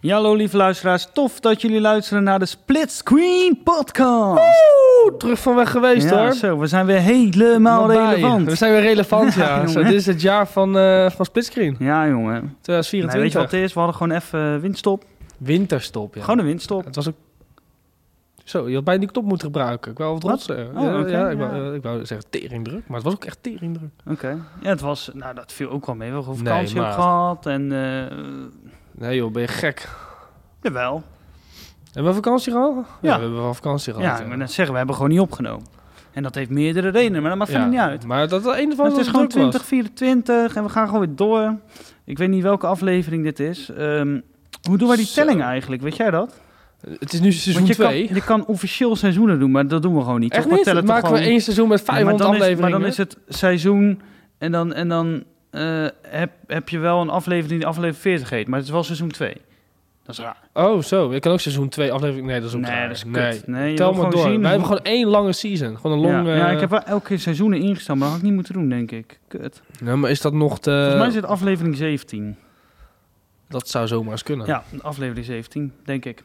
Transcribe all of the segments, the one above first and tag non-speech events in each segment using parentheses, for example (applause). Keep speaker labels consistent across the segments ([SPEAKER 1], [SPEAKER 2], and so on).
[SPEAKER 1] Ja, hallo lieve luisteraars. Tof dat jullie luisteren naar de Split Screen Podcast.
[SPEAKER 2] Oeh, terug van weg geweest
[SPEAKER 1] ja,
[SPEAKER 2] hoor.
[SPEAKER 1] zo, we zijn weer helemaal
[SPEAKER 2] Wat bij.
[SPEAKER 1] relevant.
[SPEAKER 2] We zijn weer
[SPEAKER 1] (laughs)
[SPEAKER 2] relevant, ja.
[SPEAKER 1] Ja,
[SPEAKER 2] Zo,
[SPEAKER 1] jongen.
[SPEAKER 2] dit is het jaar van, eh van Splitscreen,
[SPEAKER 1] Ja, jongen. Nee, weet je
[SPEAKER 2] 2024.
[SPEAKER 1] wat het is? We hadden gewoon even windstop.
[SPEAKER 2] Winterstop, ja.
[SPEAKER 1] Gewoon een windstop.
[SPEAKER 2] Het was ook... Zo, je had bijna die knop moeten gebruiken. Ik wou wat
[SPEAKER 1] Wat?
[SPEAKER 2] trots zeggen.
[SPEAKER 1] Oh,
[SPEAKER 2] ja,
[SPEAKER 1] oké,
[SPEAKER 2] ja, ik,
[SPEAKER 1] ja.
[SPEAKER 2] wou, eh, ik wou zeggen teringdruk, maar het was ook echt teringdruk.
[SPEAKER 1] Oké. Ja, het was... Nou, dat viel ook wel mee. We hebben
[SPEAKER 2] Nee,
[SPEAKER 1] vakantie ook
[SPEAKER 2] maar-
[SPEAKER 1] gehad en... eh
[SPEAKER 2] Nee joh, ben je gek.
[SPEAKER 1] jawel.
[SPEAKER 2] Hebben we vakantie gehad? Ja.
[SPEAKER 1] Ja.
[SPEAKER 2] we hebben wel vakantie
[SPEAKER 1] Ja,
[SPEAKER 2] gehad.
[SPEAKER 1] ik wil net zeggen, we hebben gewoon niet opgenomen. En dat heeft meerdere redenen, maar dat maakt verder
[SPEAKER 2] Ja,
[SPEAKER 1] niet uit.
[SPEAKER 2] Maar dat het een van
[SPEAKER 1] Maar het
[SPEAKER 2] de
[SPEAKER 1] is gewoon 2024 en we gaan gewoon weer door. Ik weet niet welke aflevering dit is. Ehm, hoe doen wij die
[SPEAKER 2] Zo.
[SPEAKER 1] telling eigenlijk? Weet jij dat?
[SPEAKER 2] Het is nu seizoen
[SPEAKER 1] Want je
[SPEAKER 2] 2.
[SPEAKER 1] kan, je kan officieel seizoenen doen, maar dat doen we gewoon niet.
[SPEAKER 2] Dus Echt
[SPEAKER 1] toch?
[SPEAKER 2] niet?
[SPEAKER 1] tellen toch
[SPEAKER 2] Dat maken we
[SPEAKER 1] gewoon-
[SPEAKER 2] één seizoen met
[SPEAKER 1] Ja, maar
[SPEAKER 2] 500
[SPEAKER 1] dan is, maar
[SPEAKER 2] afleveringen.
[SPEAKER 1] dan is het seizoen en dan, en dan eh, heb, heb je wel een aflevering die aflevering 40 heet, maar het is wel seizoen 2. Dat is raar.
[SPEAKER 2] Oh, zo. Ik kan ook seizoen 2 aflevering. Nee, dat is ook
[SPEAKER 1] Nee,
[SPEAKER 2] raar.
[SPEAKER 1] dat is kut.
[SPEAKER 2] Nee.
[SPEAKER 1] Nee, je
[SPEAKER 2] Tel
[SPEAKER 1] wil
[SPEAKER 2] maar door.
[SPEAKER 1] gewoon zien
[SPEAKER 2] Wij hebben
[SPEAKER 1] hoe-
[SPEAKER 2] gewoon één lange season. Gewoon een
[SPEAKER 1] ja.
[SPEAKER 2] long... eh,
[SPEAKER 1] ja, ik heb wel elke keer seizoenen ingesteld, maar dat had ik niet moeten doen, denk ik. Kut.
[SPEAKER 2] Ja, maar is dat nog te...
[SPEAKER 1] Volgens mij is het aflevering 17.
[SPEAKER 2] Dat zou zomaar eens kunnen.
[SPEAKER 1] Ja, aflevering 17, denk ik.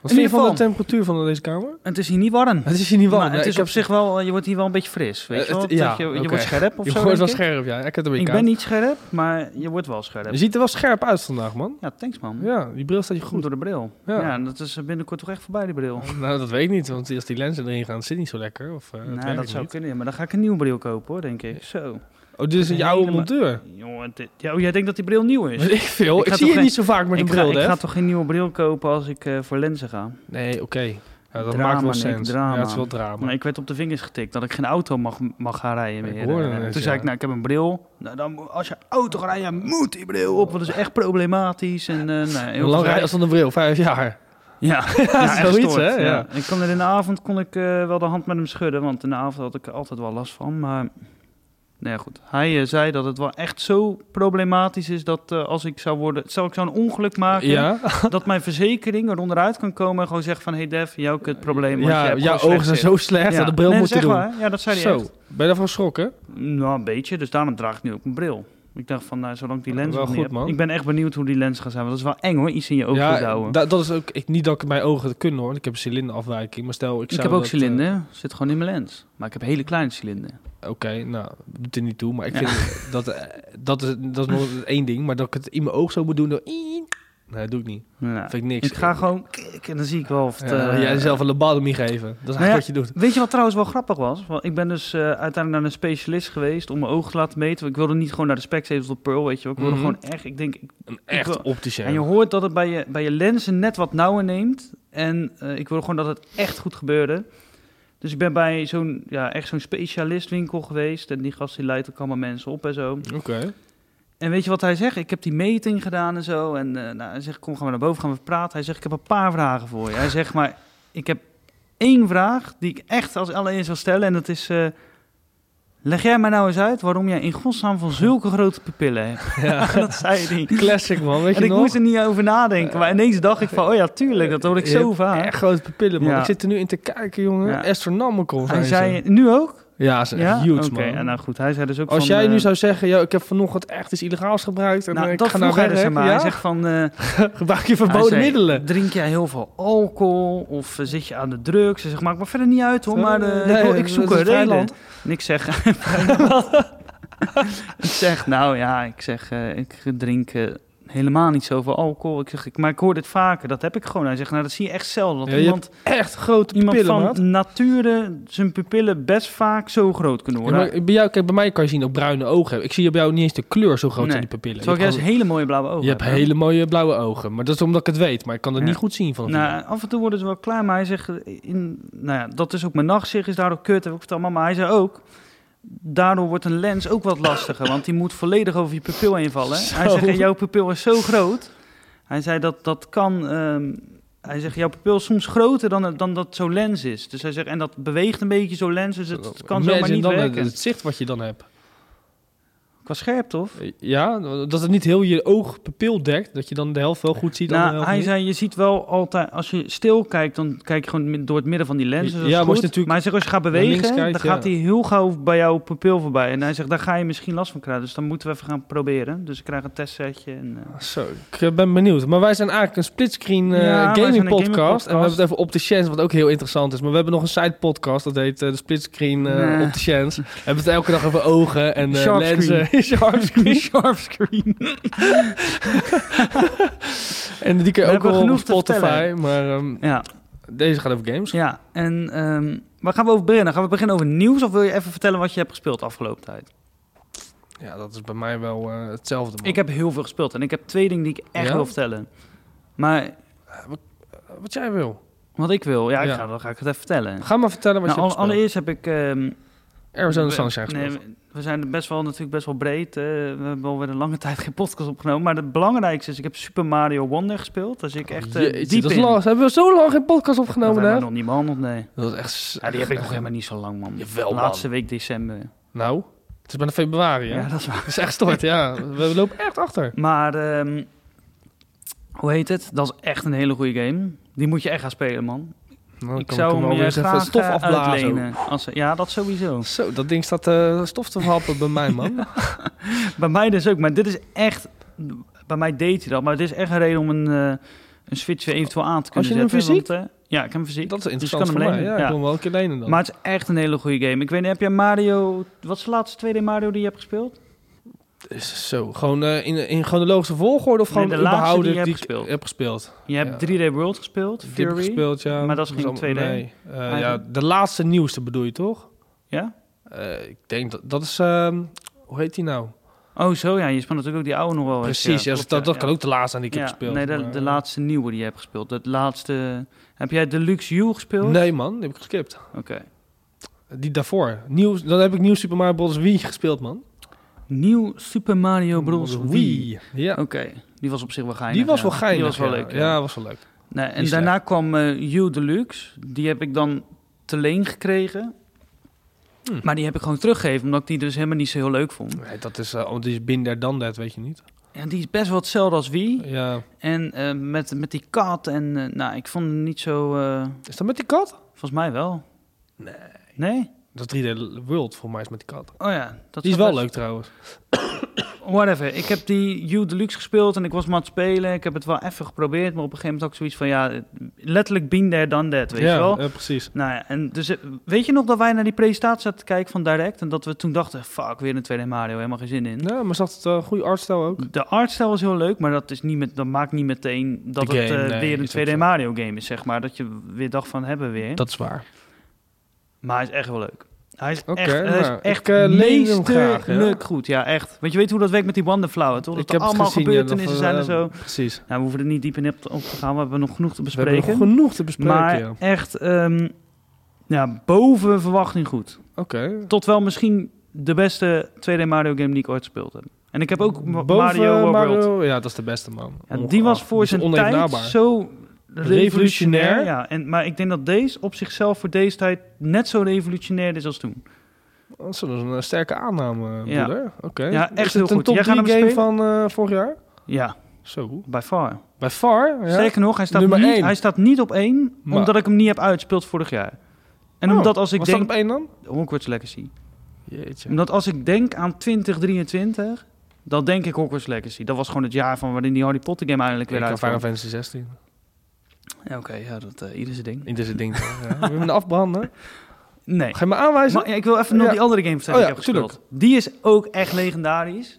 [SPEAKER 2] Wat
[SPEAKER 1] In
[SPEAKER 2] vind
[SPEAKER 1] ieder
[SPEAKER 2] je van
[SPEAKER 1] geval-
[SPEAKER 2] de temperatuur van deze kamer? Nou,
[SPEAKER 1] Het is hier niet warm.
[SPEAKER 2] Het is hier niet warm.
[SPEAKER 1] Maar (laughs)
[SPEAKER 2] Nee,
[SPEAKER 1] het is
[SPEAKER 2] ik heb-
[SPEAKER 1] op zich wel, eh, je wordt hier wel een beetje fris, weet
[SPEAKER 2] Eh,
[SPEAKER 1] je wel?
[SPEAKER 2] het-
[SPEAKER 1] Dat
[SPEAKER 2] ja,
[SPEAKER 1] je, je
[SPEAKER 2] oké.
[SPEAKER 1] wordt scherp of
[SPEAKER 2] Je
[SPEAKER 1] zo,
[SPEAKER 2] wordt wel
[SPEAKER 1] denk ik.
[SPEAKER 2] scherp, ja. Ik heb het weer
[SPEAKER 1] Ik
[SPEAKER 2] koud.
[SPEAKER 1] ben niet scherp, maar je wordt wel
[SPEAKER 2] Je
[SPEAKER 1] scherp.
[SPEAKER 2] ziet er wel scherp uit vandaag, man.
[SPEAKER 1] Ja, thanks man.
[SPEAKER 2] Ja, die bril staat je
[SPEAKER 1] Goed
[SPEAKER 2] goed.
[SPEAKER 1] door de bril. Ja.
[SPEAKER 2] Ja.
[SPEAKER 1] en dat is binnenkort toch echt voorbij, die bril.
[SPEAKER 2] Nou, dat weet ik niet. Want als die lenzen erin gaan, zit het niet zo lekker. Of, eh, het
[SPEAKER 1] nou,
[SPEAKER 2] werkt
[SPEAKER 1] dat zou
[SPEAKER 2] niet.
[SPEAKER 1] kunnen, ja, maar dan ga ik een nieuwe bril kopen, hoor, denk ik. Zo.
[SPEAKER 2] Oh, dit is een
[SPEAKER 1] Helemaal-
[SPEAKER 2] oude montuur.
[SPEAKER 1] Jongen, dit- ja, oh, jij denkt dat die bril nieuw
[SPEAKER 2] (laughs)
[SPEAKER 1] is?
[SPEAKER 2] Weet ik veel.
[SPEAKER 1] Ik
[SPEAKER 2] Ik,
[SPEAKER 1] ga
[SPEAKER 2] zie
[SPEAKER 1] toch
[SPEAKER 2] je
[SPEAKER 1] geen-
[SPEAKER 2] niet zo vaak met een
[SPEAKER 1] ik, ga,
[SPEAKER 2] bril,
[SPEAKER 1] ik
[SPEAKER 2] hè?
[SPEAKER 1] ga toch geen nieuwe bril kopen als ik eh, voor lenzen ga?
[SPEAKER 2] Nee, oké. Ja, dat
[SPEAKER 1] Drama,
[SPEAKER 2] maakt wel
[SPEAKER 1] Nick,
[SPEAKER 2] sens.
[SPEAKER 1] drama.
[SPEAKER 2] Ja, het is wel drama.
[SPEAKER 1] Maar ik werd op de vingers getikt dat ik geen auto mag, mag gaan rijden
[SPEAKER 2] Ik
[SPEAKER 1] meer.
[SPEAKER 2] hoorde
[SPEAKER 1] Eh,
[SPEAKER 2] het,
[SPEAKER 1] Toen
[SPEAKER 2] ja.
[SPEAKER 1] zei ik, nou, ik heb een bril. Nou, dan, moet- als je auto gaat rijden, moet die bril op, want dat is echt problematisch. En, eh nou, heel
[SPEAKER 2] Hoe lang
[SPEAKER 1] veel-
[SPEAKER 2] rij je als dan een bril? Vijf jaar.
[SPEAKER 1] Ja,
[SPEAKER 2] is
[SPEAKER 1] echt
[SPEAKER 2] zoiets,
[SPEAKER 1] stoort,
[SPEAKER 2] hè? Ja.
[SPEAKER 1] Ik kon er in de avond kon ik eh, wel de hand met hem schudden, want in de avond had ik er altijd wel last van. Maar nee, goed. Hij eh, zei dat het wel echt zo problematisch is dat eh, als ik zou worden, stel ik zou een ongeluk maken,
[SPEAKER 2] Ja,
[SPEAKER 1] (laughs) dat mijn verzekering eronder uit kan komen en gewoon zegt van, hey Def, jouw kutprobleem. want je
[SPEAKER 2] ja
[SPEAKER 1] hebt
[SPEAKER 2] jouw
[SPEAKER 1] gewoon
[SPEAKER 2] ogen zijn
[SPEAKER 1] slecht
[SPEAKER 2] zo
[SPEAKER 1] zicht."
[SPEAKER 2] slecht
[SPEAKER 1] Ja.
[SPEAKER 2] dat de bril
[SPEAKER 1] nee, dat
[SPEAKER 2] moet je
[SPEAKER 1] is
[SPEAKER 2] doen.
[SPEAKER 1] echt waar. Ja, dat zei hij
[SPEAKER 2] Zo,
[SPEAKER 1] echt.
[SPEAKER 2] ben je daarvan geschrokken?
[SPEAKER 1] Nou, een beetje. Dus daarom draag ik nu ook een bril. Ik dacht van, nou, zolang ik die
[SPEAKER 2] Ja,
[SPEAKER 1] lens
[SPEAKER 2] wel
[SPEAKER 1] nog niet
[SPEAKER 2] goed,
[SPEAKER 1] heb.
[SPEAKER 2] man.
[SPEAKER 1] Ik ben echt benieuwd hoe die lens gaat zijn. Want dat is wel eng hoor, iets in je ogen
[SPEAKER 2] ja,
[SPEAKER 1] te houden.
[SPEAKER 2] da- dat is ook ik, niet dat ik mijn ogen het kunnen hoor. want Ik heb een cilinderafwijking, maar stel ik
[SPEAKER 1] Ik eh,
[SPEAKER 2] zou
[SPEAKER 1] heb ook
[SPEAKER 2] dat,
[SPEAKER 1] cilinder, zit gewoon in mijn lens. Maar ik heb hele kleine cilinder.
[SPEAKER 2] eh, Oké, nou, doet er niet toe, maar ik vind dat, eh, dat, is, dat is
[SPEAKER 1] (laughs)
[SPEAKER 2] nog één ding, maar dat ik het in mijn oog zo moet doen door... Nee, dat doe ik niet.
[SPEAKER 1] Nou,
[SPEAKER 2] Dat vind ik niks.
[SPEAKER 1] ik ga gewoon kijken en dan zie ik wel of het...
[SPEAKER 2] Ja,
[SPEAKER 1] eh, Nou
[SPEAKER 2] jij zelf een lobotomie geven. Dat is eigenlijk
[SPEAKER 1] ja,
[SPEAKER 2] wat je doet.
[SPEAKER 1] Weet je wat trouwens wel grappig was? Want ik ben dus eh, uiteindelijk naar een specialist geweest om mijn oog te laten meten. Ik wilde niet gewoon naar de Specsavers of Pearl, weet je wel. Ik wilde
[SPEAKER 2] Mhm.
[SPEAKER 1] gewoon echt, ik denk... ik-
[SPEAKER 2] Een
[SPEAKER 1] wil-
[SPEAKER 2] echt
[SPEAKER 1] En je
[SPEAKER 2] opticien.
[SPEAKER 1] hoort dat het bij je, bij je lenzen net wat nauwer neemt. En eh, ik wilde gewoon dat het echt goed gebeurde. Dus ik ben bij zo'n, ja, echt zo'n specialistwinkel geweest. En die gast die leidt ook allemaal mensen op en zo.
[SPEAKER 2] Oké.
[SPEAKER 1] En weet je wat hij zegt? Ik heb die meting gedaan en zo. En eh, nou, hij zegt, kom, gaan we naar boven, gaan we praten. Hij zegt, ik heb een paar vragen voor je. Hij zegt, maar ik heb één vraag die ik echt als allereerst wil stellen. En dat is, eh, leg jij mij nou eens uit waarom jij in godsnaam van zulke grote pupillen
[SPEAKER 2] (laughs)
[SPEAKER 1] hebt.
[SPEAKER 2] Ja.
[SPEAKER 1] dat zei hij.
[SPEAKER 2] Classic man, weet
[SPEAKER 1] En
[SPEAKER 2] je
[SPEAKER 1] ik
[SPEAKER 2] nog?
[SPEAKER 1] moest er niet over nadenken. Maar ineens dacht ik van, oh ja, tuurlijk, dat hoor ik
[SPEAKER 2] Je
[SPEAKER 1] zo
[SPEAKER 2] hebt
[SPEAKER 1] vaak.
[SPEAKER 2] Echt grote pupillen, man.
[SPEAKER 1] Ja.
[SPEAKER 2] Ik zit er nu in te kijken, jongen.
[SPEAKER 1] Ja.
[SPEAKER 2] Astronomical zijn
[SPEAKER 1] Hij
[SPEAKER 2] ze.
[SPEAKER 1] zei, nu ook?
[SPEAKER 2] Ja, ze zijn
[SPEAKER 1] Ja?
[SPEAKER 2] echt huge,
[SPEAKER 1] Oké,
[SPEAKER 2] man.
[SPEAKER 1] en nou goed, hij zei dus ook
[SPEAKER 2] Als
[SPEAKER 1] van,
[SPEAKER 2] jij nu
[SPEAKER 1] eh,
[SPEAKER 2] zou zeggen, ja, ik heb vanochtend echt iets illegaals gebruikt en
[SPEAKER 1] nou,
[SPEAKER 2] eh, ik
[SPEAKER 1] dat
[SPEAKER 2] ga naar
[SPEAKER 1] vroeg hij
[SPEAKER 2] werk,
[SPEAKER 1] dus aan mij. Hij
[SPEAKER 2] ja?
[SPEAKER 1] zegt van... eh,
[SPEAKER 2] (laughs) gebruik je
[SPEAKER 1] Hij
[SPEAKER 2] verboden
[SPEAKER 1] zei,
[SPEAKER 2] middelen.
[SPEAKER 1] Drink jij heel veel alcohol of eh, zit je aan de drugs? Ze zegt, maakt me verder niet uit hoor, maar eh,
[SPEAKER 2] Nee,
[SPEAKER 1] ik, wil-
[SPEAKER 2] dat
[SPEAKER 1] ik
[SPEAKER 2] is
[SPEAKER 1] zoek
[SPEAKER 2] een
[SPEAKER 1] een
[SPEAKER 2] vrij
[SPEAKER 1] reden.
[SPEAKER 2] land.
[SPEAKER 1] En ik zeg, (laughs) ik zeg, nou ja, ik zeg, eh, ik drink eh, helemaal niet zoveel alcohol. Ik zeg, ik, maar ik hoor dit vaker, dat heb ik gewoon. Hij zegt, nou dat zie je echt zelden, dat
[SPEAKER 2] Ja, je
[SPEAKER 1] iemand,
[SPEAKER 2] Echt grote
[SPEAKER 1] iemand
[SPEAKER 2] pillen,
[SPEAKER 1] van
[SPEAKER 2] maat.
[SPEAKER 1] nature zijn pupillen best vaak zo groot kunnen
[SPEAKER 2] Ja,
[SPEAKER 1] worden.
[SPEAKER 2] maar bij jou, kijk, bij mij kan je zien dat ik bruine ogen heb. Ik zie bij jou niet eens de kleur zo groot
[SPEAKER 1] Nee.
[SPEAKER 2] in die pupillen.
[SPEAKER 1] Terwijl ik juist
[SPEAKER 2] hebt,
[SPEAKER 1] hele mooie blauwe ogen
[SPEAKER 2] gewoon- je hebt
[SPEAKER 1] hè?
[SPEAKER 2] hele mooie blauwe ogen. Maar dat is omdat ik het weet. Maar ik kan het
[SPEAKER 1] Ja.
[SPEAKER 2] niet goed zien van nou,
[SPEAKER 1] Nou, af en toe worden ze wel klaar, maar hij zegt, eh, in, nou ja, dat is ook mijn nachtzicht, is daardoor kut, heb ik verteld, maar hij zei ook, daardoor wordt een lens ook wat lastiger, want die moet volledig over je pupil
[SPEAKER 2] (laughs)
[SPEAKER 1] invallen.
[SPEAKER 2] Zo.
[SPEAKER 1] Hij zegt, en jouw pupil is zo groot, hij zei dat dat kan, ehm, hij zegt, jouw pupil is soms groter dan, dan dat zo'n lens is. Dus hij zegt, en dat beweegt een beetje zo'n lens, dus het, het kan zomaar niet
[SPEAKER 2] dan
[SPEAKER 1] werken.
[SPEAKER 2] Het, het zicht wat je dan hebt.
[SPEAKER 1] Qua Qua scherpte, of?
[SPEAKER 2] Ja, dat het niet heel je oogpapil dekt. Dat je dan de helft wel goed ziet. dan de
[SPEAKER 1] Nou,
[SPEAKER 2] helft
[SPEAKER 1] hij
[SPEAKER 2] niet.
[SPEAKER 1] zei, je ziet wel altijd, als je stil kijkt, dan kijk je gewoon mi- door het midden van die lens.
[SPEAKER 2] Ja,
[SPEAKER 1] dus dat
[SPEAKER 2] maar
[SPEAKER 1] is
[SPEAKER 2] als je
[SPEAKER 1] goed.
[SPEAKER 2] natuurlijk
[SPEAKER 1] maar hij zegt, als je gaat
[SPEAKER 2] naar links
[SPEAKER 1] bewegen,
[SPEAKER 2] kijkt,
[SPEAKER 1] dan gaat
[SPEAKER 2] ja.
[SPEAKER 1] hij heel gauw bij jouw pupil voorbij. En hij zegt, daar ga je misschien last van krijgen, dus dan moeten we even gaan proberen. Dus ik krijg een testsetje. En,
[SPEAKER 2] (laughs)
[SPEAKER 1] eh,
[SPEAKER 2] Zo, ik ben benieuwd. Maar wij zijn eigenlijk een splitscreen eh
[SPEAKER 1] Ja, wij zijn een
[SPEAKER 2] gaming podcast.
[SPEAKER 1] gamingpodcast.
[SPEAKER 2] En we hebben het even op de chance, wat ook heel interessant is. Maar we hebben nog een side podcast, dat heet eh, de splitscreen eh
[SPEAKER 1] Nee.
[SPEAKER 2] op de chance. We hebben het elke dag over ogen en eh,
[SPEAKER 1] Sharp
[SPEAKER 2] lenzen. (laughs) Sharpscreen.
[SPEAKER 1] (laughs) Sharp screen.
[SPEAKER 2] en die kun je
[SPEAKER 1] We
[SPEAKER 2] ook
[SPEAKER 1] hebben
[SPEAKER 2] wel op
[SPEAKER 1] genoeg te
[SPEAKER 2] Spotify.
[SPEAKER 1] vertellen.
[SPEAKER 2] Maar ehm,
[SPEAKER 1] Ja,
[SPEAKER 2] deze gaat over games.
[SPEAKER 1] ja. En ehm, waar gaan we over beginnen? Gaan we beginnen over nieuws of wil je even vertellen wat je hebt gespeeld de afgelopen tijd?
[SPEAKER 2] Ja, dat is bij mij wel eh, hetzelfde. man.
[SPEAKER 1] Ik heb heel veel gespeeld en ik heb twee dingen die ik echt
[SPEAKER 2] Ja?
[SPEAKER 1] wil vertellen. Maar
[SPEAKER 2] Wat jij wil.
[SPEAKER 1] wat ik wil, ja, ik
[SPEAKER 2] Ja.
[SPEAKER 1] Ga, dan ga ik het even vertellen.
[SPEAKER 2] Ga maar vertellen wat
[SPEAKER 1] Nou,
[SPEAKER 2] je
[SPEAKER 1] al-
[SPEAKER 2] hebt gespeeld.
[SPEAKER 1] allereerst heb ik ehm,
[SPEAKER 2] Arizona
[SPEAKER 1] We-
[SPEAKER 2] Sunshine gespeeld.
[SPEAKER 1] Nee, we- we zijn best wel, natuurlijk best wel breed. eh, we hebben alweer een lange (laughs) tijd geen podcast opgenomen. Maar het belangrijkste is, ik heb Super Mario Wonder gespeeld. Dus ik echt eh,
[SPEAKER 2] Jeetje,
[SPEAKER 1] diep
[SPEAKER 2] dat is
[SPEAKER 1] in.
[SPEAKER 2] lang.
[SPEAKER 1] Dat
[SPEAKER 2] Hebben we zo lang geen podcast opgenomen,
[SPEAKER 1] hebben we
[SPEAKER 2] hè?
[SPEAKER 1] nog niet behandeld, nee.
[SPEAKER 2] Dat is echt...
[SPEAKER 1] Ja, die heb ik nog helemaal niet zo lang, man.
[SPEAKER 2] Jawel, man.
[SPEAKER 1] Laatste week december.
[SPEAKER 2] Nou, het is bijna februari,
[SPEAKER 1] Ja,
[SPEAKER 2] hè?
[SPEAKER 1] dat is waar.
[SPEAKER 2] Dat is echt stort, ja. We lopen echt (laughs) achter.
[SPEAKER 1] Maar, ehm, hoe heet het? Dat is echt een hele goede game. Die moet je echt gaan spelen, man.
[SPEAKER 2] Nou,
[SPEAKER 1] ik zou hem je graag
[SPEAKER 2] stof
[SPEAKER 1] eh,
[SPEAKER 2] afblazen.
[SPEAKER 1] uitlenen. Als, ja, dat sowieso.
[SPEAKER 2] Zo, dat ding staat eh, stof te verhappen bij mij, (laughs) man.
[SPEAKER 1] Bij mij dus ook, maar dit is echt... Bij mij deed hij dat, maar het is echt een reden om een, eh, een Switch weer eventueel aan te
[SPEAKER 2] Als
[SPEAKER 1] kunnen
[SPEAKER 2] je hem
[SPEAKER 1] zetten,
[SPEAKER 2] fysiek-
[SPEAKER 1] want, eh, ja, ik heb hem fysiek.
[SPEAKER 2] Dat is
[SPEAKER 1] Dus
[SPEAKER 2] interessant
[SPEAKER 1] je
[SPEAKER 2] voor
[SPEAKER 1] kan hem
[SPEAKER 2] mij.
[SPEAKER 1] lenen,
[SPEAKER 2] Ja, ik
[SPEAKER 1] ja.
[SPEAKER 2] wil hem wel een keer lenen dan.
[SPEAKER 1] Maar het is echt een hele goede game. Ik weet niet, heb jij Mario... Wat is de laatste 2D Mario die je hebt gespeeld?
[SPEAKER 2] Is zo, gewoon eh, in, in chronologische volgorde of
[SPEAKER 1] Nee,
[SPEAKER 2] gewoon
[SPEAKER 1] de laatste
[SPEAKER 2] überhaupt
[SPEAKER 1] die je hebt
[SPEAKER 2] ik
[SPEAKER 1] gespeeld.
[SPEAKER 2] heb gespeeld?
[SPEAKER 1] Je hebt
[SPEAKER 2] Ja.
[SPEAKER 1] 3D World gespeeld,
[SPEAKER 2] Die heb
[SPEAKER 1] Fury.
[SPEAKER 2] ik gespeeld, ja.
[SPEAKER 1] Maar dat is geen 2D.
[SPEAKER 2] Nee. Eh, ja,
[SPEAKER 1] Eigenlijk.
[SPEAKER 2] de laatste nieuwste bedoel je toch?
[SPEAKER 1] Ja?
[SPEAKER 2] Eh, ik denk dat, dat is... ehm, hoe heet die nou?
[SPEAKER 1] Oh, zo ja. Je speelt natuurlijk ook die oude nog wel eens.
[SPEAKER 2] Precies, ja,
[SPEAKER 1] klopt,
[SPEAKER 2] dat, dat
[SPEAKER 1] ja.
[SPEAKER 2] kan ook de laatste zijn die ik
[SPEAKER 1] Ja,
[SPEAKER 2] heb gespeeld.
[SPEAKER 1] Nee, de,
[SPEAKER 2] maar- eh,
[SPEAKER 1] de laatste nieuwe die je hebt gespeeld. Dat laatste... Heb jij Deluxe U gespeeld?
[SPEAKER 2] Nee man, die heb ik geskipt.
[SPEAKER 1] Oké.
[SPEAKER 2] Die daarvoor. Nieuw, dan heb ik Nieuw Super Mario Bros. Wii gespeeld, man.
[SPEAKER 1] Nieuw Super Mario Bros. Wii.
[SPEAKER 2] Ja.
[SPEAKER 1] Oké, die was op zich wel geinig.
[SPEAKER 2] Die was
[SPEAKER 1] ja.
[SPEAKER 2] wel geinig.
[SPEAKER 1] Die was wel
[SPEAKER 2] ja.
[SPEAKER 1] leuk.
[SPEAKER 2] Ja,
[SPEAKER 1] ja.
[SPEAKER 2] was wel leuk.
[SPEAKER 1] Nee, en
[SPEAKER 2] Niet
[SPEAKER 1] daarna kwam eh You Deluxe. Die heb ik dan te leen gekregen.
[SPEAKER 2] Hm.
[SPEAKER 1] Maar die heb ik gewoon teruggegeven, omdat ik die dus helemaal niet zo heel leuk vond.
[SPEAKER 2] Nee, dat is, eh, oh, die is binder dan dat, weet je niet.
[SPEAKER 1] En die is best wel hetzelfde als Wii.
[SPEAKER 2] Ja.
[SPEAKER 1] En eh, met, met die kat en... eh, nou, ik vond hem niet zo... eh,
[SPEAKER 2] Is dat met die kat?
[SPEAKER 1] volgens mij wel.
[SPEAKER 2] Nee.
[SPEAKER 1] Nee?
[SPEAKER 2] Dat is 3D World, voor mij is met die kat.
[SPEAKER 1] Oh ja. Dat
[SPEAKER 2] die is
[SPEAKER 1] zat
[SPEAKER 2] wel
[SPEAKER 1] best-
[SPEAKER 2] leuk trouwens.
[SPEAKER 1] Whatever. Ik heb die You Deluxe gespeeld en ik was maar aan het spelen. Ik heb het wel even geprobeerd, maar op een gegeven moment had ik zoiets van... Ja, letterlijk been there, done that, weet
[SPEAKER 2] ja,
[SPEAKER 1] je wel?
[SPEAKER 2] eh, precies.
[SPEAKER 1] Nou ja, en dus eh, weet je nog dat wij naar die presentatie zaten te kijken van Direct en dat we toen dachten, fuck, weer een 2D Mario, helemaal geen zin in.
[SPEAKER 2] Ja, maar zat het eh, goede artstijl ook?
[SPEAKER 1] De artstijl was heel leuk, maar dat, is niet met, dat maakt niet meteen dat
[SPEAKER 2] De
[SPEAKER 1] het
[SPEAKER 2] game,
[SPEAKER 1] eh,
[SPEAKER 2] nee,
[SPEAKER 1] weer
[SPEAKER 2] is ook
[SPEAKER 1] een 2D
[SPEAKER 2] zo.
[SPEAKER 1] Mario game is, zeg maar. Dat je weer dacht van, hebben we weer.
[SPEAKER 2] Dat is waar.
[SPEAKER 1] Maar hij is echt wel leuk. Hij is
[SPEAKER 2] Oké,
[SPEAKER 1] echt, hij is
[SPEAKER 2] nou,
[SPEAKER 1] echt
[SPEAKER 2] ik, eh, leen hem graag,
[SPEAKER 1] meesterlijk
[SPEAKER 2] ja.
[SPEAKER 1] goed. Ja, echt. Want je weet hoe dat werkt met die Wonderflower, toch? Dat
[SPEAKER 2] ik heb
[SPEAKER 1] er allemaal
[SPEAKER 2] het gezien. ja,
[SPEAKER 1] gebeurtenissen
[SPEAKER 2] dat,
[SPEAKER 1] zijn
[SPEAKER 2] eh,
[SPEAKER 1] en zo.
[SPEAKER 2] Precies.
[SPEAKER 1] Nou, we hoeven er niet diep in op, op te gaan, we hebben nog genoeg te
[SPEAKER 2] We hebben nog
[SPEAKER 1] bespreken.
[SPEAKER 2] genoeg te bespreken.
[SPEAKER 1] maar
[SPEAKER 2] ja.
[SPEAKER 1] echt, ehm, ja, boven verwachting goed.
[SPEAKER 2] Oké.
[SPEAKER 1] Tot wel misschien de beste 2D Mario game die ik ooit gespeeld heb. En ik heb ook Ma-
[SPEAKER 2] Boven
[SPEAKER 1] Mario World.
[SPEAKER 2] Mario- Ja, dat is de beste man.
[SPEAKER 1] Ja, die
[SPEAKER 2] Ongeacht.
[SPEAKER 1] was voor
[SPEAKER 2] Oh, is
[SPEAKER 1] zijn tijd
[SPEAKER 2] onevenaarbaar.
[SPEAKER 1] zo revolutionair.
[SPEAKER 2] Revolutionair.
[SPEAKER 1] Ja, en, maar ik denk dat deze op zichzelf voor deze tijd net zo revolutionair is als toen.
[SPEAKER 2] Dat is een eh, sterke aanname,
[SPEAKER 1] Ja.
[SPEAKER 2] broeder. Oké.
[SPEAKER 1] Ja, echt
[SPEAKER 2] Is het
[SPEAKER 1] heel
[SPEAKER 2] een
[SPEAKER 1] goed.
[SPEAKER 2] top
[SPEAKER 1] Jij
[SPEAKER 2] 3
[SPEAKER 1] gaat
[SPEAKER 2] game
[SPEAKER 1] hem
[SPEAKER 2] van eh, vorig jaar?
[SPEAKER 1] Ja,
[SPEAKER 2] Zo.
[SPEAKER 1] by far.
[SPEAKER 2] Bij far? Ja.
[SPEAKER 1] Sterker nog, hij staat,
[SPEAKER 2] Nummer
[SPEAKER 1] niet,
[SPEAKER 2] één.
[SPEAKER 1] hij staat niet op één,
[SPEAKER 2] Maar-
[SPEAKER 1] omdat ik hem niet heb uitgespeeld vorig jaar. En
[SPEAKER 2] Oh,
[SPEAKER 1] omdat als ik
[SPEAKER 2] Was
[SPEAKER 1] denk...
[SPEAKER 2] dat op één dan?
[SPEAKER 1] Hogwarts Legacy.
[SPEAKER 2] Jeetje.
[SPEAKER 1] Omdat als ik denk aan 2023, dan denk ik Hogwarts Legacy. Dat was gewoon het jaar van waarin die Harry Potter game eindelijk
[SPEAKER 2] Ik
[SPEAKER 1] weer
[SPEAKER 2] heb Final
[SPEAKER 1] uitkwam.
[SPEAKER 2] Fantasy 16.
[SPEAKER 1] Ja, Oké, ja, dat eh, ieder zijn ding.
[SPEAKER 2] In deze ding. toch? eh, ja. We hebben een afbranden.
[SPEAKER 1] (laughs) Nee.
[SPEAKER 2] Ga je me aanwijzen?
[SPEAKER 1] Maar, ja, ik wil even nog
[SPEAKER 2] Ja.
[SPEAKER 1] die andere game vertellen
[SPEAKER 2] Oh
[SPEAKER 1] die
[SPEAKER 2] ja,
[SPEAKER 1] ik heb gespeeld. Die is ook echt legendarisch.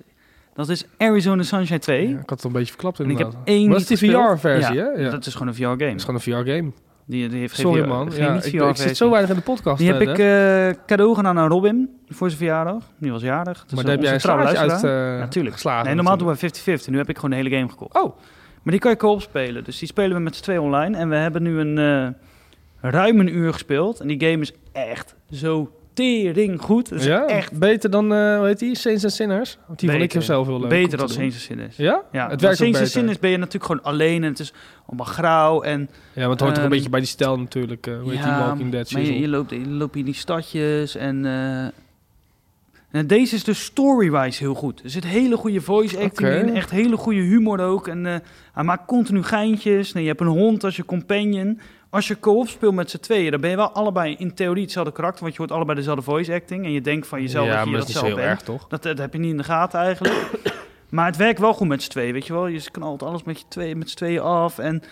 [SPEAKER 1] Dat is Arizona Sunshine 2.
[SPEAKER 2] Ja, ik had het een beetje verklapt
[SPEAKER 1] en ik
[SPEAKER 2] inderdaad.
[SPEAKER 1] heb één
[SPEAKER 2] Maar dat is
[SPEAKER 1] niet
[SPEAKER 2] die
[SPEAKER 1] gespeeld.
[SPEAKER 2] VR-versie,
[SPEAKER 1] Ja,
[SPEAKER 2] hè? Ja. Dat
[SPEAKER 1] Dat is gewoon een VR-game.
[SPEAKER 2] is gewoon een VR-game.
[SPEAKER 1] Die, die heeft geen
[SPEAKER 2] Sorry,
[SPEAKER 1] VR
[SPEAKER 2] man.
[SPEAKER 1] Geen
[SPEAKER 2] Ja,
[SPEAKER 1] niet
[SPEAKER 2] ik,
[SPEAKER 1] VR
[SPEAKER 2] ik zit zo weinig in de podcast.
[SPEAKER 1] Die heb
[SPEAKER 2] eh,
[SPEAKER 1] ik
[SPEAKER 2] hè.
[SPEAKER 1] eh, cadeau gedaan aan Robin voor zijn verjaardag. Die was jarig. Dus
[SPEAKER 2] maar daar heb jij een
[SPEAKER 1] onze trouwe
[SPEAKER 2] straatje uit
[SPEAKER 1] luisteraar.
[SPEAKER 2] eh,
[SPEAKER 1] Natuurlijk.
[SPEAKER 2] geslagen.
[SPEAKER 1] Nee, normaal doen we 50-50. Nu heb ik gewoon de hele game gekocht.
[SPEAKER 2] Oh,
[SPEAKER 1] Maar die kan je co-op spelen. Dus die spelen we met z'n twee online. En we hebben nu een eh, ruim een uur gespeeld. En die game is echt zo tering goed. Het is
[SPEAKER 2] ja?
[SPEAKER 1] Dus echt
[SPEAKER 2] Beter dan, eh hoe heet die? Saints and Sinners? Want die vond ik
[SPEAKER 1] Beter.
[SPEAKER 2] zelf heel leuk. om te
[SPEAKER 1] beter dan
[SPEAKER 2] doen.
[SPEAKER 1] Saints and Sinners.
[SPEAKER 2] Ja?
[SPEAKER 1] Ja,
[SPEAKER 2] het
[SPEAKER 1] het
[SPEAKER 2] werkt
[SPEAKER 1] werkt
[SPEAKER 2] ook
[SPEAKER 1] Saints and
[SPEAKER 2] beter.
[SPEAKER 1] Sinners ben je natuurlijk gewoon alleen en het is allemaal grauw en...
[SPEAKER 2] Ja, want het hoort toch een
[SPEAKER 1] Ehm,
[SPEAKER 2] beetje bij die stijl eh, natuurlijk. eh hoe heet die Walking Dead
[SPEAKER 1] maar je,
[SPEAKER 2] shizzle.
[SPEAKER 1] je loopt, je loopt in die stadjes en... eh, En deze is dus storywise heel goed. Er zit hele goede voice acting
[SPEAKER 2] Oké.
[SPEAKER 1] in, echt hele goede humor ook. En eh, hij maakt continu geintjes. Nee, je hebt een hond als je companion. Als je co-op speelt met z'n tweeën, dan ben je wel allebei in theorie hetzelfde karakter, want je hoort allebei dezelfde voice acting. En je denkt van jezelf
[SPEAKER 2] ja,
[SPEAKER 1] dat je
[SPEAKER 2] maar
[SPEAKER 1] dat,
[SPEAKER 2] is niet zo
[SPEAKER 1] zelf
[SPEAKER 2] heel
[SPEAKER 1] bent.
[SPEAKER 2] erg, toch?
[SPEAKER 1] Dat, dat heb je niet in de gaten eigenlijk. (coughs) maar het werkt wel goed met z'n tweeën, weet je wel. Je knalt alles met, je tweeën, met z'n tweeën af. En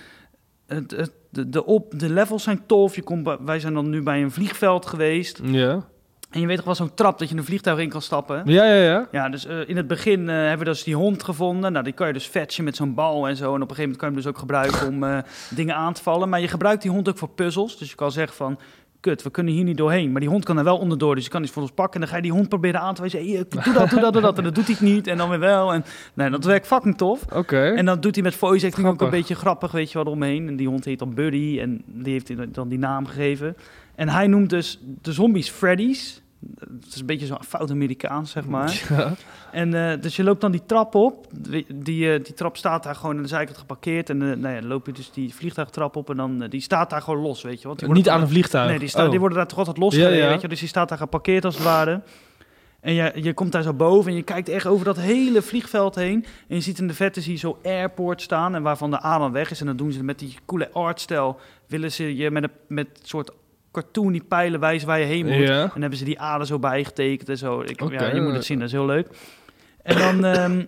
[SPEAKER 1] het, het- de, de, op, de levels zijn tof. Je komt bij- wij zijn dan nu bij een vliegveld geweest.
[SPEAKER 2] Ja.
[SPEAKER 1] En je weet toch wel zo'n trap dat je een vliegtuig in kan stappen.
[SPEAKER 2] Ja, ja, ja.
[SPEAKER 1] Ja, dus eh, in het begin eh, hebben we dus die hond gevonden. Nou, die kan je dus fetchen met zo'n bal en zo. En op een gegeven moment kan je hem dus ook gebruiken om eh, dingen aan te vallen. Maar je gebruikt die hond ook voor puzzels. Dus je kan zeggen van, kut, we kunnen hier niet doorheen. Maar die hond kan er wel onderdoor, dus je kan iets voor ons pakken. En dan ga je die hond proberen aan te wijzen. Hey, eh, doe dat, doe dat, doe dat. En dat doet hij het niet. En dan weer wel. En nee, dat werkt fucking tof.
[SPEAKER 2] Oké.
[SPEAKER 1] En dan doet hij met voice acting ook een
[SPEAKER 2] Grappig.
[SPEAKER 1] beetje grappig, weet je wel, eromheen. En die hond heet dan Buddy en die heeft hij dan die naam gegeven. En hij noemt dus de zombies Freddy's. Het is een beetje zo'n fout Amerikaans, zeg maar. (laughs)
[SPEAKER 2] (laughs) Ja.
[SPEAKER 1] En eh, dus je loopt dan die trap op. Die, die, eh, die trap staat daar gewoon aan de zijkant geparkeerd. En eh, nou ja, dan loop je dus die vliegtuigtrap op en dan eh, die staat daar gewoon los, weet je. Want die
[SPEAKER 2] Eh, Niet
[SPEAKER 1] worden-
[SPEAKER 2] aan een vliegtuig.
[SPEAKER 1] Nee, die, staat,
[SPEAKER 2] Oh.
[SPEAKER 1] die worden daar toch altijd
[SPEAKER 2] Ja,
[SPEAKER 1] losgereden,
[SPEAKER 2] ja.
[SPEAKER 1] weet je. Dus die staat daar geparkeerd als het ware. En je, je komt daar zo boven en je kijkt echt over dat hele vliegveld heen. En je ziet in de verte zie je zo airport staan en waarvan de A dan weg is. En dan doen ze met die coole artstijl, willen ze je met een met een soort cartoon die pijlen wijzen waar je heen moet.
[SPEAKER 2] Ja.
[SPEAKER 1] En dan hebben ze die aarde zo bijgetekend en zo. Ik,
[SPEAKER 2] Oké.
[SPEAKER 1] ja, je moet het zien, dat is heel leuk. En dan... ehm,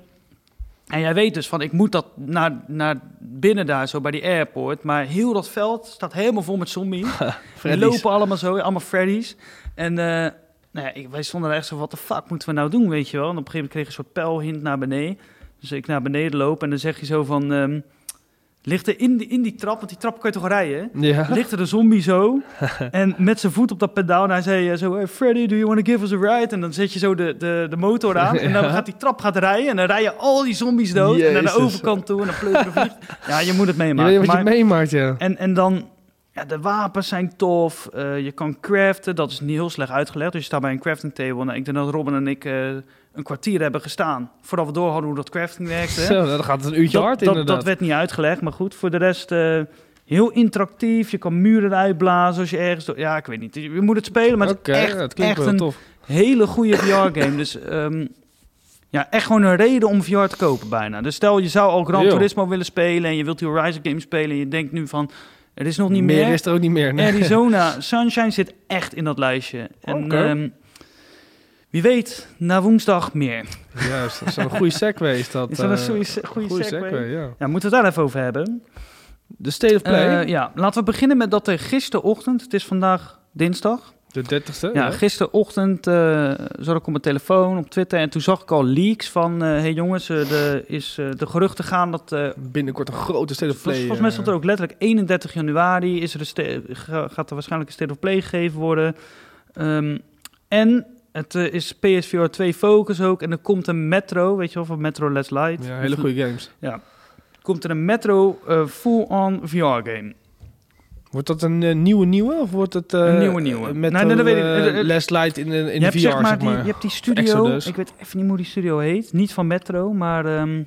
[SPEAKER 1] en jij weet dus van, ik moet dat naar, naar binnen daar zo bij die airport. Maar heel dat veld staat helemaal vol met zombies.
[SPEAKER 2] (laughs)
[SPEAKER 1] Die
[SPEAKER 2] Freddy's.
[SPEAKER 1] lopen allemaal zo, allemaal Freddy's. En eh, nou ja, ik, wij stonden er echt zo, wat de fuck moeten we nou doen, weet je wel? En op een gegeven moment kreeg ik een soort pijlhint naar beneden. Dus ik naar beneden loop en dan zeg je zo van... ehm, ligt er in die, in die trap, want die trap kan je toch rijden?
[SPEAKER 2] (laughs) Ja.
[SPEAKER 1] ligt er de zombie zo. En met zijn voet op dat pedaal. En hij zei eh, zo, hey, Freddy, do you want to give us a ride? En dan zet je zo de, de, de motor aan. En dan
[SPEAKER 2] Ja.
[SPEAKER 1] gaat die trap gaat rijden. En dan rijden al die zombies dood. En naar de
[SPEAKER 2] Jezus.
[SPEAKER 1] overkant toe. En dan pleuren de vliegt. Ja, je moet het
[SPEAKER 2] Je
[SPEAKER 1] meemaken.
[SPEAKER 2] weet wat je
[SPEAKER 1] Maar-
[SPEAKER 2] meemaakt, ja.
[SPEAKER 1] en, en dan, ja, de wapens zijn tof. eh, je kan craften, dat is niet heel slecht uitgelegd. Dus je staat bij een crafting table. Nou, ik denk dat Robin en ik eh, een kwartier hebben gestaan. Voordat we door hadden hoe dat crafting werkte.
[SPEAKER 2] Zo, nou, dan gaat het een uurtje
[SPEAKER 1] dat,
[SPEAKER 2] hard,
[SPEAKER 1] dat-
[SPEAKER 2] inderdaad.
[SPEAKER 1] dat werd niet uitgelegd, maar goed. Voor de rest eh, heel interactief. Je kan muren uitblazen als je ergens... door- Ja, ik weet niet. Je moet het spelen, maar
[SPEAKER 2] Oké,
[SPEAKER 1] het is echt,
[SPEAKER 2] ja, het klinkt
[SPEAKER 1] echt
[SPEAKER 2] wel
[SPEAKER 1] een
[SPEAKER 2] tof.
[SPEAKER 1] hele goede VR-game. Dus ehm, ja, echt gewoon een reden om VR te kopen bijna. Dus stel, je zou al Gran
[SPEAKER 2] Yo.
[SPEAKER 1] Turismo willen spelen... en je wilt die Horizon game spelen en je denkt nu van... er is nog niet meer.
[SPEAKER 2] is (laughs) er ook niet meer. nee.
[SPEAKER 1] Arizona Sunshine zit echt in dat lijstje. En
[SPEAKER 2] Oké.
[SPEAKER 1] ehm, wie weet, na woensdag meer.
[SPEAKER 2] Juist, dat is wel een goede segue is dat.
[SPEAKER 1] Is dat een
[SPEAKER 2] eh,
[SPEAKER 1] goeie se- goeie
[SPEAKER 2] goeie
[SPEAKER 1] segue?
[SPEAKER 2] ja.
[SPEAKER 1] Ja, moeten we het daar even over hebben.
[SPEAKER 2] De State of Play,
[SPEAKER 1] Eh, ja, laten we beginnen met dat er gisterochtend, het is vandaag dinsdag.
[SPEAKER 2] de 30ste.
[SPEAKER 1] ja, gisterochtend eh, zat ik op mijn telefoon, op Twitter en toen zag ik al leaks van, hé hey jongens, eh, de, is, eh, de geruchten gaan dat... eh,
[SPEAKER 2] Binnenkort een grote State of Play.
[SPEAKER 1] volgens, volgens mij
[SPEAKER 2] eh,
[SPEAKER 1] stond er ook letterlijk 31 januari is er een ste- ga- gaat er waarschijnlijk een state of play gegeven worden. Ehm, en het eh, is PSVR 2 Focus ook en er komt een Metro, weet je wel, van Metro Let's Light.
[SPEAKER 2] Ja, hele goede games.
[SPEAKER 1] Komt er een Metro eh, full-on VR game.
[SPEAKER 2] Wordt dat een eh, nieuwe nieuwe of wordt het... eh,
[SPEAKER 1] Een nieuwe nieuwe.
[SPEAKER 2] Met
[SPEAKER 1] Nou, nee, dat weet ik niet. Eh, eh,
[SPEAKER 2] Last Light in, in, in
[SPEAKER 1] je
[SPEAKER 2] de VR,
[SPEAKER 1] hebt zeg maar, die, je
[SPEAKER 2] Ja,
[SPEAKER 1] hebt die studio,
[SPEAKER 2] Exodus.
[SPEAKER 1] ik weet even niet hoe die studio heet, niet van Metro, maar ehm,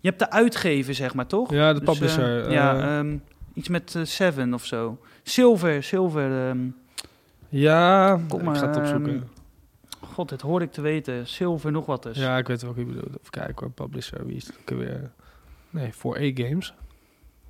[SPEAKER 1] je hebt de uitgever, zeg maar, toch?
[SPEAKER 2] de
[SPEAKER 1] Dus, eh,
[SPEAKER 2] publisher. eh,
[SPEAKER 1] ja,
[SPEAKER 2] ja,
[SPEAKER 1] ehm, iets met eh, Seven of zo. Silver, Silver. ehm, kom
[SPEAKER 2] ik ga het
[SPEAKER 1] maar,
[SPEAKER 2] opzoeken.
[SPEAKER 1] ehm, God, dit hoor ik te weten. Silver nog wat dus.
[SPEAKER 2] ja, ik weet wel wie je bedoelt. Even kijken hoor, publisher, wie is het ook weer? Nee, voor A-games.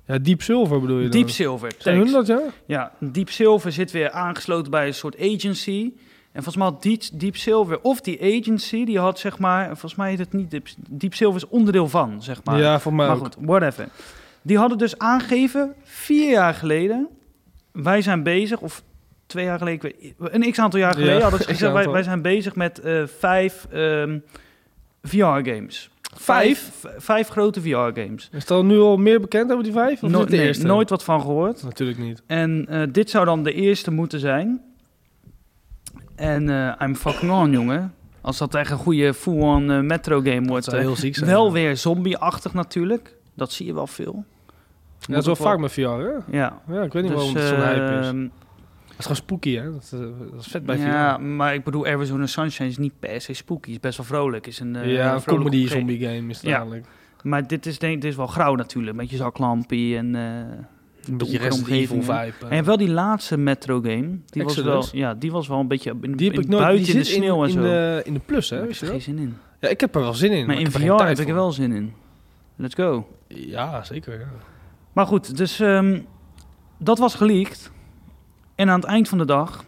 [SPEAKER 2] Ja, Deep Silver bedoel je dan?
[SPEAKER 1] Deep Silver.
[SPEAKER 2] Zijn
[SPEAKER 1] thanks.
[SPEAKER 2] hun dat, ja?
[SPEAKER 1] Ja, Deep Silver zit weer aangesloten bij een soort agency. En volgens mij had Deep, Deep Silver of die agency, die had zeg maar, volgens mij heet het niet Deep, Deep Silver is onderdeel van, zeg maar.
[SPEAKER 2] ja, voor mij
[SPEAKER 1] Maar
[SPEAKER 2] ook.
[SPEAKER 1] goed, whatever. Die hadden dus aangegeven, vier jaar geleden, wij zijn bezig, of twee jaar geleden, ik weet- een x-aantal jaar geleden
[SPEAKER 2] Ja, (laughs)
[SPEAKER 1] hadden ze
[SPEAKER 2] x
[SPEAKER 1] gezegd, wij,
[SPEAKER 2] aantal.
[SPEAKER 1] wij zijn bezig met eh, vijf ehm, VR-games.
[SPEAKER 2] Vijf?
[SPEAKER 1] Vijf, vijf grote VR-games.
[SPEAKER 2] Is er nu al meer bekend over die vijf? Of is dit de eerste?
[SPEAKER 1] nooit wat van gehoord.
[SPEAKER 2] Natuurlijk niet.
[SPEAKER 1] En eh, dit zou dan de eerste moeten zijn. En eh, I'm fucking on, jongen. Als dat echt een goede full-on eh, metro-game wordt.
[SPEAKER 2] zou
[SPEAKER 1] eh,
[SPEAKER 2] heel ziek zijn.
[SPEAKER 1] wel weer zombie-achtig natuurlijk. Dat zie je wel veel.
[SPEAKER 2] Ja, dat is wel vaak met VR, hè?
[SPEAKER 1] Ja.
[SPEAKER 2] Ja, ik weet niet waarom het
[SPEAKER 1] Dus,
[SPEAKER 2] zo'n hype is.
[SPEAKER 1] ehm,
[SPEAKER 2] Het is gewoon spooky, hè? Dat is, eh, dat is vet bij
[SPEAKER 1] ja,
[SPEAKER 2] VR.
[SPEAKER 1] maar ik bedoel, Arizona Sunshine is niet per se spooky. Is best wel vrolijk. Is een, eh,
[SPEAKER 2] ja, een
[SPEAKER 1] vrolijke
[SPEAKER 2] comedy
[SPEAKER 1] omgeving.
[SPEAKER 2] zombie game is het
[SPEAKER 1] Ja.
[SPEAKER 2] eigenlijk.
[SPEAKER 1] Maar dit is, denk, dit is wel grauw natuurlijk. Met je zaklampie en eh,
[SPEAKER 2] Een beetje
[SPEAKER 1] donkere
[SPEAKER 2] Resident Evil
[SPEAKER 1] omgeving.
[SPEAKER 2] vibe.
[SPEAKER 1] En
[SPEAKER 2] eh.
[SPEAKER 1] je hebt wel die laatste Metro game. Die was, wel,
[SPEAKER 2] Exodus.
[SPEAKER 1] ja, die was wel een beetje in,
[SPEAKER 2] die heb
[SPEAKER 1] in
[SPEAKER 2] ik nooit.
[SPEAKER 1] buiten
[SPEAKER 2] die
[SPEAKER 1] in de
[SPEAKER 2] zit in-
[SPEAKER 1] sneeuw en
[SPEAKER 2] in,
[SPEAKER 1] zo.
[SPEAKER 2] De, in de plus,
[SPEAKER 1] Daar
[SPEAKER 2] hè?
[SPEAKER 1] heb ik
[SPEAKER 2] Weet je wel?
[SPEAKER 1] geen zin in.
[SPEAKER 2] Ja, ik heb er wel zin in.
[SPEAKER 1] Maar
[SPEAKER 2] ik
[SPEAKER 1] in
[SPEAKER 2] heb er geen
[SPEAKER 1] VR
[SPEAKER 2] tijd
[SPEAKER 1] heb ik er
[SPEAKER 2] voor.
[SPEAKER 1] wel zin in. Let's go.
[SPEAKER 2] Ja, zeker. ja.
[SPEAKER 1] Maar goed, dus ehm, dat was geleakt. En aan het eind van de dag,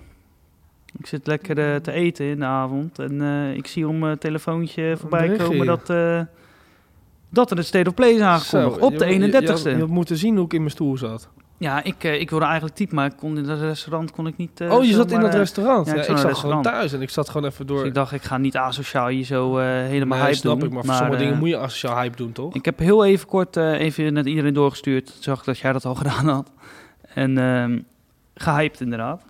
[SPEAKER 1] ik zit lekker eh, te eten in de avond. En eh, ik zie om mijn telefoontje voorbij
[SPEAKER 2] berichtje.
[SPEAKER 1] komen dat, eh, dat er een State of Play is aangekondigd.
[SPEAKER 2] Zo,
[SPEAKER 1] op de
[SPEAKER 2] je- je- je-
[SPEAKER 1] 31ste.
[SPEAKER 2] Je, had moeten zien hoe ik in mijn stoel zat.
[SPEAKER 1] Ja, ik, eh, ik wilde eigenlijk typen, maar ik kon in dat restaurant kon ik niet... eh,
[SPEAKER 2] oh, je zat
[SPEAKER 1] zomaar,
[SPEAKER 2] in dat
[SPEAKER 1] eh,
[SPEAKER 2] restaurant.
[SPEAKER 1] ja,
[SPEAKER 2] Ja,
[SPEAKER 1] ik zat
[SPEAKER 2] ik,
[SPEAKER 1] in een
[SPEAKER 2] zat
[SPEAKER 1] restaurant.
[SPEAKER 2] gewoon thuis en ik zat gewoon even door.
[SPEAKER 1] Dus ik dacht, ik ga niet asociaal hier zo eh, helemaal
[SPEAKER 2] Nee,
[SPEAKER 1] hype
[SPEAKER 2] snap
[SPEAKER 1] doen.
[SPEAKER 2] ik, maar voor sommige
[SPEAKER 1] eh,
[SPEAKER 2] dingen moet je asociaal hype doen, toch?
[SPEAKER 1] Ik heb heel even kort eh, even net iedereen doorgestuurd. Ik zag dat jij dat al (laughs) gedaan had. En ehm, gehyped inderdaad.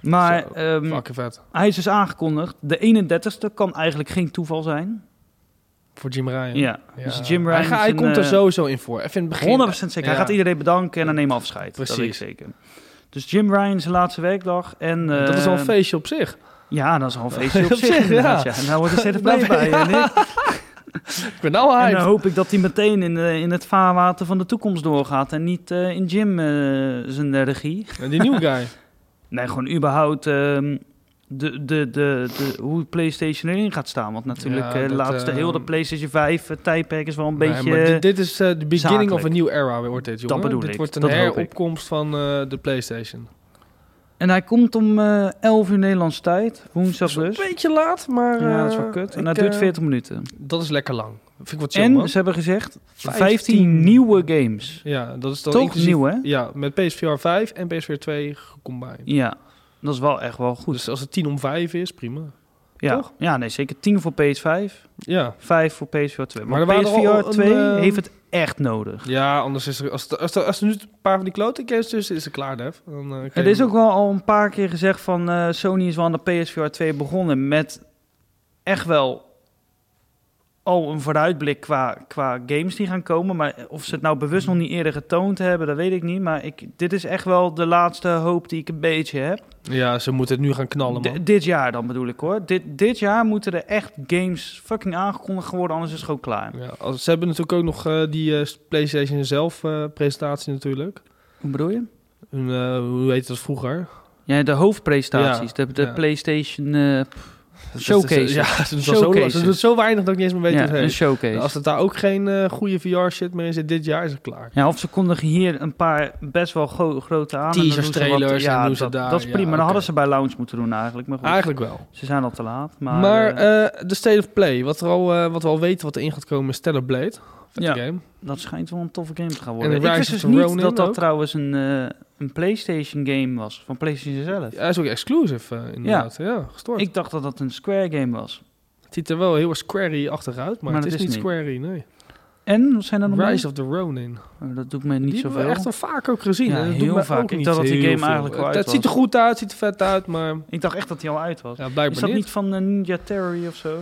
[SPEAKER 1] Maar
[SPEAKER 2] Zo,
[SPEAKER 1] ehm,
[SPEAKER 2] Fucking vet.
[SPEAKER 1] hij is dus aangekondigd. De 31ste kan eigenlijk geen toeval zijn.
[SPEAKER 2] Voor Jim Ryan.
[SPEAKER 1] Ja,
[SPEAKER 2] Ja.
[SPEAKER 1] dus Jim
[SPEAKER 2] Hij,
[SPEAKER 1] Ryan
[SPEAKER 2] ga-
[SPEAKER 1] is
[SPEAKER 2] hij
[SPEAKER 1] een,
[SPEAKER 2] komt er
[SPEAKER 1] eh,
[SPEAKER 2] sowieso in voor. Even in het
[SPEAKER 1] 100%
[SPEAKER 2] begin.
[SPEAKER 1] zeker. Hij
[SPEAKER 2] Ja.
[SPEAKER 1] gaat iedereen bedanken en dan neem afscheid. Dat weet ik
[SPEAKER 2] Precies.
[SPEAKER 1] zeker. Dus Jim Ryan zijn laatste werkdag. En,
[SPEAKER 2] dat is al
[SPEAKER 1] eh,
[SPEAKER 2] een feestje op zich.
[SPEAKER 1] Ja, dat is al
[SPEAKER 2] (laughs)
[SPEAKER 1] een feestje op
[SPEAKER 2] Op zich,
[SPEAKER 1] zich. inderdaad, ja. Nou wordt er
[SPEAKER 2] (laughs)
[SPEAKER 1] steeds
[SPEAKER 2] Daar
[SPEAKER 1] blij
[SPEAKER 2] ben
[SPEAKER 1] bij.
[SPEAKER 2] je-
[SPEAKER 1] En, ik,
[SPEAKER 2] Ik ben nou
[SPEAKER 1] en
[SPEAKER 2] hyped.
[SPEAKER 1] dan hoop ik dat hij meteen in, eh, in het vaarwater van de toekomst doorgaat. En niet eh, in Jim eh, zijn eh, regie.
[SPEAKER 2] En die
[SPEAKER 1] (laughs)
[SPEAKER 2] nieuwe guy.
[SPEAKER 1] Nee, gewoon überhaupt ehm, de, de, de, de, hoe PlayStation erin gaat staan. Want natuurlijk,
[SPEAKER 2] Ja,
[SPEAKER 1] eh, de
[SPEAKER 2] dat,
[SPEAKER 1] laatste,
[SPEAKER 2] eh,
[SPEAKER 1] heel de PlayStation 5 eh, tijdperk is wel een
[SPEAKER 2] Nee,
[SPEAKER 1] beetje...
[SPEAKER 2] maar
[SPEAKER 1] eh,
[SPEAKER 2] dit, dit is eh, de beginning of
[SPEAKER 1] zakelijk.
[SPEAKER 2] a new era, eh, wordt dit, jongen.
[SPEAKER 1] bedoel
[SPEAKER 2] dit
[SPEAKER 1] ik,
[SPEAKER 2] wordt een
[SPEAKER 1] dat hoop ik.
[SPEAKER 2] heropkomst van eh, de PlayStation.
[SPEAKER 1] En hij komt om eh 11 uur Nederlandse tijd, woensdag
[SPEAKER 2] Dat is
[SPEAKER 1] dus.
[SPEAKER 2] een beetje laat, maar...
[SPEAKER 1] Ja, dat is wel
[SPEAKER 2] eh,
[SPEAKER 1] kut. En
[SPEAKER 2] ik,
[SPEAKER 1] dat duurt
[SPEAKER 2] eh,
[SPEAKER 1] 40 minuten.
[SPEAKER 2] Dat is lekker lang. Vind ik wat chill, man.
[SPEAKER 1] En ze hebben gezegd 15,
[SPEAKER 2] 15
[SPEAKER 1] nieuwe games.
[SPEAKER 2] Ja, dat is dan
[SPEAKER 1] Toch
[SPEAKER 2] inclusief-
[SPEAKER 1] nieuw, hè?
[SPEAKER 2] Ja, met PSVR 5 en PSVR 2 gecombineerd.
[SPEAKER 1] Ja, dat is wel echt wel goed.
[SPEAKER 2] Dus als het 10 om 5 is, prima.
[SPEAKER 1] ja.
[SPEAKER 2] toch?
[SPEAKER 1] ja, nee, zeker 10 voor PS5,
[SPEAKER 2] Ja.
[SPEAKER 1] 5 voor PSVR 2.
[SPEAKER 2] Maar er
[SPEAKER 1] Maar,
[SPEAKER 2] waren er al
[SPEAKER 1] PSVR
[SPEAKER 2] een,
[SPEAKER 1] 2
[SPEAKER 2] eh,
[SPEAKER 1] heeft het echt nodig.
[SPEAKER 2] Ja, anders is er... Als er, als er, als er nu een paar van die klote games tussen is, is het klaar, Def. Dan, eh, kan
[SPEAKER 1] Er
[SPEAKER 2] je-
[SPEAKER 1] is ook wel al een paar keer gezegd van eh, Sony is wel aan de PSVR 2 begonnen met echt wel al een vooruitblik qua, qua games die gaan komen. Maar of ze het nou bewust nog niet eerder getoond hebben, dat weet ik niet. Maar ik, dit is echt wel de laatste hoop die ik een beetje heb.
[SPEAKER 2] Ja, ze moeten het nu gaan knallen, man.
[SPEAKER 1] D- dit jaar dan bedoel ik hoor. Dit, dit jaar moeten er echt games fucking aangekondigd worden, anders is het gewoon klaar.
[SPEAKER 2] Ja, als, ze hebben natuurlijk ook nog eh, die eh, PlayStation zelf eh, presentatie natuurlijk.
[SPEAKER 1] Hoe bedoel je?
[SPEAKER 2] Hun, eh, hoe heet dat vroeger?
[SPEAKER 1] Ja, de hoofdpresentaties,
[SPEAKER 2] Ja,
[SPEAKER 1] de, de
[SPEAKER 2] ja.
[SPEAKER 1] PlayStation eh, pff,
[SPEAKER 2] Showcase.
[SPEAKER 1] showcases.
[SPEAKER 2] Ja, (laughs) ze doen, het al zo, lang- ze
[SPEAKER 1] Showcases.
[SPEAKER 2] doen het zo weinig dat ik niet eens meer weet
[SPEAKER 1] ja,
[SPEAKER 2] hoe het
[SPEAKER 1] een
[SPEAKER 2] heet.
[SPEAKER 1] showcase.
[SPEAKER 2] Als het daar ook geen eh, goede VR-shit meer in zit, dit jaar is het klaar.
[SPEAKER 1] Ja, of ze kondigen hier een paar best wel gro- grote aan. en dan doen ze wat-
[SPEAKER 2] Teasers, trailers en doen ze
[SPEAKER 1] dat,
[SPEAKER 2] daar,
[SPEAKER 1] Dat is
[SPEAKER 2] ja,
[SPEAKER 1] prima, maar
[SPEAKER 2] oké.
[SPEAKER 1] dat hadden ze bij Lounge moeten doen eigenlijk. Maar goed,
[SPEAKER 2] Eigenlijk wel.
[SPEAKER 1] ze zijn al te laat. Maar,
[SPEAKER 2] Maar,
[SPEAKER 1] eh,
[SPEAKER 2] eh, de State of Play, wat, er al, eh, wat we al weten wat erin gaat komen is Stellar Blade. Vette
[SPEAKER 1] Ja.
[SPEAKER 2] game.
[SPEAKER 1] dat schijnt wel een toffe game te gaan worden.
[SPEAKER 2] en
[SPEAKER 1] Ik
[SPEAKER 2] Rise
[SPEAKER 1] wist
[SPEAKER 2] of
[SPEAKER 1] dus
[SPEAKER 2] the
[SPEAKER 1] niet
[SPEAKER 2] Ronin
[SPEAKER 1] dat dat
[SPEAKER 2] ook.
[SPEAKER 1] trouwens een, eh, een PlayStation game was, van PlayStation zelf.
[SPEAKER 2] Hij is ook exclusive eh, inderdaad. Ja, gestoord.
[SPEAKER 1] Ik dacht dat dat een Square game was.
[SPEAKER 2] Het ziet er wel heel erg Squarey-achtig uit, maar,
[SPEAKER 1] Maar
[SPEAKER 2] het is
[SPEAKER 1] dat
[SPEAKER 2] niet
[SPEAKER 1] is Nou, het
[SPEAKER 2] Squarey, nee.
[SPEAKER 1] En, wat zijn er nog
[SPEAKER 2] Rise of the Ronin.
[SPEAKER 1] meer? Oh, Dat doet mij niet
[SPEAKER 2] die hebben we
[SPEAKER 1] zoveel.
[SPEAKER 2] echt al vaak ook gezien.
[SPEAKER 1] Ja,
[SPEAKER 2] hè. Dat doet
[SPEAKER 1] heel
[SPEAKER 2] mij
[SPEAKER 1] vaak.
[SPEAKER 2] ook
[SPEAKER 1] Ik
[SPEAKER 2] niet
[SPEAKER 1] dacht dat die
[SPEAKER 2] heel
[SPEAKER 1] game
[SPEAKER 2] veel.
[SPEAKER 1] eigenlijk wel
[SPEAKER 2] Het-
[SPEAKER 1] uit
[SPEAKER 2] Het ziet er
[SPEAKER 1] was.
[SPEAKER 2] goed uit, het ziet er vet uit, maar
[SPEAKER 1] Ik dacht echt dat die al uit was.
[SPEAKER 2] ja,
[SPEAKER 1] is
[SPEAKER 2] blijkbaar
[SPEAKER 1] dat
[SPEAKER 2] niet.
[SPEAKER 1] niet van eh, Ninja Theory of zo?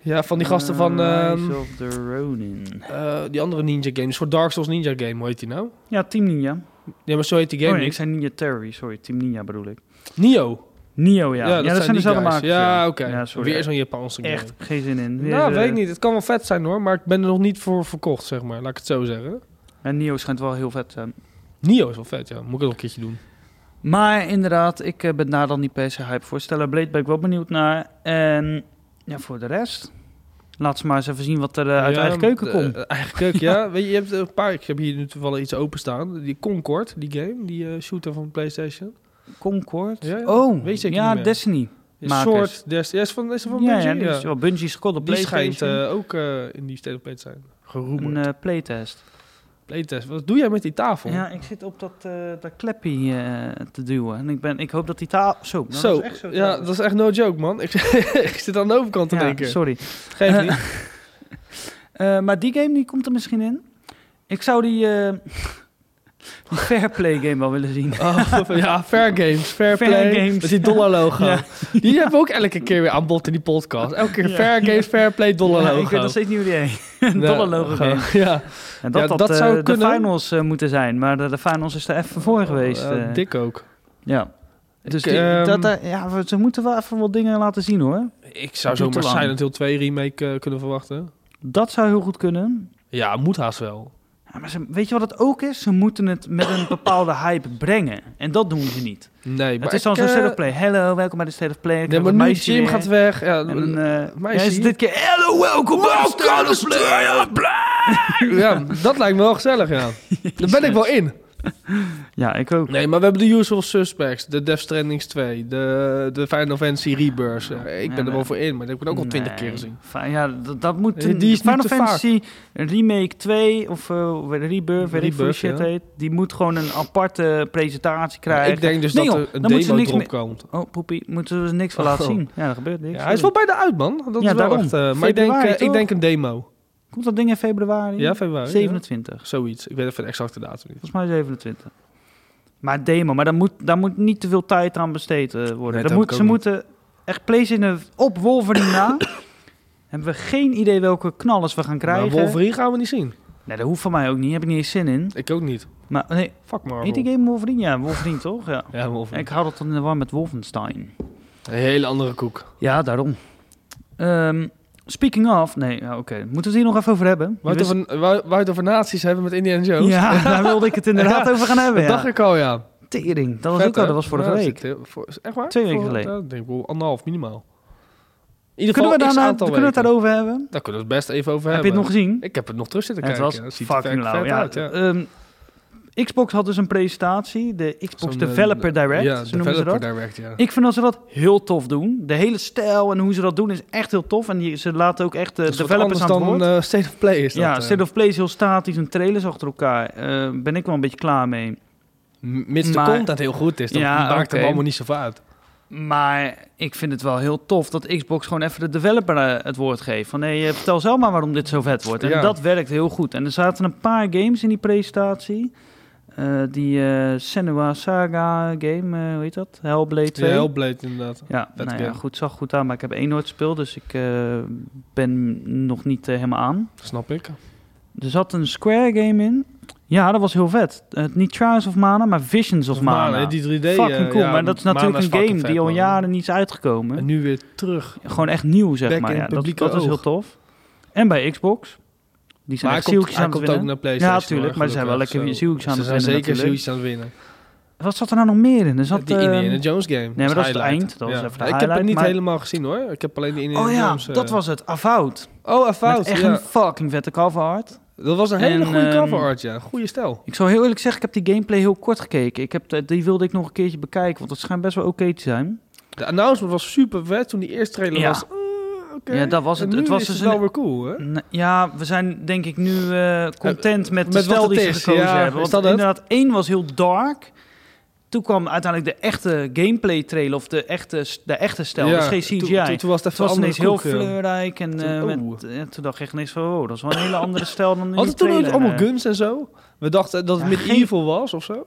[SPEAKER 2] Ja, van die gasten van
[SPEAKER 1] Eh,
[SPEAKER 2] ehm,
[SPEAKER 1] Rise of the Ronin.
[SPEAKER 2] eh, die andere ninja game. Een soort Dark Souls ninja game, hoe heet die nou?
[SPEAKER 1] Ja, Team Ninja.
[SPEAKER 2] Ja, maar zo heet die
[SPEAKER 1] oh,
[SPEAKER 2] game
[SPEAKER 1] nee, ik
[SPEAKER 2] niet.
[SPEAKER 1] zei Ninja Theory, sorry. Team Ninja bedoel ik.
[SPEAKER 2] Nio.
[SPEAKER 1] Nio, ja. Ja, dat, zijn
[SPEAKER 2] die
[SPEAKER 1] dezelfde
[SPEAKER 2] guys.
[SPEAKER 1] makers.
[SPEAKER 2] Ja, oké.
[SPEAKER 1] Ja, sorry.
[SPEAKER 2] Weer zo'n Japanse game.
[SPEAKER 1] Echt geen zin in. Weer,
[SPEAKER 2] nou,
[SPEAKER 1] eh,
[SPEAKER 2] weet ik niet. Het kan wel vet zijn hoor, maar ik ben er nog niet voor verkocht, zeg maar. Laat ik het zo zeggen.
[SPEAKER 1] En Nio schijnt wel heel vet te zijn.
[SPEAKER 2] Nio is wel vet, ja. Moet ik het nog een keertje doen.
[SPEAKER 1] Maar inderdaad, ik eh, ben daar dan niet per se hype voor. Stella Blade ben ik wel benieuwd naar. En ja, voor de rest... Laat ze maar eens even zien wat er eh, uit de eigen keuken komt.
[SPEAKER 2] eh, eigen keuken,
[SPEAKER 1] (laughs)
[SPEAKER 2] ja. Weet je, je hebt een paar... Ik heb hier nu toevallig iets openstaan. Die Concord, die game. Die eh, shooter van PlayStation.
[SPEAKER 1] Concord?
[SPEAKER 2] Ja, ja.
[SPEAKER 1] Oh,
[SPEAKER 2] Weet zeker
[SPEAKER 1] ja,
[SPEAKER 2] niet meer.
[SPEAKER 1] Destiny.
[SPEAKER 2] Een
[SPEAKER 1] Makers.
[SPEAKER 2] soort... Des, ja, is van, is van
[SPEAKER 1] ja,
[SPEAKER 2] Bungie?
[SPEAKER 1] ja, die is wel Bungie's God op
[SPEAKER 2] Die schijnt
[SPEAKER 1] PlayStation.
[SPEAKER 2] eh, ook eh, in die State of Play te zijn.
[SPEAKER 1] een
[SPEAKER 2] Geroemd.
[SPEAKER 1] eh, playtest.
[SPEAKER 2] Playtest. Wat doe jij met die tafel?
[SPEAKER 1] Ja, ik zit op dat, eh dat klepje eh, te duwen. En ik, ben, ik hoop dat die taal... Zo, nou,
[SPEAKER 2] zo,
[SPEAKER 1] dat is echt zo.
[SPEAKER 2] ja, dat is echt no joke, man. Ik, (laughs) ik zit aan de overkant te
[SPEAKER 1] Ja,
[SPEAKER 2] denken.
[SPEAKER 1] sorry.
[SPEAKER 2] Geef niet.
[SPEAKER 1] (laughs) Eh, maar die game die komt er misschien in. Ik zou die, eh, (laughs) die Fairplay game wel willen zien.
[SPEAKER 2] Oh, (laughs) ja, fair games,
[SPEAKER 1] Fair
[SPEAKER 2] fair, play.
[SPEAKER 1] games.
[SPEAKER 2] Met die dollar
[SPEAKER 1] (laughs)
[SPEAKER 2] logo.
[SPEAKER 1] Ja.
[SPEAKER 2] Die hebben we ook elke keer weer aan bod in die podcast. Elke keer
[SPEAKER 1] Ja.
[SPEAKER 2] fair games, fair play, dollar
[SPEAKER 1] Ja, (laughs)
[SPEAKER 2] logo.
[SPEAKER 1] ik weet nog steeds niet hoe die heet. (laughs) Een
[SPEAKER 2] Nee,
[SPEAKER 1] dollar logo game.
[SPEAKER 2] (laughs) Ja,
[SPEAKER 1] En dat
[SPEAKER 2] Ja,
[SPEAKER 1] dat,
[SPEAKER 2] dat
[SPEAKER 1] eh,
[SPEAKER 2] zou
[SPEAKER 1] de
[SPEAKER 2] kunnen.
[SPEAKER 1] finals eh, moeten zijn. Maar de, de finals is er even voor geweest.
[SPEAKER 2] Eh,
[SPEAKER 1] eh.
[SPEAKER 2] dik ook.
[SPEAKER 1] Ja. Dus
[SPEAKER 2] Ik,
[SPEAKER 1] die-
[SPEAKER 2] ehm,
[SPEAKER 1] dat, eh, ja, we- ze moeten wel even wat dingen laten zien hoor.
[SPEAKER 2] Ik zou
[SPEAKER 1] duurt te
[SPEAKER 2] zomaar
[SPEAKER 1] lang.
[SPEAKER 2] Silent Hill 2 remake eh, kunnen verwachten.
[SPEAKER 1] Dat zou heel goed kunnen.
[SPEAKER 2] Ja, moet haast wel.
[SPEAKER 1] Ja, Ja, maar ze, weet je wat het ook is? Ze moeten het met een bepaalde hype brengen. En dat doen ze niet.
[SPEAKER 2] Nee,
[SPEAKER 1] het is dan
[SPEAKER 2] ik,
[SPEAKER 1] zo'n
[SPEAKER 2] eh,
[SPEAKER 1] state of play. Hello, welkom bij de state of play. Ik
[SPEAKER 2] Nee,
[SPEAKER 1] heb
[SPEAKER 2] maar
[SPEAKER 1] een
[SPEAKER 2] nu
[SPEAKER 1] meisje
[SPEAKER 2] Jim
[SPEAKER 1] weer.
[SPEAKER 2] gaat weg. Ja,
[SPEAKER 1] En, eh,
[SPEAKER 2] meisje
[SPEAKER 1] ja, is het dit keer... Hello, welkom bij de state of play. eh,
[SPEAKER 2] (laughs) ja, dat lijkt me wel gezellig,
[SPEAKER 1] (laughs)
[SPEAKER 2] ja. Daar ben ik wel in.
[SPEAKER 1] Ja, ik ook.
[SPEAKER 2] Nee, maar we hebben de Usual Suspects, de Death Strandings 2, de, de Final Fantasy Rebirth. Ja, ik ben
[SPEAKER 1] Ja,
[SPEAKER 2] er wel
[SPEAKER 1] maar-
[SPEAKER 2] voor in, maar dat heb ik ook al twintig
[SPEAKER 1] Nee.
[SPEAKER 2] keer gezien.
[SPEAKER 1] Fi- Ja, dat, dat moet...
[SPEAKER 2] Eh, die is
[SPEAKER 1] Final
[SPEAKER 2] niet te
[SPEAKER 1] Fantasy Remake 2 of eh, Rebirth, weet ik veel hoe die
[SPEAKER 2] Rebirth,
[SPEAKER 1] shit
[SPEAKER 2] ja.
[SPEAKER 1] heet. Die moet gewoon een aparte presentatie krijgen.
[SPEAKER 2] Ik denk dus
[SPEAKER 1] Nee,
[SPEAKER 2] dat
[SPEAKER 1] joh,
[SPEAKER 2] er een
[SPEAKER 1] dan moeten ze
[SPEAKER 2] demo
[SPEAKER 1] niks
[SPEAKER 2] erop
[SPEAKER 1] meer-
[SPEAKER 2] komt.
[SPEAKER 1] Oh, poepie, moeten we er niks van laten
[SPEAKER 2] Oh.
[SPEAKER 1] zien. Ja, er gebeurt niks.
[SPEAKER 2] Ja, hij is wel bijna uit, man. Dat
[SPEAKER 1] Ja,
[SPEAKER 2] is wel
[SPEAKER 1] daarom.
[SPEAKER 2] echt, eh, maar ik denk,
[SPEAKER 1] Februari,
[SPEAKER 2] eh, ik
[SPEAKER 1] toch?
[SPEAKER 2] denk een demo.
[SPEAKER 1] Komt dat ding in februari?
[SPEAKER 2] Ja, februari. ja.
[SPEAKER 1] 27.
[SPEAKER 2] Zoiets. Ik weet even de exacte datum niet.
[SPEAKER 1] Volgens mij 27. Maar demo, maar daar moet, daar moet niet te veel tijd aan besteed eh, worden.
[SPEAKER 2] Nee,
[SPEAKER 1] Daar
[SPEAKER 2] dat
[SPEAKER 1] moet,
[SPEAKER 2] heb
[SPEAKER 1] ze
[SPEAKER 2] ik ook
[SPEAKER 1] moeten echt PlayStation op Wolverine
[SPEAKER 2] (coughs)
[SPEAKER 1] na. Hebben we geen idee welke knallers we gaan
[SPEAKER 2] Maar
[SPEAKER 1] krijgen.
[SPEAKER 2] Wolverine gaan we niet zien.
[SPEAKER 1] Nee, dat hoeft van mij ook niet. Heb ik niet eens zin in.
[SPEAKER 2] Ik ook niet.
[SPEAKER 1] Maar nee,
[SPEAKER 2] Fuck Marvel.
[SPEAKER 1] heet die game Wolverine? Ja, Wolverine toch? Ja.
[SPEAKER 2] Ja, Wolverine.
[SPEAKER 1] Ik had het dan in de war met Wolfenstein.
[SPEAKER 2] Een hele andere koek.
[SPEAKER 1] Ja, daarom. Ehm, speaking of... Nee, ja, oké. Moeten we het hier nog even over hebben?
[SPEAKER 2] Wou
[SPEAKER 1] Je
[SPEAKER 2] je het over- wou- wou je het over nazi's hebben met Indiana Jones?
[SPEAKER 1] Ja, (laughs) daar wilde ik het inderdaad
[SPEAKER 2] Ja,
[SPEAKER 1] over gaan hebben.
[SPEAKER 2] Dat
[SPEAKER 1] Ja.
[SPEAKER 2] dacht ik al, ja.
[SPEAKER 1] Tering. Dat was
[SPEAKER 2] Vet,
[SPEAKER 1] ook al,
[SPEAKER 2] hè?
[SPEAKER 1] dat was vorige
[SPEAKER 2] Ja,
[SPEAKER 1] week.
[SPEAKER 2] zit heel- voor- Echt waar?
[SPEAKER 1] Twee weken
[SPEAKER 2] Voor-
[SPEAKER 1] geleden.
[SPEAKER 2] ja, ik denk wel anderhalf minimaal. In ieder
[SPEAKER 1] Kunnen we,
[SPEAKER 2] geval x
[SPEAKER 1] daarna,
[SPEAKER 2] aantal
[SPEAKER 1] kunnen we het
[SPEAKER 2] weken.
[SPEAKER 1] daarover hebben?
[SPEAKER 2] Daar kunnen we het best even over
[SPEAKER 1] Heb je
[SPEAKER 2] hebben.
[SPEAKER 1] het nog gezien?
[SPEAKER 2] Ik heb het nog terug zitten
[SPEAKER 1] het
[SPEAKER 2] kijken.
[SPEAKER 1] was
[SPEAKER 2] Dat ziet er
[SPEAKER 1] fucking
[SPEAKER 2] vet-
[SPEAKER 1] lauw.
[SPEAKER 2] vet
[SPEAKER 1] Ja,
[SPEAKER 2] uit, ja.
[SPEAKER 1] ehm, Xbox had dus een presentatie, de Xbox
[SPEAKER 2] Zo'n, eh,
[SPEAKER 1] Developer Direct,
[SPEAKER 2] Ja,
[SPEAKER 1] zo noemen ze dat.
[SPEAKER 2] Developer Direct, ja.
[SPEAKER 1] Ik vind dat ze dat heel tof doen. De hele stijl en hoe ze dat doen is echt heel tof. En die, ze laten ook echt de
[SPEAKER 2] Dat is wat
[SPEAKER 1] developers aan
[SPEAKER 2] anders
[SPEAKER 1] het woord.
[SPEAKER 2] dan eh, State of Play is dat.
[SPEAKER 1] ja,
[SPEAKER 2] eh.
[SPEAKER 1] State of Play is heel statisch en trailers achter elkaar. Eh, ben ik wel een beetje klaar mee.
[SPEAKER 2] M- Mits de
[SPEAKER 1] Maar-
[SPEAKER 2] content heel goed is, dan
[SPEAKER 1] Ja,
[SPEAKER 2] maakt het
[SPEAKER 1] oké.
[SPEAKER 2] allemaal niet zoveel uit.
[SPEAKER 1] Maar ik vind het wel heel tof dat Xbox gewoon even de developer eh, het woord geeft. Van hé, eh, vertel zelf maar waarom dit zo vet wordt. En
[SPEAKER 2] Ja.
[SPEAKER 1] dat werkt heel goed. En er zaten een paar games in die presentatie. Eh, die eh Senua Saga game, eh, hoe heet dat? Hellblade 2.
[SPEAKER 2] Ja, heel bleed inderdaad.
[SPEAKER 1] ja,
[SPEAKER 2] vet
[SPEAKER 1] nou ja,
[SPEAKER 2] game.
[SPEAKER 1] goed, zag goed aan. Maar ik heb één nooit gespeeld, dus ik eh, ben nog niet eh, helemaal aan.
[SPEAKER 2] Snap ik.
[SPEAKER 1] Er zat een Square game in. Ja, dat was heel vet. Eh, niet Trials of Mana, maar Visions of, Mana.
[SPEAKER 2] hè, Die 3D.
[SPEAKER 1] Fucking
[SPEAKER 2] eh,
[SPEAKER 1] cool,
[SPEAKER 2] ja,
[SPEAKER 1] maar dat is
[SPEAKER 2] Mana
[SPEAKER 1] natuurlijk een
[SPEAKER 2] fucking
[SPEAKER 1] game
[SPEAKER 2] vet,
[SPEAKER 1] die al
[SPEAKER 2] man.
[SPEAKER 1] jaren niet is uitgekomen.
[SPEAKER 2] En nu weer terug.
[SPEAKER 1] Gewoon echt nieuw, zeg
[SPEAKER 2] Back
[SPEAKER 1] maar.
[SPEAKER 2] in
[SPEAKER 1] Ja,
[SPEAKER 2] het
[SPEAKER 1] dat
[SPEAKER 2] publieke
[SPEAKER 1] dat is heel
[SPEAKER 2] oog.
[SPEAKER 1] tof. En bij Xbox. Die zijn echt
[SPEAKER 2] Maar hij komt,
[SPEAKER 1] zieltjes
[SPEAKER 2] hij
[SPEAKER 1] aan het
[SPEAKER 2] komt ook
[SPEAKER 1] winnen.
[SPEAKER 2] naar PlayStation.
[SPEAKER 1] Ja, tuurlijk,
[SPEAKER 2] hoor,
[SPEAKER 1] maar ze zijn wel
[SPEAKER 2] gelukkig.
[SPEAKER 1] lekker
[SPEAKER 2] Zo.
[SPEAKER 1] zieltjes aan
[SPEAKER 2] Ze
[SPEAKER 1] het
[SPEAKER 2] zijn
[SPEAKER 1] winnen
[SPEAKER 2] zeker
[SPEAKER 1] natuurlijk.
[SPEAKER 2] zieltjes aan het winnen.
[SPEAKER 1] Wat zat er nou nog meer in? Er zat,
[SPEAKER 2] die
[SPEAKER 1] ehm,
[SPEAKER 2] Indiana Jones game.
[SPEAKER 1] maar dat is het
[SPEAKER 2] highlight.
[SPEAKER 1] eind, dat was even de
[SPEAKER 2] Ik heb het
[SPEAKER 1] highlight,
[SPEAKER 2] niet
[SPEAKER 1] maar-
[SPEAKER 2] helemaal gezien hoor. Ik heb alleen de Indiana
[SPEAKER 1] oh ja,
[SPEAKER 2] Jones... eh,
[SPEAKER 1] dat was het. Avout.
[SPEAKER 2] Oh, een
[SPEAKER 1] Met
[SPEAKER 2] fout.
[SPEAKER 1] echt
[SPEAKER 2] ja.
[SPEAKER 1] een fucking vette cover art.
[SPEAKER 2] Dat was een hele
[SPEAKER 1] En,
[SPEAKER 2] goede
[SPEAKER 1] ehm,
[SPEAKER 2] cover art, ja. Goede stijl.
[SPEAKER 1] Ik zal heel eerlijk zeggen, ik heb die gameplay heel kort gekeken. Ik heb, de- die wilde ik nog een keertje bekijken, want het schijnt best wel oké te zijn.
[SPEAKER 2] De announcement was super vet toen die eerste trailer
[SPEAKER 1] Ja.
[SPEAKER 2] was. eh, oké.
[SPEAKER 1] Ja, dat was
[SPEAKER 2] En
[SPEAKER 1] het.
[SPEAKER 2] nu
[SPEAKER 1] Het was
[SPEAKER 2] is
[SPEAKER 1] dus
[SPEAKER 2] het wel
[SPEAKER 1] een-
[SPEAKER 2] weer cool, hè?
[SPEAKER 1] Nee, Ja, we zijn denk ik nu eh, content met de
[SPEAKER 2] met
[SPEAKER 1] stijl
[SPEAKER 2] wat
[SPEAKER 1] die
[SPEAKER 2] het
[SPEAKER 1] ze
[SPEAKER 2] is,
[SPEAKER 1] gekozen
[SPEAKER 2] ja,
[SPEAKER 1] hebben.
[SPEAKER 2] is
[SPEAKER 1] Want
[SPEAKER 2] dat het?
[SPEAKER 1] inderdaad, één was heel dark. Toen kwam uiteindelijk de echte gameplay trailer of de echte, de echte stijl.
[SPEAKER 2] Ja,
[SPEAKER 1] dus geen CGI.
[SPEAKER 2] Toen, toen, toen was
[SPEAKER 1] het
[SPEAKER 2] het even
[SPEAKER 1] was
[SPEAKER 2] andere
[SPEAKER 1] ineens heel
[SPEAKER 2] koek, ja.
[SPEAKER 1] fleurrijk. En
[SPEAKER 2] Toen-
[SPEAKER 1] eh, met-
[SPEAKER 2] oeh.
[SPEAKER 1] eh, toen dacht ik echt niks van, oh, dat is wel een hele andere stijl
[SPEAKER 2] (laughs)
[SPEAKER 1] dan in die
[SPEAKER 2] Hadden toen ook
[SPEAKER 1] trailer.
[SPEAKER 2] allemaal
[SPEAKER 1] Eh,
[SPEAKER 2] guns en zo? We dachten dat het
[SPEAKER 1] Ja,
[SPEAKER 2] met
[SPEAKER 1] geen-
[SPEAKER 2] evil was of zo.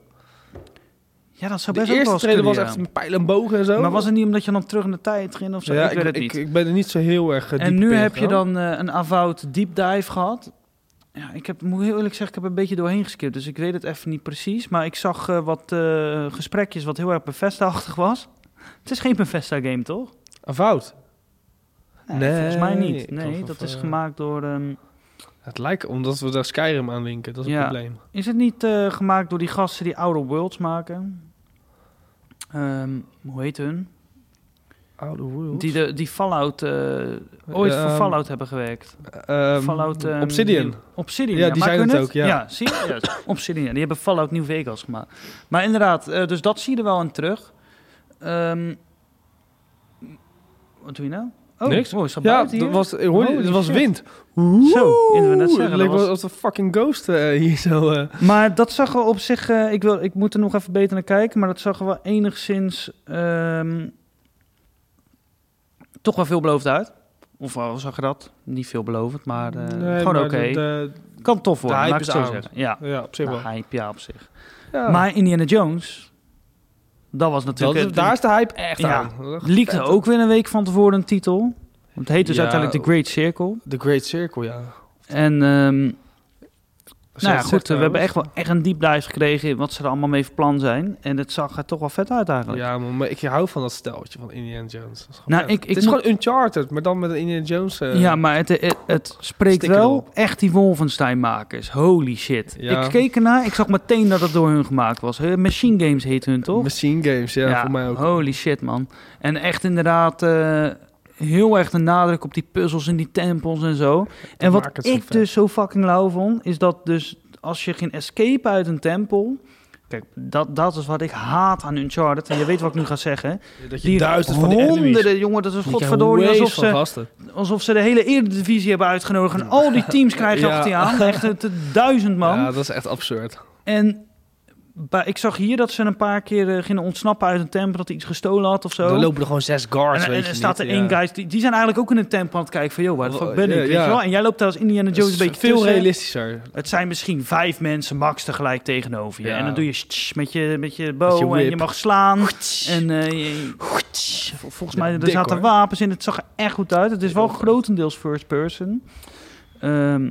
[SPEAKER 1] Ja, dat zou
[SPEAKER 2] De
[SPEAKER 1] best ook wel
[SPEAKER 2] eerste
[SPEAKER 1] eens
[SPEAKER 2] trailer was
[SPEAKER 1] kunnen,
[SPEAKER 2] echt
[SPEAKER 1] ja.
[SPEAKER 2] met pijl en bogen en zo.
[SPEAKER 1] Maar was het niet omdat je dan terug in de tijd ging of zo?
[SPEAKER 2] Ja,
[SPEAKER 1] ik, weet het niet.
[SPEAKER 2] Ik, ben er niet zo heel erg eh, diep
[SPEAKER 1] en
[SPEAKER 2] op
[SPEAKER 1] nu heb je
[SPEAKER 2] ingegaan.
[SPEAKER 1] dan eh, een Avout deep dive gehad. Ja, ik heb, moet heel eerlijk zeggen, ik heb een beetje doorheen geskipt. Dus ik weet het even niet precies. Maar ik zag eh, wat eh, gesprekjes wat heel erg Bethesda-achtig was. (laughs) Het is geen Bethesda-game, toch?
[SPEAKER 2] Een Ah, fout.
[SPEAKER 1] Nee,
[SPEAKER 2] Nee,
[SPEAKER 1] volgens mij niet.
[SPEAKER 2] ik geloof
[SPEAKER 1] Nee,
[SPEAKER 2] of,
[SPEAKER 1] dat is
[SPEAKER 2] eh,
[SPEAKER 1] gemaakt door... ehm,
[SPEAKER 2] Het lijkt omdat we daar Skyrim aan linken, dat is
[SPEAKER 1] Ja.
[SPEAKER 2] het probleem.
[SPEAKER 1] is het niet eh, gemaakt door die gasten die Outer Worlds maken? Ehm, hoe heet hun?
[SPEAKER 2] Oude world.
[SPEAKER 1] Die, de, die Fallout... eh, ooit voor
[SPEAKER 2] Ehm,
[SPEAKER 1] Fallout hebben gewerkt.
[SPEAKER 2] Ehm,
[SPEAKER 1] Fallout... ehm,
[SPEAKER 2] Obsidian.
[SPEAKER 1] die- Obsidian,
[SPEAKER 2] Ja,
[SPEAKER 1] ja.
[SPEAKER 2] die
[SPEAKER 1] maken
[SPEAKER 2] zijn
[SPEAKER 1] hun
[SPEAKER 2] het ook, ja.
[SPEAKER 1] zie je? Ja, Obsidian, ja. die hebben Fallout New Vegas gemaakt. Maar inderdaad, eh, dus dat zie je er wel in terug. Ehm, wat doe je nou? Oh,
[SPEAKER 2] Niks.
[SPEAKER 1] Oh, is dat
[SPEAKER 2] Ja,
[SPEAKER 1] buiten
[SPEAKER 2] dat
[SPEAKER 1] hier?
[SPEAKER 2] was, ik hoorde-
[SPEAKER 1] Holy
[SPEAKER 2] het was
[SPEAKER 1] shit.
[SPEAKER 2] wind.
[SPEAKER 1] Zo, ik wil net
[SPEAKER 2] Oeh,
[SPEAKER 1] zeggen,
[SPEAKER 2] Het
[SPEAKER 1] dat
[SPEAKER 2] leek wel
[SPEAKER 1] was-
[SPEAKER 2] alsof de fucking ghost eh, hier zo... eh,
[SPEAKER 1] Maar dat zag er op zich... eh, ik, wil, ik moet er nog even beter naar kijken, maar dat zag er wel enigszins... ehm, toch wel veelbelovend uit. Of wel zag je dat? Niet veelbelovend, maar eh,
[SPEAKER 2] nee,
[SPEAKER 1] gewoon
[SPEAKER 2] maar
[SPEAKER 1] oké.
[SPEAKER 2] de- de-
[SPEAKER 1] Kan tof worden,
[SPEAKER 2] de hype
[SPEAKER 1] laat ik het
[SPEAKER 2] is
[SPEAKER 1] zo
[SPEAKER 2] aan.
[SPEAKER 1] zeggen. Ja,
[SPEAKER 2] Ja, op zich
[SPEAKER 1] de
[SPEAKER 2] wel.
[SPEAKER 1] hype, ja, op zich.
[SPEAKER 2] Ja.
[SPEAKER 1] Maar Indiana Jones, dat was
[SPEAKER 2] Dat
[SPEAKER 1] natuurlijk... eh,
[SPEAKER 2] is- daar is de hype echt
[SPEAKER 1] Ja.
[SPEAKER 2] aan.
[SPEAKER 1] Liekte ook weer een week van tevoren een titel. Want het heet dus
[SPEAKER 2] Ja.
[SPEAKER 1] uiteindelijk The Great Circle.
[SPEAKER 2] The Great Circle, ja.
[SPEAKER 1] En ehm, Nou ja,
[SPEAKER 2] het zegt
[SPEAKER 1] goed, we hebben echt
[SPEAKER 2] trouwens.
[SPEAKER 1] wel echt een deep dive gekregen in wat ze er allemaal mee van plan zijn. En het zag er toch wel vet uit eigenlijk.
[SPEAKER 2] Ja, maar, maar ik hou van dat steltje van Indiana Jones. Dat is gewoon
[SPEAKER 1] Nou,
[SPEAKER 2] vet.
[SPEAKER 1] ik- ik
[SPEAKER 2] het is
[SPEAKER 1] moet-
[SPEAKER 2] gewoon Uncharted, maar dan met een Indiana Jones.
[SPEAKER 1] Ja,
[SPEAKER 2] eh,
[SPEAKER 1] maar het, het, het spreekt
[SPEAKER 2] Sticker
[SPEAKER 1] wel
[SPEAKER 2] erop.
[SPEAKER 1] echt die Wolfenstein-makers. Holy shit.
[SPEAKER 2] Ja.
[SPEAKER 1] Ik keek ernaar, ik zag meteen dat het door hun gemaakt was. Huh, Machine Games heet hun toch?
[SPEAKER 2] Machine Games, ja, voor mij ook.
[SPEAKER 1] Holy shit, man. En echt inderdaad eh, heel erg de nadruk op die puzzels en die tempels en zo. en wat
[SPEAKER 2] maakt het zo
[SPEAKER 1] ik
[SPEAKER 2] vet.
[SPEAKER 1] dus zo fucking lauw vond, is dat dus als je geen escape uit een tempel... Kijk, dat, dat is wat ik haat aan Uncharted. En je weet wat ik nu ga zeggen.
[SPEAKER 2] Dat je duizend van die enemies.
[SPEAKER 1] honderden, jongen, dat is
[SPEAKER 2] Je krijgt
[SPEAKER 1] godverdorie
[SPEAKER 2] waves
[SPEAKER 1] alsof
[SPEAKER 2] van
[SPEAKER 1] ze,
[SPEAKER 2] gasten.
[SPEAKER 1] alsof ze de hele Eredivisie hebben uitgenodigd. En al die teams krijgen
[SPEAKER 2] (laughs) Ja.
[SPEAKER 1] achter je aan. Echt het, het duizend man.
[SPEAKER 2] Ja, dat is echt absurd.
[SPEAKER 1] En bij- ik zag hier dat ze een paar keer eh, gingen ontsnappen uit een tempel dat hij iets gestolen had of zo.
[SPEAKER 2] Dan lopen er gewoon zes guards,
[SPEAKER 1] en, en
[SPEAKER 2] weet je
[SPEAKER 1] er staat er
[SPEAKER 2] niet,
[SPEAKER 1] één
[SPEAKER 2] ja. Oh,
[SPEAKER 1] guy, die, die zijn eigenlijk ook in een tempel aan het kijken van, joh, waar de fuck ben ik?
[SPEAKER 2] Ja,
[SPEAKER 1] weet
[SPEAKER 2] ja.
[SPEAKER 1] je wel? En jij loopt daar als Indiana
[SPEAKER 2] Dat
[SPEAKER 1] Jones een
[SPEAKER 2] is
[SPEAKER 1] beetje
[SPEAKER 2] veel
[SPEAKER 1] tussen.
[SPEAKER 2] realistischer.
[SPEAKER 1] Het zijn misschien vijf mensen max tegelijk tegenover je.
[SPEAKER 2] Ja.
[SPEAKER 1] En dan doe je tsch met je, met je
[SPEAKER 2] Met je
[SPEAKER 1] bow en je
[SPEAKER 2] whip.
[SPEAKER 1] mag slaan. En eh, je- vol- volgens mij er
[SPEAKER 2] Dik,
[SPEAKER 1] zaten
[SPEAKER 2] hoor.
[SPEAKER 1] wapens in. Het zag er echt goed uit. Het is
[SPEAKER 2] Ik
[SPEAKER 1] wel
[SPEAKER 2] ook, hoor.
[SPEAKER 1] grotendeels first person. Ehm,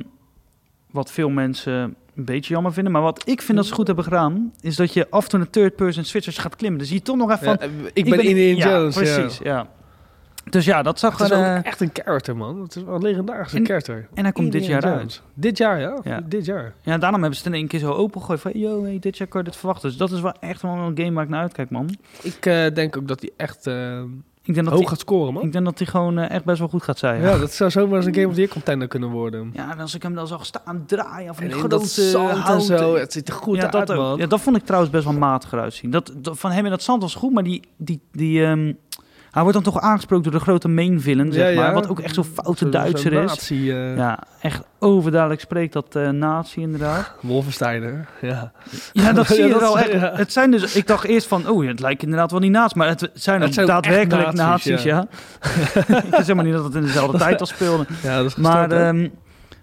[SPEAKER 1] wat veel mensen een beetje jammer vinden. Maar wat ik vind dat ze goed hebben gedaan... is dat je af en toe naar third person switchers gaat klimmen. Dus je toch nog even
[SPEAKER 2] Ja,
[SPEAKER 1] van...
[SPEAKER 2] eh, ik ben Indiana
[SPEAKER 1] ja,
[SPEAKER 2] Jones, ja.
[SPEAKER 1] precies, ja. Dus ja, dat zag
[SPEAKER 2] Het is
[SPEAKER 1] er... eh,
[SPEAKER 2] ook echt een character, man. Het is wel een legendarische
[SPEAKER 1] En-
[SPEAKER 2] character.
[SPEAKER 1] en hij komt dit
[SPEAKER 2] Indiana
[SPEAKER 1] jaar uit.
[SPEAKER 2] Jones. Dit jaar, ja?
[SPEAKER 1] Ja.
[SPEAKER 2] Dit jaar.
[SPEAKER 1] Ja, daarom hebben ze het in één keer zo opengegooid. Van, yo, hey, dit jaar kan je dit verwachten. Dus dat is wel echt wel een game waar ik naar uitkijk, man.
[SPEAKER 2] Ik eh, denk ook dat hij echt eh,
[SPEAKER 1] Ik denk dat
[SPEAKER 2] hoog
[SPEAKER 1] die,
[SPEAKER 2] gaat scoren, man.
[SPEAKER 1] ik denk dat die gewoon eh, echt best wel goed gaat zijn.
[SPEAKER 2] Ja, dat zou zomaar eens een Game of the Year contender kunnen worden.
[SPEAKER 1] Ja, en als ik hem dan zag staan draaien of
[SPEAKER 2] En
[SPEAKER 1] een
[SPEAKER 2] in
[SPEAKER 1] grote
[SPEAKER 2] dat zand en
[SPEAKER 1] houten-
[SPEAKER 2] zo, het ziet er goed
[SPEAKER 1] ja,
[SPEAKER 2] uit,
[SPEAKER 1] dat ook.
[SPEAKER 2] man.
[SPEAKER 1] Ja, dat vond ik trouwens best wel matig eruit zien. Dat, dat- van hem in dat zand was goed, maar die, die, die, ehm, hij wordt dan toch aangesproken door de grote main villain, zeg
[SPEAKER 2] Ja, ja.
[SPEAKER 1] maar. Wat ook echt zo'n foute
[SPEAKER 2] Zo'n- zo'n
[SPEAKER 1] Duitser is.
[SPEAKER 2] nazi, eh,
[SPEAKER 1] Ja, echt overduidelijk spreekt dat eh nazi inderdaad.
[SPEAKER 2] (laughs) Wolfenstein, hè? Ja.
[SPEAKER 1] Ja, dat
[SPEAKER 2] Ja,
[SPEAKER 1] zie je
[SPEAKER 2] dat
[SPEAKER 1] er al
[SPEAKER 2] is-
[SPEAKER 1] echt.
[SPEAKER 2] ja.
[SPEAKER 1] Het zijn dus, ik dacht eerst van, oh, het lijkt inderdaad wel niet naast, maar het zijn,
[SPEAKER 2] Het
[SPEAKER 1] ook
[SPEAKER 2] zijn ook echt
[SPEAKER 1] daadwerkelijk nazi's,
[SPEAKER 2] nazi's,
[SPEAKER 1] ja. (laughs) ik wist helemaal niet dat (laughs) het in
[SPEAKER 2] (laughs)
[SPEAKER 1] dezelfde tijd al speelde.
[SPEAKER 2] ja, dat is gestoord,
[SPEAKER 1] Maar,
[SPEAKER 2] hè?
[SPEAKER 1] ehm,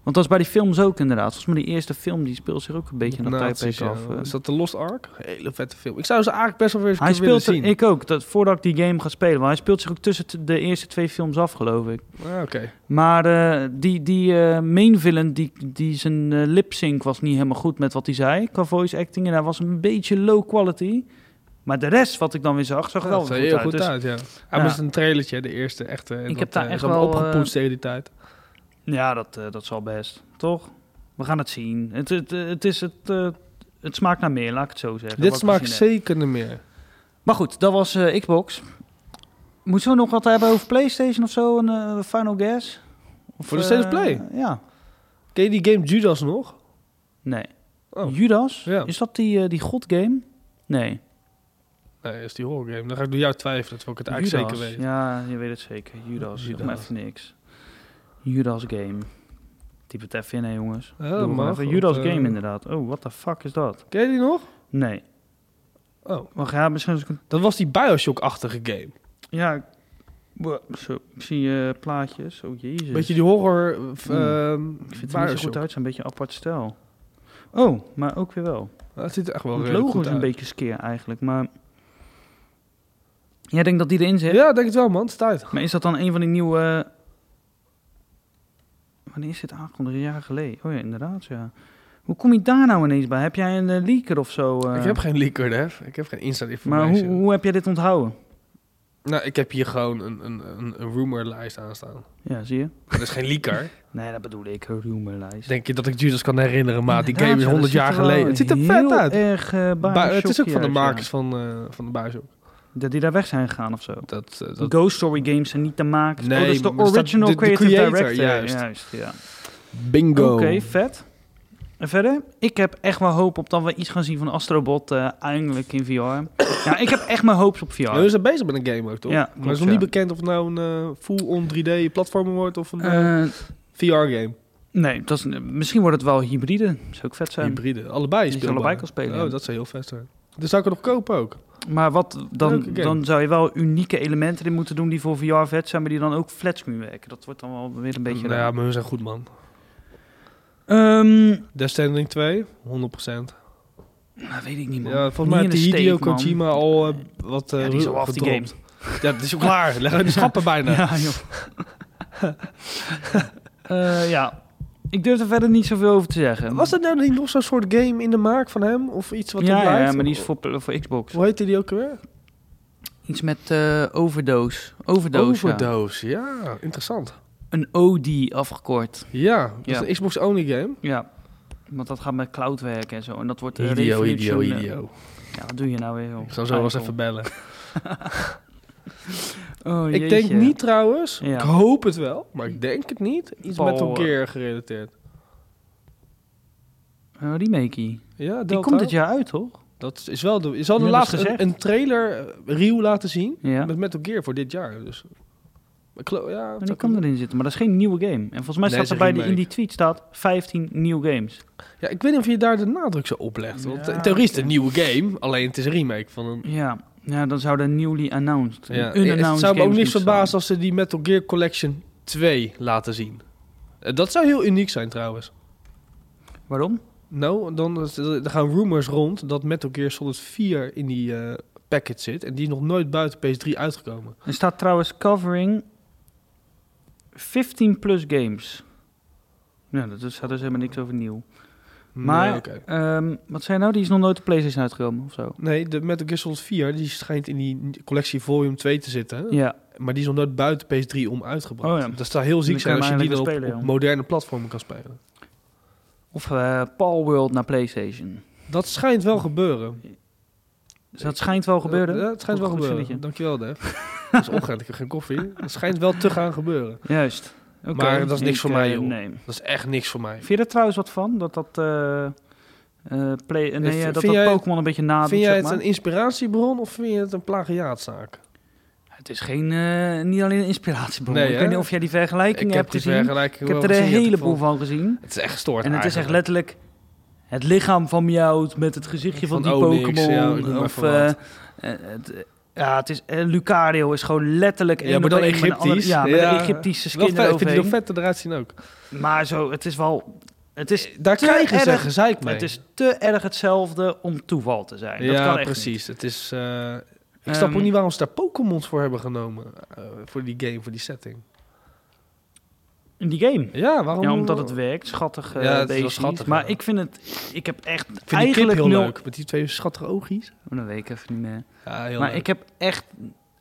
[SPEAKER 1] want dat is bij die films ook inderdaad. Volgens mij die eerste film, die speelt zich ook een beetje in dat
[SPEAKER 2] Nazi's,
[SPEAKER 1] tijdperk
[SPEAKER 2] ja.
[SPEAKER 1] af. eh.
[SPEAKER 2] Is dat de Lost Ark? Hele vette film. Ik zou ze eigenlijk best wel weer eens
[SPEAKER 1] Hij
[SPEAKER 2] kunnen willen
[SPEAKER 1] speelt,
[SPEAKER 2] zien.
[SPEAKER 1] ik ook, dat, voordat ik die game ga spelen. Want hij speelt zich ook tussen t- de eerste twee films af, geloof ik.
[SPEAKER 2] Ah, Oké.
[SPEAKER 1] Maar eh, die, die eh, main villain, die, die zijn eh, lip sync was niet helemaal goed met wat hij zei qua voice acting. En hij was een beetje low quality. Maar de rest, wat ik dan weer zag, zag er wel
[SPEAKER 2] dat
[SPEAKER 1] weer
[SPEAKER 2] ziet
[SPEAKER 1] goed,
[SPEAKER 2] heel
[SPEAKER 1] uit.
[SPEAKER 2] goed
[SPEAKER 1] Dus,
[SPEAKER 2] uit, ja. Hij
[SPEAKER 1] Ja.
[SPEAKER 2] was een trailertje, de eerste echte. en
[SPEAKER 1] Ik
[SPEAKER 2] dat,
[SPEAKER 1] heb daar
[SPEAKER 2] eh,
[SPEAKER 1] echt
[SPEAKER 2] is allemaal
[SPEAKER 1] wel,
[SPEAKER 2] opgepoetst
[SPEAKER 1] eh,
[SPEAKER 2] tegen die tijd.
[SPEAKER 1] Ja, dat, eh, dat zal best. Toch? We gaan het zien. Het, het, het, is het, eh, het smaakt naar meer, laat ik het zo zeggen.
[SPEAKER 2] Dit
[SPEAKER 1] wat ik
[SPEAKER 2] smaakt
[SPEAKER 1] gezien heb.
[SPEAKER 2] zeker niet meer.
[SPEAKER 1] Maar goed, dat was eh, Xbox. Moeten we nog wat hebben over PlayStation of zo? Een eh, Final Guess? Of,
[SPEAKER 2] Voor de
[SPEAKER 1] eh,
[SPEAKER 2] State of Play?
[SPEAKER 1] Ja.
[SPEAKER 2] Ken je die game Judas nog?
[SPEAKER 1] Nee.
[SPEAKER 2] Oh.
[SPEAKER 1] Judas?
[SPEAKER 2] Ja.
[SPEAKER 1] Is dat die, eh, die godgame? Nee.
[SPEAKER 2] Nee, is die horror game. Dan ga ik door jou twijfelen, terwijl ik het eigenlijk
[SPEAKER 1] Judas.
[SPEAKER 2] zeker weet.
[SPEAKER 1] Ja, je weet het zeker. Judas.
[SPEAKER 2] Judas.
[SPEAKER 1] Judas. Maar even niks. Judas Game. Typ het even in, hè, jongens.
[SPEAKER 2] Ja,
[SPEAKER 1] Doe maar
[SPEAKER 2] mag,
[SPEAKER 1] even
[SPEAKER 2] want,
[SPEAKER 1] Judas
[SPEAKER 2] eh,
[SPEAKER 1] Game, inderdaad. Oh, what the fuck is dat?
[SPEAKER 2] Ken je die nog?
[SPEAKER 1] Nee.
[SPEAKER 2] Oh,
[SPEAKER 1] Wacht, ja, misschien... als ik een-
[SPEAKER 2] dat was die Bioshock-achtige game.
[SPEAKER 1] Ja, ik- Wa- zo, ik zie eh, plaatjes. Oh, jezus.
[SPEAKER 2] Beetje die horror... eh, v-
[SPEAKER 1] Mm.
[SPEAKER 2] ehm,
[SPEAKER 1] ik vind het er niet zo
[SPEAKER 2] Bioshock.
[SPEAKER 1] goed uit. Zo'n beetje een apart stijl. Oh, maar ook weer wel.
[SPEAKER 2] Dat ziet er echt wel
[SPEAKER 1] het
[SPEAKER 2] redelijk
[SPEAKER 1] logo
[SPEAKER 2] goed
[SPEAKER 1] is een
[SPEAKER 2] uit.
[SPEAKER 1] beetje skeer eigenlijk, maar... Jij denkt dat die erin zit?
[SPEAKER 2] Ja, denk het wel, man. Het is tijd.
[SPEAKER 1] Maar is dat dan een van die nieuwe... eh, Wanneer is dit aangekondigd? Een jaar geleden. Oh ja, inderdaad, ja. Hoe kom je daar nou ineens bij? Heb jij een eh, leaker of zo? eh?
[SPEAKER 2] Ik heb geen leaker, hè. Ik heb geen inside
[SPEAKER 1] maar
[SPEAKER 2] information.
[SPEAKER 1] hoe, hoe heb jij dit onthouden?
[SPEAKER 2] Nou, ik heb hier gewoon een, een, een, een rumorlijst aan staan.
[SPEAKER 1] Ja, zie je?
[SPEAKER 2] Dat is geen
[SPEAKER 1] (laughs)
[SPEAKER 2] leaker.
[SPEAKER 1] Nee, dat bedoel ik. Een rumorlijst.
[SPEAKER 2] Denk je dat ik Judas kan herinneren, maat? Die
[SPEAKER 1] Inderdaad,
[SPEAKER 2] game is
[SPEAKER 1] ja, dat
[SPEAKER 2] 100 jaar
[SPEAKER 1] ziet er wel
[SPEAKER 2] geleden. Het ziet er vet
[SPEAKER 1] heel
[SPEAKER 2] uit.
[SPEAKER 1] erg eh,
[SPEAKER 2] Ba- het is ook
[SPEAKER 1] Bioshocky
[SPEAKER 2] van de
[SPEAKER 1] uit, ja.
[SPEAKER 2] makers van, eh, van de Bioshock.
[SPEAKER 1] Dat die daar weg zijn gegaan of zo.
[SPEAKER 2] Dat, eh, dat
[SPEAKER 1] Ghost Story games zijn niet te maken.
[SPEAKER 2] Nee,
[SPEAKER 1] oh, dat is de
[SPEAKER 2] maar er staat
[SPEAKER 1] original
[SPEAKER 2] de- de
[SPEAKER 1] creative
[SPEAKER 2] creator,
[SPEAKER 1] director.
[SPEAKER 2] juist.
[SPEAKER 1] ja.
[SPEAKER 2] Bingo.
[SPEAKER 1] Oké, vet. En verder? Ik heb echt wel hoop op dat we iets gaan zien van Astrobot eh, eindelijk in VR. ja, ik heb echt mijn hoops op VR.
[SPEAKER 2] Ja, Nou, we zijn bezig met een game ook, toch?
[SPEAKER 1] Ja,
[SPEAKER 2] maar het
[SPEAKER 1] klopt,
[SPEAKER 2] is nog niet
[SPEAKER 1] ja.
[SPEAKER 2] bekend of het nou een eh, full-on 3D-platformer wordt of een
[SPEAKER 1] Eh,
[SPEAKER 2] VR-game.
[SPEAKER 1] nee, dat is, misschien wordt het wel hybride. Zou ook vet zijn.
[SPEAKER 2] Hybride. Allebei
[SPEAKER 1] Die je
[SPEAKER 2] speelbaar.
[SPEAKER 1] allebei kan spelen,
[SPEAKER 2] Oh,
[SPEAKER 1] ja.
[SPEAKER 2] dat zou heel vet zijn. Dus zou ik het nog kopen ook.
[SPEAKER 1] Maar wat,
[SPEAKER 2] Leuke
[SPEAKER 1] dan,
[SPEAKER 2] game.
[SPEAKER 1] dan zou je wel unieke elementen in moeten doen die voor VR vet zijn, maar die dan ook flatscreen werken. Dat wordt dan wel weer een beetje...
[SPEAKER 2] nou ja,
[SPEAKER 1] raar.
[SPEAKER 2] maar hun zijn goed, man.
[SPEAKER 1] Ehm,
[SPEAKER 2] Death Stranding 2, 100%.
[SPEAKER 1] nou, weet ik niet, man.
[SPEAKER 2] Ja, volgens
[SPEAKER 1] Niet in
[SPEAKER 2] mij heeft
[SPEAKER 1] de
[SPEAKER 2] die Hideo
[SPEAKER 1] steek, man.
[SPEAKER 2] Kojima al eh, wat eh
[SPEAKER 1] Ja, die is al af, die
[SPEAKER 2] gedropt. Ja, het is ook
[SPEAKER 1] (laughs)
[SPEAKER 2] klaar. Leg uit de schappen bijna.
[SPEAKER 1] Ja, joh. (laughs) Eh, ja. Ik durf er verder niet zoveel over te zeggen.
[SPEAKER 2] Was dat nou niet nog zo'n soort game in de maak van hem? Of iets wat
[SPEAKER 1] ja,
[SPEAKER 2] er blijft?
[SPEAKER 1] ja, maar die is voor, voor Xbox.
[SPEAKER 2] Hoe heette die ook weer?
[SPEAKER 1] Iets met eh overdose. Overdose. ja.
[SPEAKER 2] Overdose, ja. Interessant.
[SPEAKER 1] Een OD afgekort.
[SPEAKER 2] Ja, dat
[SPEAKER 1] Ja.
[SPEAKER 2] is een Xbox-only game.
[SPEAKER 1] Ja. Want dat gaat met cloud werken en zo. En dat wordt eh,
[SPEAKER 2] Idio, idio,
[SPEAKER 1] revolution-
[SPEAKER 2] idio.
[SPEAKER 1] Ja, wat doe je nou weer? joh?
[SPEAKER 2] Ik zal zo wel eens
[SPEAKER 1] Eikel.
[SPEAKER 2] even bellen.
[SPEAKER 1] Oh,
[SPEAKER 2] Ik denk
[SPEAKER 1] jeetje.
[SPEAKER 2] niet trouwens,
[SPEAKER 1] Ja.
[SPEAKER 2] ik hoop het wel, maar ik denk het niet. Iets met
[SPEAKER 1] Paul,
[SPEAKER 2] een keer gerelateerd.
[SPEAKER 1] Een remakey.
[SPEAKER 2] Ja,
[SPEAKER 1] Oh, Die
[SPEAKER 2] Delta.
[SPEAKER 1] komt dit jaar uit, toch?
[SPEAKER 2] Dat is wel de. Ze hadden
[SPEAKER 1] Ja, dat is
[SPEAKER 2] laatst een,
[SPEAKER 1] gezegd.
[SPEAKER 2] een trailer eh, reel laten zien
[SPEAKER 1] Ja.
[SPEAKER 2] met Metal Gear voor dit jaar. Dus. Ik geloof- Ja,
[SPEAKER 1] En die
[SPEAKER 2] dat-
[SPEAKER 1] kan erin zitten, maar dat is geen nieuwe game. En volgens mij
[SPEAKER 2] Nee,
[SPEAKER 1] staat er
[SPEAKER 2] het
[SPEAKER 1] bij
[SPEAKER 2] is een
[SPEAKER 1] die, in die
[SPEAKER 2] remake.
[SPEAKER 1] tweet staat 15 nieuwe games.
[SPEAKER 2] ja, ik weet niet of je daar de nadruk zo op legt. Want
[SPEAKER 1] Ja,
[SPEAKER 2] in theorie is het een
[SPEAKER 1] oké.
[SPEAKER 2] nieuwe game, alleen het is een remake van een.
[SPEAKER 1] Ja, ja dan zou er newly announced.
[SPEAKER 2] Ja.
[SPEAKER 1] een
[SPEAKER 2] eh, Het
[SPEAKER 1] unannounced
[SPEAKER 2] zou me ook
[SPEAKER 1] games
[SPEAKER 2] niks
[SPEAKER 1] moeten
[SPEAKER 2] verbazen als ze die Metal Gear Collection 2 laten zien. Eh, Dat zou heel uniek zijn trouwens.
[SPEAKER 1] staan. Waarom?
[SPEAKER 2] Nou, dan is- er gaan rumors rond dat Metal Gear Solid 4 in die eh, packet zit. En die is nog nooit buiten PS3 uitgekomen.
[SPEAKER 1] Er staat trouwens covering 15 plus games. Ja, dat staat dus helemaal niks over nieuw. Maar,
[SPEAKER 2] nee, oké.
[SPEAKER 1] ehm, wat zei je nou? Die is nog nooit op PlayStation uitgekomen of zo.
[SPEAKER 2] nee, de Metal Gear Solid 4 die schijnt in die collectie Volume 2 te zitten.
[SPEAKER 1] Ja,
[SPEAKER 2] Maar die is nog nooit buiten PS3 om uitgebracht. Dus
[SPEAKER 1] Oh ja.
[SPEAKER 2] Dat zou heel ziek
[SPEAKER 1] Dan
[SPEAKER 2] zijn
[SPEAKER 1] kan
[SPEAKER 2] als
[SPEAKER 1] je
[SPEAKER 2] je die
[SPEAKER 1] hem
[SPEAKER 2] dan op,
[SPEAKER 1] eigenlijk spelen,
[SPEAKER 2] op
[SPEAKER 1] ja.
[SPEAKER 2] moderne platformen kan spelen.
[SPEAKER 1] of eh Paul World naar PlayStation.
[SPEAKER 2] Dat schijnt wel gebeuren.
[SPEAKER 1] Dus dat schijnt wel gebeuren.
[SPEAKER 2] Ja, het schijnt
[SPEAKER 1] Goed-
[SPEAKER 2] wel
[SPEAKER 1] goed
[SPEAKER 2] gebeuren.
[SPEAKER 1] zinnetje.
[SPEAKER 2] Dankjewel, Def. dat (laughs) is opgegaan, ik heb geen koffie. Dat schijnt wel te gaan gebeuren.
[SPEAKER 1] Juist. Oké,
[SPEAKER 2] Maar dat is niks
[SPEAKER 1] ik,
[SPEAKER 2] voor mij,
[SPEAKER 1] eh,
[SPEAKER 2] joh.
[SPEAKER 1] Nee.
[SPEAKER 2] Dat is echt niks voor mij.
[SPEAKER 1] Vind je er trouwens wat van? Dat dat, eh, eh, play, eh, nee, eh,
[SPEAKER 2] vind-
[SPEAKER 1] dat,
[SPEAKER 2] vind
[SPEAKER 1] dat
[SPEAKER 2] jij-
[SPEAKER 1] Pokémon een beetje nadoet,
[SPEAKER 2] Vind jij
[SPEAKER 1] zeg
[SPEAKER 2] het
[SPEAKER 1] maar?
[SPEAKER 2] een inspiratiebron of vind je het een plagiaatzaak?
[SPEAKER 1] Het is geen, eh, niet alleen een inspiratiebron.
[SPEAKER 2] Nee,
[SPEAKER 1] ik
[SPEAKER 2] hè?
[SPEAKER 1] weet niet of jij die vergelijking hebt
[SPEAKER 2] die
[SPEAKER 1] gezien.
[SPEAKER 2] vergelijking
[SPEAKER 1] ik heb
[SPEAKER 2] wel
[SPEAKER 1] er een
[SPEAKER 2] gezien,
[SPEAKER 1] heleboel
[SPEAKER 2] ik
[SPEAKER 1] van
[SPEAKER 2] vond-
[SPEAKER 1] gezien.
[SPEAKER 2] Het is echt gestoord
[SPEAKER 1] En het is echt
[SPEAKER 2] eigenlijk.
[SPEAKER 1] letterlijk het lichaam van Meowth met het gezichtje van,
[SPEAKER 2] Van
[SPEAKER 1] die
[SPEAKER 2] Onyx,
[SPEAKER 1] Pokémon.
[SPEAKER 2] ja, ik noem maar
[SPEAKER 1] of,
[SPEAKER 2] even
[SPEAKER 1] eh,
[SPEAKER 2] wat.
[SPEAKER 1] eh, het, eh, ja, het is, eh, Lucario is gewoon letterlijk...
[SPEAKER 2] Ja,
[SPEAKER 1] één
[SPEAKER 2] maar
[SPEAKER 1] op
[SPEAKER 2] dan
[SPEAKER 1] één met een andere-
[SPEAKER 2] Egyptisch.
[SPEAKER 1] ja, met
[SPEAKER 2] Ja.
[SPEAKER 1] een Egyptische
[SPEAKER 2] Wel
[SPEAKER 1] skin
[SPEAKER 2] vet, ik vind die nog
[SPEAKER 1] eroverheen.
[SPEAKER 2] vet eruit zien ook.
[SPEAKER 1] Maar zo, het is wel... Het is,
[SPEAKER 2] Daar
[SPEAKER 1] te
[SPEAKER 2] krijgen ze
[SPEAKER 1] erg-
[SPEAKER 2] gezeik mee.
[SPEAKER 1] het is te erg hetzelfde om toeval te zijn. dat
[SPEAKER 2] ja,
[SPEAKER 1] kan echt niet.
[SPEAKER 2] precies. Het is, eh, ik snap
[SPEAKER 1] Ehm,
[SPEAKER 2] ook niet waarom ze daar Pokémons voor hebben genomen. eh, voor die game, voor die setting.
[SPEAKER 1] In die game.
[SPEAKER 2] Ja, waarom?
[SPEAKER 1] Ja, omdat het werkt. Schattig eh
[SPEAKER 2] Ja, het is wel
[SPEAKER 1] beestjes.
[SPEAKER 2] schattig,
[SPEAKER 1] maar
[SPEAKER 2] ja.
[SPEAKER 1] ik vind het... Ik heb echt
[SPEAKER 2] Ik vind die
[SPEAKER 1] eigenlijk
[SPEAKER 2] kip heel
[SPEAKER 1] nul...
[SPEAKER 2] leuk. Met die twee schattige oogjes.
[SPEAKER 1] Oh, dat weet ik even niet meer.
[SPEAKER 2] Ja, heel
[SPEAKER 1] maar
[SPEAKER 2] leuk.
[SPEAKER 1] ik heb echt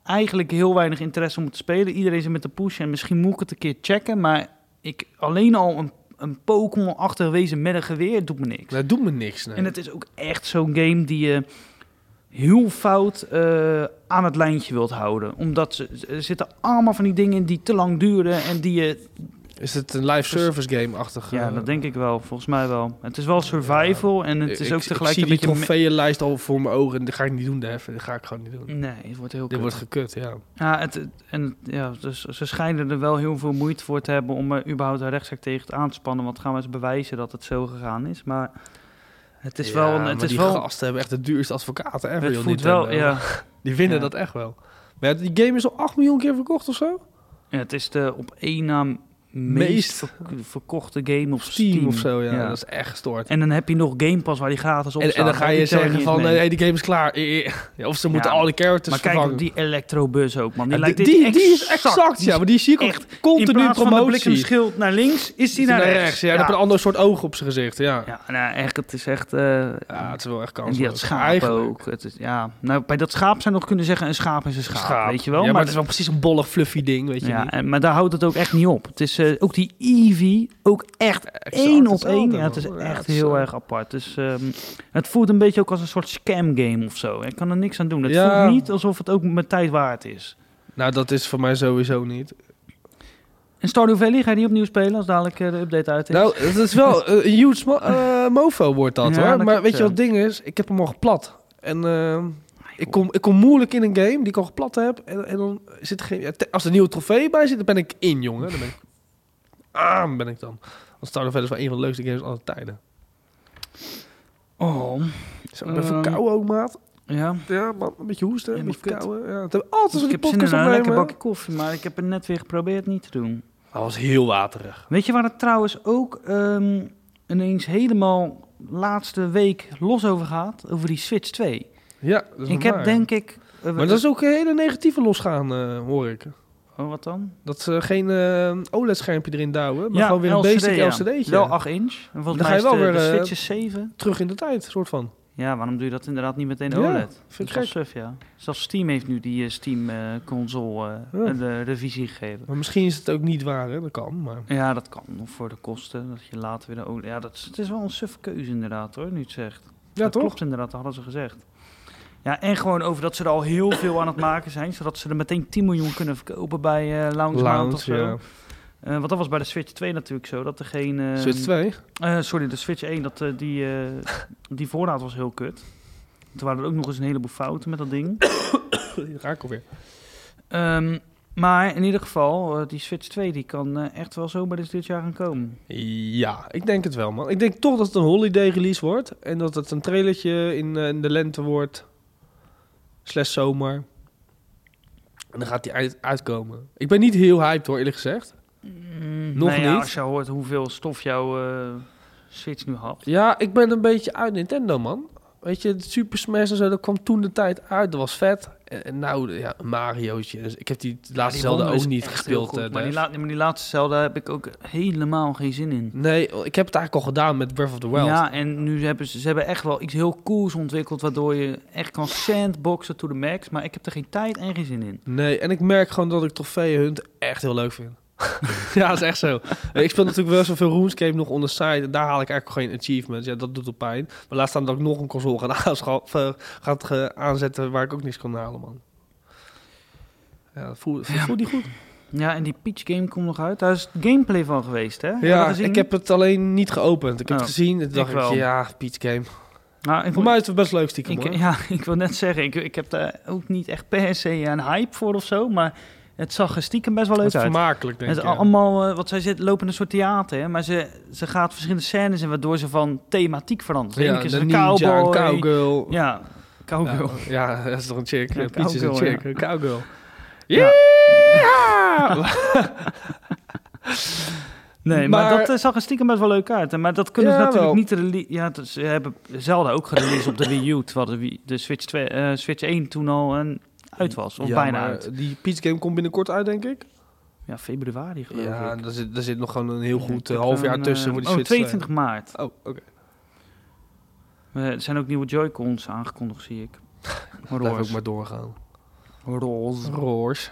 [SPEAKER 1] eigenlijk heel weinig interesse om te spelen. Iedereen zit met de push en misschien moet ik het een keer checken. Maar ik, alleen al een, een Pokémon-achtig wezen met een geweer doet me niks.
[SPEAKER 2] Dat doet me niks. Nee.
[SPEAKER 1] En het is ook echt zo'n game die je heel fout eh, aan het lijntje wilt houden. Omdat ze, er zitten allemaal van die dingen in die te lang duren en die je
[SPEAKER 2] Is het een live service game-achtig?
[SPEAKER 1] Ja,
[SPEAKER 2] eh,
[SPEAKER 1] dat denk ik wel. Volgens mij wel. Het is wel survival en het is
[SPEAKER 2] ik-
[SPEAKER 1] ook tegelijk
[SPEAKER 2] ik
[SPEAKER 1] een
[SPEAKER 2] zie
[SPEAKER 1] beetje...
[SPEAKER 2] die trofeeënlijst al voor mijn ogen. En dat ga ik niet doen, Def. Dat ga ik gewoon niet doen.
[SPEAKER 1] me- Nee, het wordt heel
[SPEAKER 2] Dit
[SPEAKER 1] kut.
[SPEAKER 2] wordt gekut, ja.
[SPEAKER 1] Ja, het, het- en, ja dus, ze schijnen er wel heel veel moeite voor te hebben om er überhaupt een rechtszaak tegen het aan te spannen. Want gaan we eens bewijzen dat het zo gegaan is. Maar het is
[SPEAKER 2] Ja,
[SPEAKER 1] wel...
[SPEAKER 2] maar
[SPEAKER 1] Het is
[SPEAKER 2] die
[SPEAKER 1] wel
[SPEAKER 2] gasten hebben echt de duurste advocaten ever.
[SPEAKER 1] het
[SPEAKER 2] joh,
[SPEAKER 1] voelt
[SPEAKER 2] Nintendo.
[SPEAKER 1] wel... Ja.
[SPEAKER 2] Die winnen
[SPEAKER 1] Ja.
[SPEAKER 2] dat echt wel. Maar ja, die game is al 8 miljoen keer verkocht of zo?
[SPEAKER 1] Ja, het is de op één na meest,
[SPEAKER 2] Meest.
[SPEAKER 1] verk- verkochte game op
[SPEAKER 2] Of Steam,
[SPEAKER 1] Steam.
[SPEAKER 2] of zo, ja. Dat is echt gestoord.
[SPEAKER 1] En dan heb je nog Game Pass waar die gratis op
[SPEAKER 2] En,
[SPEAKER 1] staat.
[SPEAKER 2] en dan ga je
[SPEAKER 1] Die tellen
[SPEAKER 2] zeggen
[SPEAKER 1] niet
[SPEAKER 2] van,
[SPEAKER 1] eens mee.
[SPEAKER 2] nee, die game is klaar. Eh, eh. Ja, of ze moeten
[SPEAKER 1] Ja,
[SPEAKER 2] alle characters
[SPEAKER 1] maar kijk,
[SPEAKER 2] vervangen.
[SPEAKER 1] ook die Electrobus ook, man. Die
[SPEAKER 2] Ja,
[SPEAKER 1] lijkt
[SPEAKER 2] die,
[SPEAKER 1] dit
[SPEAKER 2] die- die is exact, ja. Maar die zie ik
[SPEAKER 1] echt
[SPEAKER 2] ook continu in
[SPEAKER 1] in plaats van de
[SPEAKER 2] promotie.
[SPEAKER 1] bliksemschild naar links, is
[SPEAKER 2] Is die
[SPEAKER 1] die naar, rechts.
[SPEAKER 2] Ja, dan
[SPEAKER 1] ja.
[SPEAKER 2] heb je een ander soort oog op zijn gezicht, ja. Ja,
[SPEAKER 1] Ja, nou, echt, het is echt... eh,
[SPEAKER 2] het is wel echt
[SPEAKER 1] en
[SPEAKER 2] kans.
[SPEAKER 1] die had schaap ook. Het is, ja. nou, bij dat schaap zijn we nog kunnen zeggen, een schaap is een schaap, weet je wel.
[SPEAKER 2] Ja, maar, het is wel precies een bollig, fluffy ding, weet je
[SPEAKER 1] ja,
[SPEAKER 2] niet.
[SPEAKER 1] en, maar daar houdt het ook echt niet op. Het is eh, ook die Eevee, ook echt
[SPEAKER 2] Exact
[SPEAKER 1] één op
[SPEAKER 2] hetzelfde,
[SPEAKER 1] één. Ja,
[SPEAKER 2] man.
[SPEAKER 1] het is
[SPEAKER 2] Ja,
[SPEAKER 1] echt
[SPEAKER 2] is,
[SPEAKER 1] heel
[SPEAKER 2] eh,
[SPEAKER 1] erg apart. Dus, ehm, het voelt een beetje ook als een soort scam game of zo. Ik kan er niks aan doen. Het
[SPEAKER 2] Ja.
[SPEAKER 1] voelt niet alsof het ook mijn tijd waard is.
[SPEAKER 2] Nou, dat is voor mij sowieso niet.
[SPEAKER 1] En Stardew Valley, ga je die opnieuw spelen als dadelijk eh, de update uit is?
[SPEAKER 2] Nou, dat is (laughs) wel een huge mo- eh, mofo wordt dat
[SPEAKER 1] Ja,
[SPEAKER 2] hoor.
[SPEAKER 1] dat
[SPEAKER 2] maar
[SPEAKER 1] klopt,
[SPEAKER 2] weet je
[SPEAKER 1] ja.
[SPEAKER 2] wat het ding is? Ik heb hem al geplat. En ehm, ik, kom, ik kom moeilijk in een game die ik al geplat heb. En, en dan zit er geen... ja, te- als er een nieuwe trofee bij zit, dan ben ik in, jongen. Dan ben ik... Aan ben ik dan. Want Stardew Valley is wel een van de leukste games aller tijden.
[SPEAKER 1] Oh,
[SPEAKER 2] Zo, ik ben
[SPEAKER 1] Ehm,
[SPEAKER 2] verkouden ook, maat.
[SPEAKER 1] ja.
[SPEAKER 2] Ja, man. Een beetje hoesten,
[SPEAKER 1] Ja,
[SPEAKER 2] een
[SPEAKER 1] maar
[SPEAKER 2] beetje
[SPEAKER 1] kut.
[SPEAKER 2] verkouden. Ja, het hebben we altijd
[SPEAKER 1] Dus
[SPEAKER 2] als
[SPEAKER 1] ik heb
[SPEAKER 2] ik de
[SPEAKER 1] zin in
[SPEAKER 2] podcast
[SPEAKER 1] een lekker
[SPEAKER 2] opnemen.
[SPEAKER 1] bakje koffie, maar ik heb het net weer geprobeerd niet te doen.
[SPEAKER 2] Dat was heel waterig.
[SPEAKER 1] Weet je waar het trouwens ook ehm, ineens helemaal laatste week los over gaat? Over die Switch 2.
[SPEAKER 2] Ja, dat is
[SPEAKER 1] ik
[SPEAKER 2] wel
[SPEAKER 1] heb
[SPEAKER 2] waar.
[SPEAKER 1] denk ik... eh,
[SPEAKER 2] Maar dat is ook een hele negatieve losgaan, eh, hoor ik.
[SPEAKER 1] Oh, wat dan?
[SPEAKER 2] Dat ze geen eh, OLED-schermpje erin duwen, maar
[SPEAKER 1] Ja,
[SPEAKER 2] gewoon weer een
[SPEAKER 1] LCD,
[SPEAKER 2] basic
[SPEAKER 1] ja.
[SPEAKER 2] LCD'tje.
[SPEAKER 1] Wel 8 inch. En volgens
[SPEAKER 2] Dan
[SPEAKER 1] mij
[SPEAKER 2] ga
[SPEAKER 1] is
[SPEAKER 2] je
[SPEAKER 1] de, de
[SPEAKER 2] wel weer, eh,
[SPEAKER 1] Switch is 7.
[SPEAKER 2] Terug in de tijd, soort van.
[SPEAKER 1] Ja, waarom doe je dat inderdaad niet meteen
[SPEAKER 2] Ja,
[SPEAKER 1] OLED?
[SPEAKER 2] Vind
[SPEAKER 1] Dat
[SPEAKER 2] ik gek.
[SPEAKER 1] is wel suf, ja. Zelfs Steam heeft nu die eh, Steam eh, console eh,
[SPEAKER 2] Ja.
[SPEAKER 1] een eh, revisie gegeven.
[SPEAKER 2] Maar misschien is het ook niet waar, hè? dat kan. Maar
[SPEAKER 1] Ja, dat kan. Of voor de kosten, dat je later weer de OLED... Ja, dat is, het is wel een suf keuze inderdaad hoor, nu het zegt.
[SPEAKER 2] ja,
[SPEAKER 1] dat
[SPEAKER 2] toch?
[SPEAKER 1] klopt inderdaad, dat hadden ze gezegd. Ja, en gewoon over dat ze er al heel veel aan het maken zijn, zodat ze er meteen 10 miljoen kunnen verkopen bij eh Lounge Mount of zo.
[SPEAKER 2] ja.
[SPEAKER 1] Eh, want dat was bij de Switch 2 natuurlijk zo, dat er geen... eh,
[SPEAKER 2] Switch (laughs) 2.
[SPEAKER 1] eh, sorry, de Switch 1, dat, eh, die, eh, die voorraad was heel kut. Toen waren er ook nog eens een heleboel fouten met dat ding.
[SPEAKER 2] Daar ga ik alweer.
[SPEAKER 1] Ehm, maar in ieder geval, eh, die Switch 2 die kan eh, echt wel zomaar dus dit jaar gaan komen.
[SPEAKER 2] Ja, ik denk het wel, man. Ik denk toch dat het een holiday release wordt. En dat het een trailertje in, eh, in de lente wordt. Slash zomer. En dan gaat die uit, uitkomen. Ik ben niet heel hyped hoor, eerlijk gezegd. Nog
[SPEAKER 1] nou ja,
[SPEAKER 2] niet?
[SPEAKER 1] als je hoort hoeveel stof jouw eh, Switch nu had.
[SPEAKER 2] Ja, ik ben een beetje uit Nintendo, man. Weet je, het Super Smash en zo, dat kwam toen de tijd uit. Dat was vet. En, en nou, ja, een Mariootje. Ik heb die laatste
[SPEAKER 1] Ja, die
[SPEAKER 2] Zelda
[SPEAKER 1] Wonder
[SPEAKER 2] ook
[SPEAKER 1] is
[SPEAKER 2] niet
[SPEAKER 1] echt heel
[SPEAKER 2] gespeeld.
[SPEAKER 1] goed,
[SPEAKER 2] eh,
[SPEAKER 1] maar, die
[SPEAKER 2] Dave.
[SPEAKER 1] laat- maar die laatste Zelda heb ik ook helemaal geen zin in.
[SPEAKER 2] Nee, oh, ik heb het eigenlijk al gedaan met Breath of the Wild.
[SPEAKER 1] Ja, en nu hebben ze, ze hebben echt wel iets heel cools ontwikkeld... waardoor je echt kan sandboxen to the max. Maar ik heb er geen tijd en geen zin in.
[SPEAKER 2] Nee, en ik merk gewoon dat ik trofeeënhunt echt heel leuk vind. (laughs) ja, dat is echt zo. Ik speel natuurlijk wel zoveel RuneScape nog on the side. En daar haal ik eigenlijk geen achievements. Ja, dat doet op pijn. Maar laat staan dat ik nog een console ga (laughs) aanscha- of, eh, gaat eh, aanzetten waar ik ook niks kan halen, man. Ja, dat voel, voel, voel die goed.
[SPEAKER 1] Ja, en die Peach game komt nog uit. Daar is gameplay van geweest, hè? Heb je dat
[SPEAKER 2] Ja,
[SPEAKER 1] gezien?
[SPEAKER 2] ik heb het alleen niet geopend. Ik heb
[SPEAKER 1] Oh,
[SPEAKER 2] het gezien en toen dacht
[SPEAKER 1] ik
[SPEAKER 2] ik,
[SPEAKER 1] wel.
[SPEAKER 2] ja, Peach Game.
[SPEAKER 1] Nou, ik
[SPEAKER 2] Voor
[SPEAKER 1] wil-
[SPEAKER 2] mij is het best leuk stiekem,
[SPEAKER 1] ik,
[SPEAKER 2] hoor.
[SPEAKER 1] ja, (laughs) ik wil net zeggen, ik, ik heb daar ook niet echt per se een hype voor of zo, maar het zag er stiekem best wel
[SPEAKER 2] Het
[SPEAKER 1] leuk
[SPEAKER 2] is
[SPEAKER 1] uit.
[SPEAKER 2] vermakelijk, denk
[SPEAKER 1] Het
[SPEAKER 2] ik.
[SPEAKER 1] is
[SPEAKER 2] ja.
[SPEAKER 1] allemaal, eh, wat zij zit, lopen een soort theater, hè? maar ze, ze gaat verschillende scènes in waardoor ze van thematiek verandert. De ene
[SPEAKER 2] Ja,
[SPEAKER 1] keer is
[SPEAKER 2] de
[SPEAKER 1] het een
[SPEAKER 2] ninja, een
[SPEAKER 1] cowboy.
[SPEAKER 2] cowgirl.
[SPEAKER 1] Ja, cowgirl.
[SPEAKER 2] Ja, Ja, dat is toch een chick.
[SPEAKER 1] Ja,
[SPEAKER 2] Ja, Peach is een
[SPEAKER 1] cowgirl,
[SPEAKER 2] chick.
[SPEAKER 1] (laughs)
[SPEAKER 2] Een cowgirl.
[SPEAKER 1] Ja.
[SPEAKER 2] (laughs) Yeah!
[SPEAKER 1] Nee, maar,
[SPEAKER 2] Maar-
[SPEAKER 1] dat eh, zag er stiekem best wel leuk uit. En- Maar dat kunnen ze
[SPEAKER 2] Ja,
[SPEAKER 1] natuurlijk
[SPEAKER 2] wel.
[SPEAKER 1] niet... rele- Ja, dat- ze hebben Zelda ook gereleased op de Wii U, terwijl de, Wii- de Switch, 2, eh, Switch 1 toen al een, uit was, of
[SPEAKER 2] Ja,
[SPEAKER 1] bijna
[SPEAKER 2] maar
[SPEAKER 1] uit.
[SPEAKER 2] Die Peach game komt binnenkort uit, denk ik.
[SPEAKER 1] Ja, februari geloof ik.
[SPEAKER 2] Ja, daar zit, daar zit nog gewoon een heel goed
[SPEAKER 1] Ik
[SPEAKER 2] eh,
[SPEAKER 1] heb
[SPEAKER 2] half jaar
[SPEAKER 1] een,
[SPEAKER 2] tussen.
[SPEAKER 1] eh,
[SPEAKER 2] voor die
[SPEAKER 1] oh,
[SPEAKER 2] Switch twee.
[SPEAKER 1] 22 maart.
[SPEAKER 2] Oh, oké.
[SPEAKER 1] Eh, er zijn ook nieuwe Joy-Cons aangekondigd, zie
[SPEAKER 2] (laughs)
[SPEAKER 1] ik.
[SPEAKER 2] Blijf
[SPEAKER 1] Roze.
[SPEAKER 2] ook maar doorgaan.
[SPEAKER 1] Roze. Oké,
[SPEAKER 2] Roors.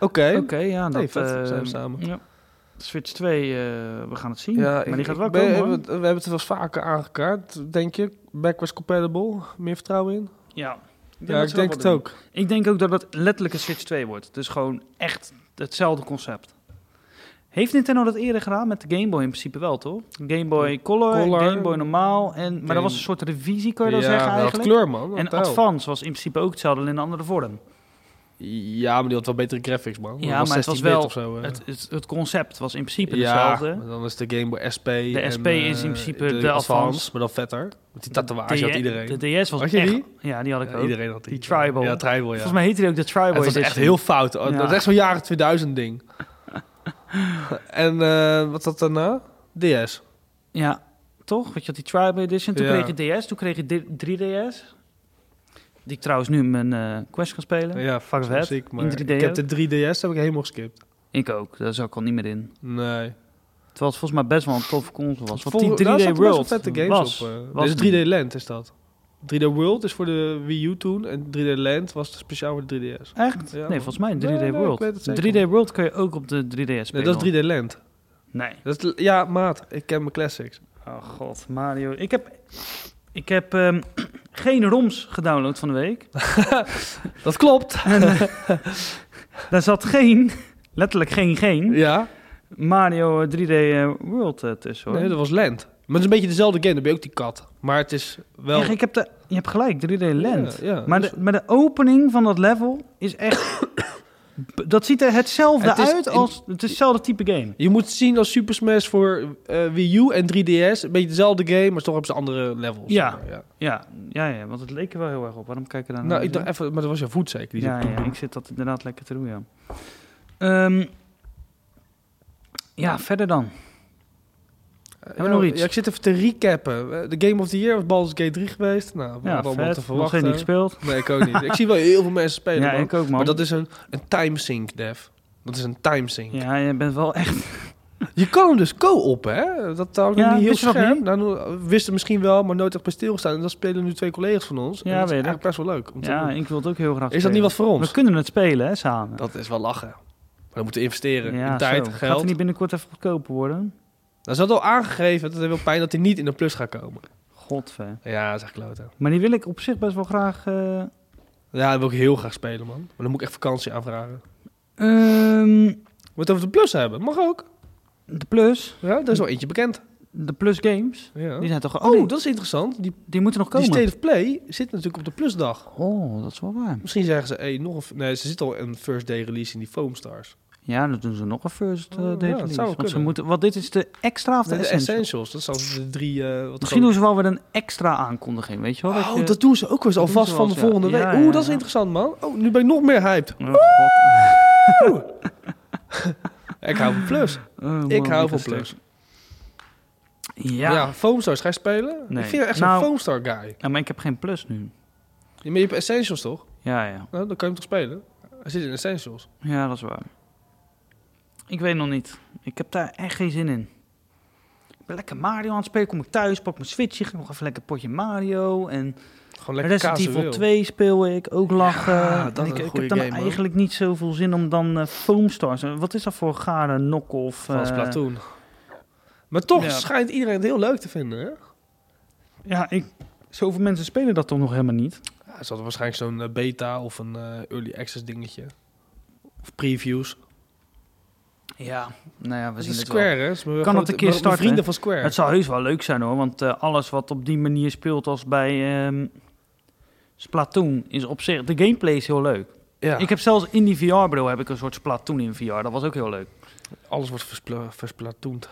[SPEAKER 2] Oké.
[SPEAKER 1] ja.
[SPEAKER 2] Nee,
[SPEAKER 1] dat,
[SPEAKER 2] vet.
[SPEAKER 1] eh,
[SPEAKER 2] Zijn we samen.
[SPEAKER 1] Ja. Switch 2, eh, we gaan het zien.
[SPEAKER 2] Ja,
[SPEAKER 1] maar
[SPEAKER 2] ik-
[SPEAKER 1] die gaat wel
[SPEAKER 2] ik ben-
[SPEAKER 1] komen,
[SPEAKER 2] we,
[SPEAKER 1] hoor.
[SPEAKER 2] hebben het- we hebben het wel eens vaker aangekaart, denk je. Backwards compatible, meer vertrouwen in.
[SPEAKER 1] Ja, ik denk,
[SPEAKER 2] Ja,
[SPEAKER 1] dat
[SPEAKER 2] ik
[SPEAKER 1] ze wel
[SPEAKER 2] denk
[SPEAKER 1] wat doen.
[SPEAKER 2] het ook.
[SPEAKER 1] Ik denk ook dat dat letterlijk een Switch 2 wordt. Dus gewoon echt hetzelfde concept. Heeft Nintendo dat eerder gedaan met de Game Boy in principe wel, toch? Game Boy Color,
[SPEAKER 2] Color.
[SPEAKER 1] Game Boy Normaal. En, maar dat
[SPEAKER 2] Game-
[SPEAKER 1] was een soort revisie, kun je dat
[SPEAKER 2] ja,
[SPEAKER 1] zeggen
[SPEAKER 2] hij had
[SPEAKER 1] eigenlijk?
[SPEAKER 2] kleur, man.
[SPEAKER 1] en
[SPEAKER 2] Wat wel.
[SPEAKER 1] Advance was in principe ook hetzelfde, alleen in een andere vorm.
[SPEAKER 2] Ja, maar die had wel betere graphics, man.
[SPEAKER 1] Ja,
[SPEAKER 2] Dat was
[SPEAKER 1] maar het
[SPEAKER 2] 16
[SPEAKER 1] was wel-
[SPEAKER 2] bit of zo, eh.
[SPEAKER 1] Het, het, het concept was in principe
[SPEAKER 2] ja,
[SPEAKER 1] hetzelfde.
[SPEAKER 2] maar dan is de Game Boy SP.
[SPEAKER 1] De
[SPEAKER 2] en,
[SPEAKER 1] SP
[SPEAKER 2] eh,
[SPEAKER 1] is in principe de Advance.
[SPEAKER 2] maar dan vetter. Want die tatoeage
[SPEAKER 1] De-
[SPEAKER 2] had iedereen.
[SPEAKER 1] De DS was
[SPEAKER 2] Had je
[SPEAKER 1] echt...
[SPEAKER 2] die?
[SPEAKER 1] Ja, die had ik
[SPEAKER 2] Ja,
[SPEAKER 1] ook.
[SPEAKER 2] iedereen had die.
[SPEAKER 1] Die Tribal.
[SPEAKER 2] Ja, Tribal, ja.
[SPEAKER 1] Volgens mij heette die ook de Tribal
[SPEAKER 2] het was echt
[SPEAKER 1] Edition.
[SPEAKER 2] heel fout. Oh,
[SPEAKER 1] Ja.
[SPEAKER 2] Dat is echt zo'n jaren
[SPEAKER 1] (laughs)
[SPEAKER 2] 2000 ding. en eh, wat zat daarna? DS.
[SPEAKER 1] Ja, toch? Want je had die Tribal Edition. Toen
[SPEAKER 2] Ja.
[SPEAKER 1] kreeg je DS, toen kreeg je D- 3DS. Die ik trouwens nu mijn eh, Quest kan spelen.
[SPEAKER 2] Ja, fuck
[SPEAKER 1] vet.
[SPEAKER 2] Muziek, maar
[SPEAKER 1] In 3D
[SPEAKER 2] ik heb de 3DS heb ik helemaal geskipt.
[SPEAKER 1] Ik ook, daar zat ik al niet meer in.
[SPEAKER 2] Nee.
[SPEAKER 1] Terwijl het volgens mij best wel een toffe console was. Want
[SPEAKER 2] Vol-
[SPEAKER 1] die 3D
[SPEAKER 2] daar zaten best wel
[SPEAKER 1] World
[SPEAKER 2] vette games
[SPEAKER 1] was,
[SPEAKER 2] op. eh.
[SPEAKER 1] was
[SPEAKER 2] Dit is 3D Land is dat. 3D World is voor de Wii U toen. En 3D Land was speciaal voor de 3DS.
[SPEAKER 1] Echt?
[SPEAKER 2] eh. Ja,
[SPEAKER 1] nee,
[SPEAKER 2] man.
[SPEAKER 1] volgens mij een 3D
[SPEAKER 2] Nee, nee, ik
[SPEAKER 1] World.
[SPEAKER 2] weet het zeker.
[SPEAKER 1] 3D World kun je ook op de 3DS spelen.
[SPEAKER 2] Nee, dat is 3D Land.
[SPEAKER 1] Nee.
[SPEAKER 2] Dat is- ja, maat, ik ken mijn classics.
[SPEAKER 1] Oh god, Mario. Ik heb, ik heb ehm, (clears throat) geen ROMs gedownload van de week.
[SPEAKER 2] Dat
[SPEAKER 1] (laughs)
[SPEAKER 2] klopt.
[SPEAKER 1] En, eh, daar zat geen, letterlijk geen, geen
[SPEAKER 2] Ja,
[SPEAKER 1] Mario eh, 3D eh, World eh, tussen hoor.
[SPEAKER 2] nee, dat was Land. Maar het is een beetje dezelfde game, dan ben je ook die kat. Maar het is wel...
[SPEAKER 1] Echt, ik heb de, je hebt gelijk, 3D Land.
[SPEAKER 2] Ja, ja,
[SPEAKER 1] maar,
[SPEAKER 2] dus-
[SPEAKER 1] de, maar de opening van dat level is echt...
[SPEAKER 2] (coughs)
[SPEAKER 1] B- dat ziet er hetzelfde
[SPEAKER 2] Het is
[SPEAKER 1] uit
[SPEAKER 2] in-
[SPEAKER 1] als... Het is hetzelfde type game.
[SPEAKER 2] Dus Je moet het zien als Super Smash voor eh, Wii U en 3DS. Een beetje dezelfde game, maar toch hebben ze andere levels.
[SPEAKER 1] Ja.
[SPEAKER 2] zeg maar, ja.
[SPEAKER 1] Ja, ja, ja, want het leek er wel heel erg op. Waarom kijk je daar
[SPEAKER 2] Nou,
[SPEAKER 1] naar
[SPEAKER 2] ik dacht even, maar dat was jouw voet zeker. Die
[SPEAKER 1] Ja,
[SPEAKER 2] zei-
[SPEAKER 1] ja, ik zit dat inderdaad lekker te doen, ja. Ehm, ja, verder dan. Hebben we
[SPEAKER 2] Eh, Ja,
[SPEAKER 1] nog iets?
[SPEAKER 2] Ja, ik zit even te recappen. Eh, De Game of the Year was Baldur's Gate 3 geweest. Nou, we
[SPEAKER 1] Ja,
[SPEAKER 2] hadden allemaal te
[SPEAKER 1] vet. Nog
[SPEAKER 2] verwachten.
[SPEAKER 1] steeds niet gespeeld.
[SPEAKER 2] Nee, ik ook niet. ik zie wel heel veel mensen spelen,
[SPEAKER 1] Ja,
[SPEAKER 2] man.
[SPEAKER 1] ik ook, man.
[SPEAKER 2] Maar dat is een, een timesync, Dev. Dat is een timesync.
[SPEAKER 1] Ja, je bent wel echt...
[SPEAKER 2] Je kan hem dus co-op, hè? Dat hou ik nog
[SPEAKER 1] Ja,
[SPEAKER 2] niet heel
[SPEAKER 1] wist je dat
[SPEAKER 2] scherp.
[SPEAKER 1] niet?
[SPEAKER 2] Nou, wisten misschien wel, maar nooit echt bij stilgestaan. En dat spelen nu twee collega's van ons. En
[SPEAKER 1] Ja,
[SPEAKER 2] dat is
[SPEAKER 1] weet ik.
[SPEAKER 2] eigenlijk best wel leuk. Om te
[SPEAKER 1] Ja,
[SPEAKER 2] doen.
[SPEAKER 1] ik wil het ook heel graag
[SPEAKER 2] Is dat niet wat voor ons?
[SPEAKER 1] We kunnen het spelen, hè, samen.
[SPEAKER 2] Dat is wel lachen. Maar dan moeten we investeren in
[SPEAKER 1] Ja,
[SPEAKER 2] tijd,
[SPEAKER 1] zo. Gaat
[SPEAKER 2] geld.
[SPEAKER 1] het niet binnenkort even goedkoper worden?
[SPEAKER 2] Dan is dat al aangegeven dat hij wil pijn dat hij niet in de plus gaat komen.
[SPEAKER 1] Godver.
[SPEAKER 2] Ja, dat is echt klote.
[SPEAKER 1] Maar die wil ik op zich best wel graag... eh,
[SPEAKER 2] Ja, dat wil ik heel graag spelen, man. Maar dan moet ik echt vakantie aanvragen.
[SPEAKER 1] ehm,
[SPEAKER 2] We het over de plus hebben. Mag ook.
[SPEAKER 1] de Plus.
[SPEAKER 2] Ja, daar is wel eentje bekend.
[SPEAKER 1] De Plus Games.
[SPEAKER 2] Ja.
[SPEAKER 1] Die zijn toch...
[SPEAKER 2] Oh,
[SPEAKER 1] Oh, die,
[SPEAKER 2] dat is interessant. Die,
[SPEAKER 1] die moeten nog
[SPEAKER 2] die
[SPEAKER 1] komen.
[SPEAKER 2] State of Play zit natuurlijk op de plusdag.
[SPEAKER 1] Oh, dat is wel waar.
[SPEAKER 2] Misschien zeggen ze, hey, nog een... f- Nee, ze zit al een first day release in die Foam Stars.
[SPEAKER 1] Ja, dan doen ze nog een first eh,
[SPEAKER 2] Oh, ja,
[SPEAKER 1] day
[SPEAKER 2] dat zou
[SPEAKER 1] release.
[SPEAKER 2] wel
[SPEAKER 1] Want, ze
[SPEAKER 2] kunnen.
[SPEAKER 1] moeten, want dit is de extra of de,
[SPEAKER 2] Nee, de
[SPEAKER 1] essential?
[SPEAKER 2] essentials, dat zijn de drie. eh wat
[SPEAKER 1] Misschien
[SPEAKER 2] grote-
[SPEAKER 1] doen ze wel weer een extra aankondiging, weet je wel?
[SPEAKER 2] Oh,
[SPEAKER 1] je-
[SPEAKER 2] dat doen ze ook wel eens
[SPEAKER 1] eh, dat
[SPEAKER 2] alvast
[SPEAKER 1] doen ze wel
[SPEAKER 2] van de
[SPEAKER 1] eens,
[SPEAKER 2] volgende
[SPEAKER 1] ja.
[SPEAKER 2] week.
[SPEAKER 1] Ja,
[SPEAKER 2] Oeh,
[SPEAKER 1] ja,
[SPEAKER 2] dat is
[SPEAKER 1] ja.
[SPEAKER 2] interessant, man. Oh, nu ben ik nog meer hyped.
[SPEAKER 1] Oh, God.
[SPEAKER 2] Ik hou van
[SPEAKER 1] (laughs)
[SPEAKER 2] plus.
[SPEAKER 1] Oh, man,
[SPEAKER 2] ik hou van
[SPEAKER 1] ga
[SPEAKER 2] plus.
[SPEAKER 1] stuk. Ja.
[SPEAKER 2] Ja,
[SPEAKER 1] ja.
[SPEAKER 2] Foamstars, ga je spelen?
[SPEAKER 1] Nee.
[SPEAKER 2] Ik vind je echt
[SPEAKER 1] Nou-
[SPEAKER 2] zo'n Foamstar guy.
[SPEAKER 1] maar ik heb geen plus nu.
[SPEAKER 2] Ja, maar je hebt essentials toch?
[SPEAKER 1] Ja, ja.
[SPEAKER 2] Nou, dan kan je hem toch spelen? Hij zit in essentials.
[SPEAKER 1] Ja, dat is waar. Ik weet nog niet. Ik heb daar echt geen zin in. Ik ben lekker Mario aan het spelen. Kom ik thuis, pak mijn Switch, ik ga nog even lekker een potje Mario. En
[SPEAKER 2] Gewoon lekker
[SPEAKER 1] Resident Evil
[SPEAKER 2] casueel.
[SPEAKER 1] 2 speel ik, ook lachen.
[SPEAKER 2] Ja,
[SPEAKER 1] En
[SPEAKER 2] dat is
[SPEAKER 1] ik,
[SPEAKER 2] een
[SPEAKER 1] ik
[SPEAKER 2] goede
[SPEAKER 1] heb dan
[SPEAKER 2] game, hoor.
[SPEAKER 1] eigenlijk niet zoveel zin om dan eh Foam Stars. eh, Wat is dat voor gare knock-off?
[SPEAKER 2] van
[SPEAKER 1] eh,
[SPEAKER 2] Splatoon. Maar toch
[SPEAKER 1] ja.
[SPEAKER 2] schijnt iedereen het heel leuk te vinden, hè?
[SPEAKER 1] ja, ik, zoveel mensen spelen dat toch nog helemaal niet?
[SPEAKER 2] Ja, ze hadden waarschijnlijk zo'n eh, beta of een eh, early access dingetje. Of previews.
[SPEAKER 1] Ja, nou ja, we
[SPEAKER 2] Dat
[SPEAKER 1] zien
[SPEAKER 2] is
[SPEAKER 1] het wel.
[SPEAKER 2] Square, hè? Dus Kan
[SPEAKER 1] dat een keer starten, hè?
[SPEAKER 2] Vrienden van Square.
[SPEAKER 1] Het zou heus wel leuk zijn hoor, want eh, alles wat op die manier speelt als bij ehm, Splatoon is op zich... De gameplay is heel leuk.
[SPEAKER 2] Ja.
[SPEAKER 1] Ik heb zelfs in die VR-bril heb ik een soort Splatoon in VR. Dat was ook heel leuk.
[SPEAKER 2] Alles wordt verspla versplatoend.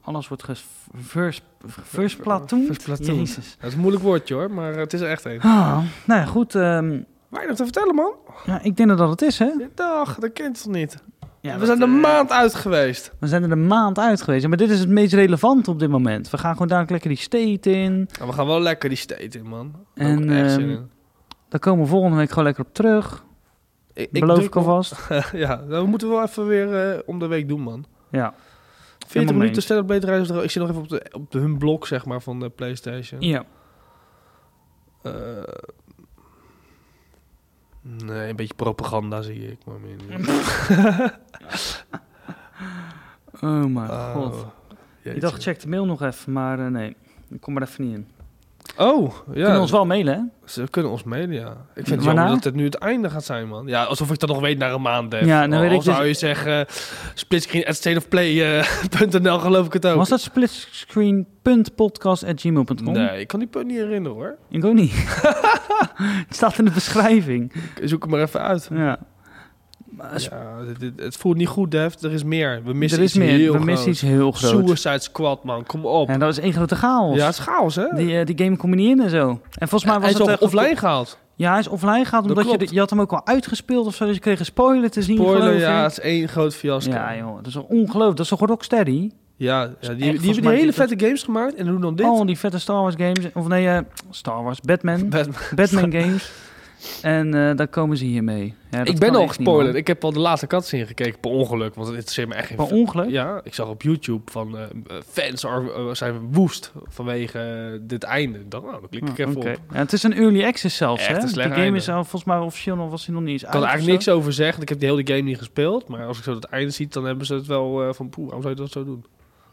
[SPEAKER 1] Alles wordt ges- vers- versplatoond.
[SPEAKER 2] Versplatoond.
[SPEAKER 1] Jezus.
[SPEAKER 2] Dat is een moeilijk woordje hoor, maar eh, het is er echt een.
[SPEAKER 1] Ah, nou ja, goed. ehm,
[SPEAKER 2] Weinig te vertellen man.
[SPEAKER 1] ja, ik denk dat dat het is, hè?
[SPEAKER 2] Dag, dat kent het niet.
[SPEAKER 1] Ja,
[SPEAKER 2] we zijn
[SPEAKER 1] dat,
[SPEAKER 2] een
[SPEAKER 1] eh,
[SPEAKER 2] maand uit geweest.
[SPEAKER 1] We zijn er een maand uit geweest. Maar dit is het meest relevant op dit moment. We gaan gewoon dadelijk lekker die state in.
[SPEAKER 2] Nou, we gaan wel lekker die state in man. Ook
[SPEAKER 1] En,
[SPEAKER 2] echt zin
[SPEAKER 1] ehm,
[SPEAKER 2] in.
[SPEAKER 1] Daar komen we volgende week gewoon lekker op terug.
[SPEAKER 2] Ik,
[SPEAKER 1] beloof
[SPEAKER 2] druk
[SPEAKER 1] ik alvast.
[SPEAKER 2] nog- (laughs) ja, nou, we moeten wel even weer eh, om de week doen man.
[SPEAKER 1] Ja.
[SPEAKER 2] 40
[SPEAKER 1] mee
[SPEAKER 2] minuten
[SPEAKER 1] eens.
[SPEAKER 2] stel beter reis. Ik zit nog even op, de, op de, hun blok zeg maar van de Playstation.
[SPEAKER 1] ja.
[SPEAKER 2] Eh, nee, een beetje propaganda zie ik. Maar meer niet.
[SPEAKER 1] (laughs) Oh mijn
[SPEAKER 2] Oh,
[SPEAKER 1] god. Ik
[SPEAKER 2] jeetje.
[SPEAKER 1] dacht, check de mail nog even. Maar eh, nee, ik kom er even niet in.
[SPEAKER 2] Oh, ja.
[SPEAKER 1] Kunnen we ons wel mailen, hè?
[SPEAKER 2] Ze kunnen ons mailen, ja. Ik vind het
[SPEAKER 1] Waarna?
[SPEAKER 2] jammer dat het nu het einde gaat zijn, man. Ja, alsof ik dat nog weet na een maand, Def.
[SPEAKER 1] Ja, nou
[SPEAKER 2] Al
[SPEAKER 1] weet ik dus-
[SPEAKER 2] zou je zeggen, splitscreen at eh, (laughs) stateofplay.nl geloof ik het ook.
[SPEAKER 1] Was dat splitscreen.podcast.gmail.com?
[SPEAKER 2] Nee, ik kan die punt niet herinneren, hoor.
[SPEAKER 1] Ik ook Oh, niet. (laughs) het staat in de beschrijving.
[SPEAKER 2] Ik Zoek hem maar even uit.
[SPEAKER 1] Ja. Maar sp-
[SPEAKER 2] Ja, dit- dit- het voelt niet goed, Def. Er is meer. We missen
[SPEAKER 1] er is
[SPEAKER 2] iets
[SPEAKER 1] meer.
[SPEAKER 2] heel
[SPEAKER 1] we
[SPEAKER 2] groot.
[SPEAKER 1] missen iets heel groot.
[SPEAKER 2] Suicide Squad, man. Kom op.
[SPEAKER 1] En dat is één grote chaos.
[SPEAKER 2] Ja, het is chaos, hè?
[SPEAKER 1] Die, eh, die game kom je niet in en zo. En volgens mij was
[SPEAKER 2] Hij is
[SPEAKER 1] het
[SPEAKER 2] al
[SPEAKER 1] echt-
[SPEAKER 2] offline gehaald.
[SPEAKER 1] Ja, hij is offline gehaald.
[SPEAKER 2] Dat
[SPEAKER 1] Omdat je,
[SPEAKER 2] klopt.
[SPEAKER 1] je had hem ook al uitgespeeld of zo. Dus je kreeg een spoiler te zien.
[SPEAKER 2] Spoiler,
[SPEAKER 1] geloof
[SPEAKER 2] ja,
[SPEAKER 1] ik.
[SPEAKER 2] het is één groot fiasco.
[SPEAKER 1] Ja, joh. Dat is toch ongelooflijk. Dat is toch Rocksteady?
[SPEAKER 2] Ja, ja, die, die
[SPEAKER 1] volgens
[SPEAKER 2] hebben die
[SPEAKER 1] mij Oh,
[SPEAKER 2] hele
[SPEAKER 1] dit-
[SPEAKER 2] vette games gemaakt en doen dan (laughs) dit.
[SPEAKER 1] Al die vette Star Wars games. Of nee, eh, Star Wars. Batman.
[SPEAKER 2] Batman.
[SPEAKER 1] Batman games. En eh, daar komen ze hiermee. Ja, dat
[SPEAKER 2] ik ben
[SPEAKER 1] kan echt niet,
[SPEAKER 2] al
[SPEAKER 1] man.
[SPEAKER 2] gespoilerd. Ik heb al de laatste cutscene gekeken per ongeluk, want het interesseert me echt geen
[SPEAKER 1] Per ongeluk?
[SPEAKER 2] Ja, ik zag op YouTube van eh, eh, fans are, eh, zijn woest vanwege eh, dit einde. Ik dacht, nou, dan klik ik
[SPEAKER 1] Ah,
[SPEAKER 2] even
[SPEAKER 1] oké.
[SPEAKER 2] op.
[SPEAKER 1] Ja, het is een early access zelfs,
[SPEAKER 2] Echt
[SPEAKER 1] hè?
[SPEAKER 2] een
[SPEAKER 1] De
[SPEAKER 2] slecht
[SPEAKER 1] game
[SPEAKER 2] einde.
[SPEAKER 1] is al volgens mij officieel nog was hij nog niet eens
[SPEAKER 2] Ik kan er eigenlijk niks over zeggen. want Ik heb de hele game niet gespeeld. Maar als ik zo het einde zie, dan hebben ze het wel eh, van poeh, waarom zou je dat zo doen?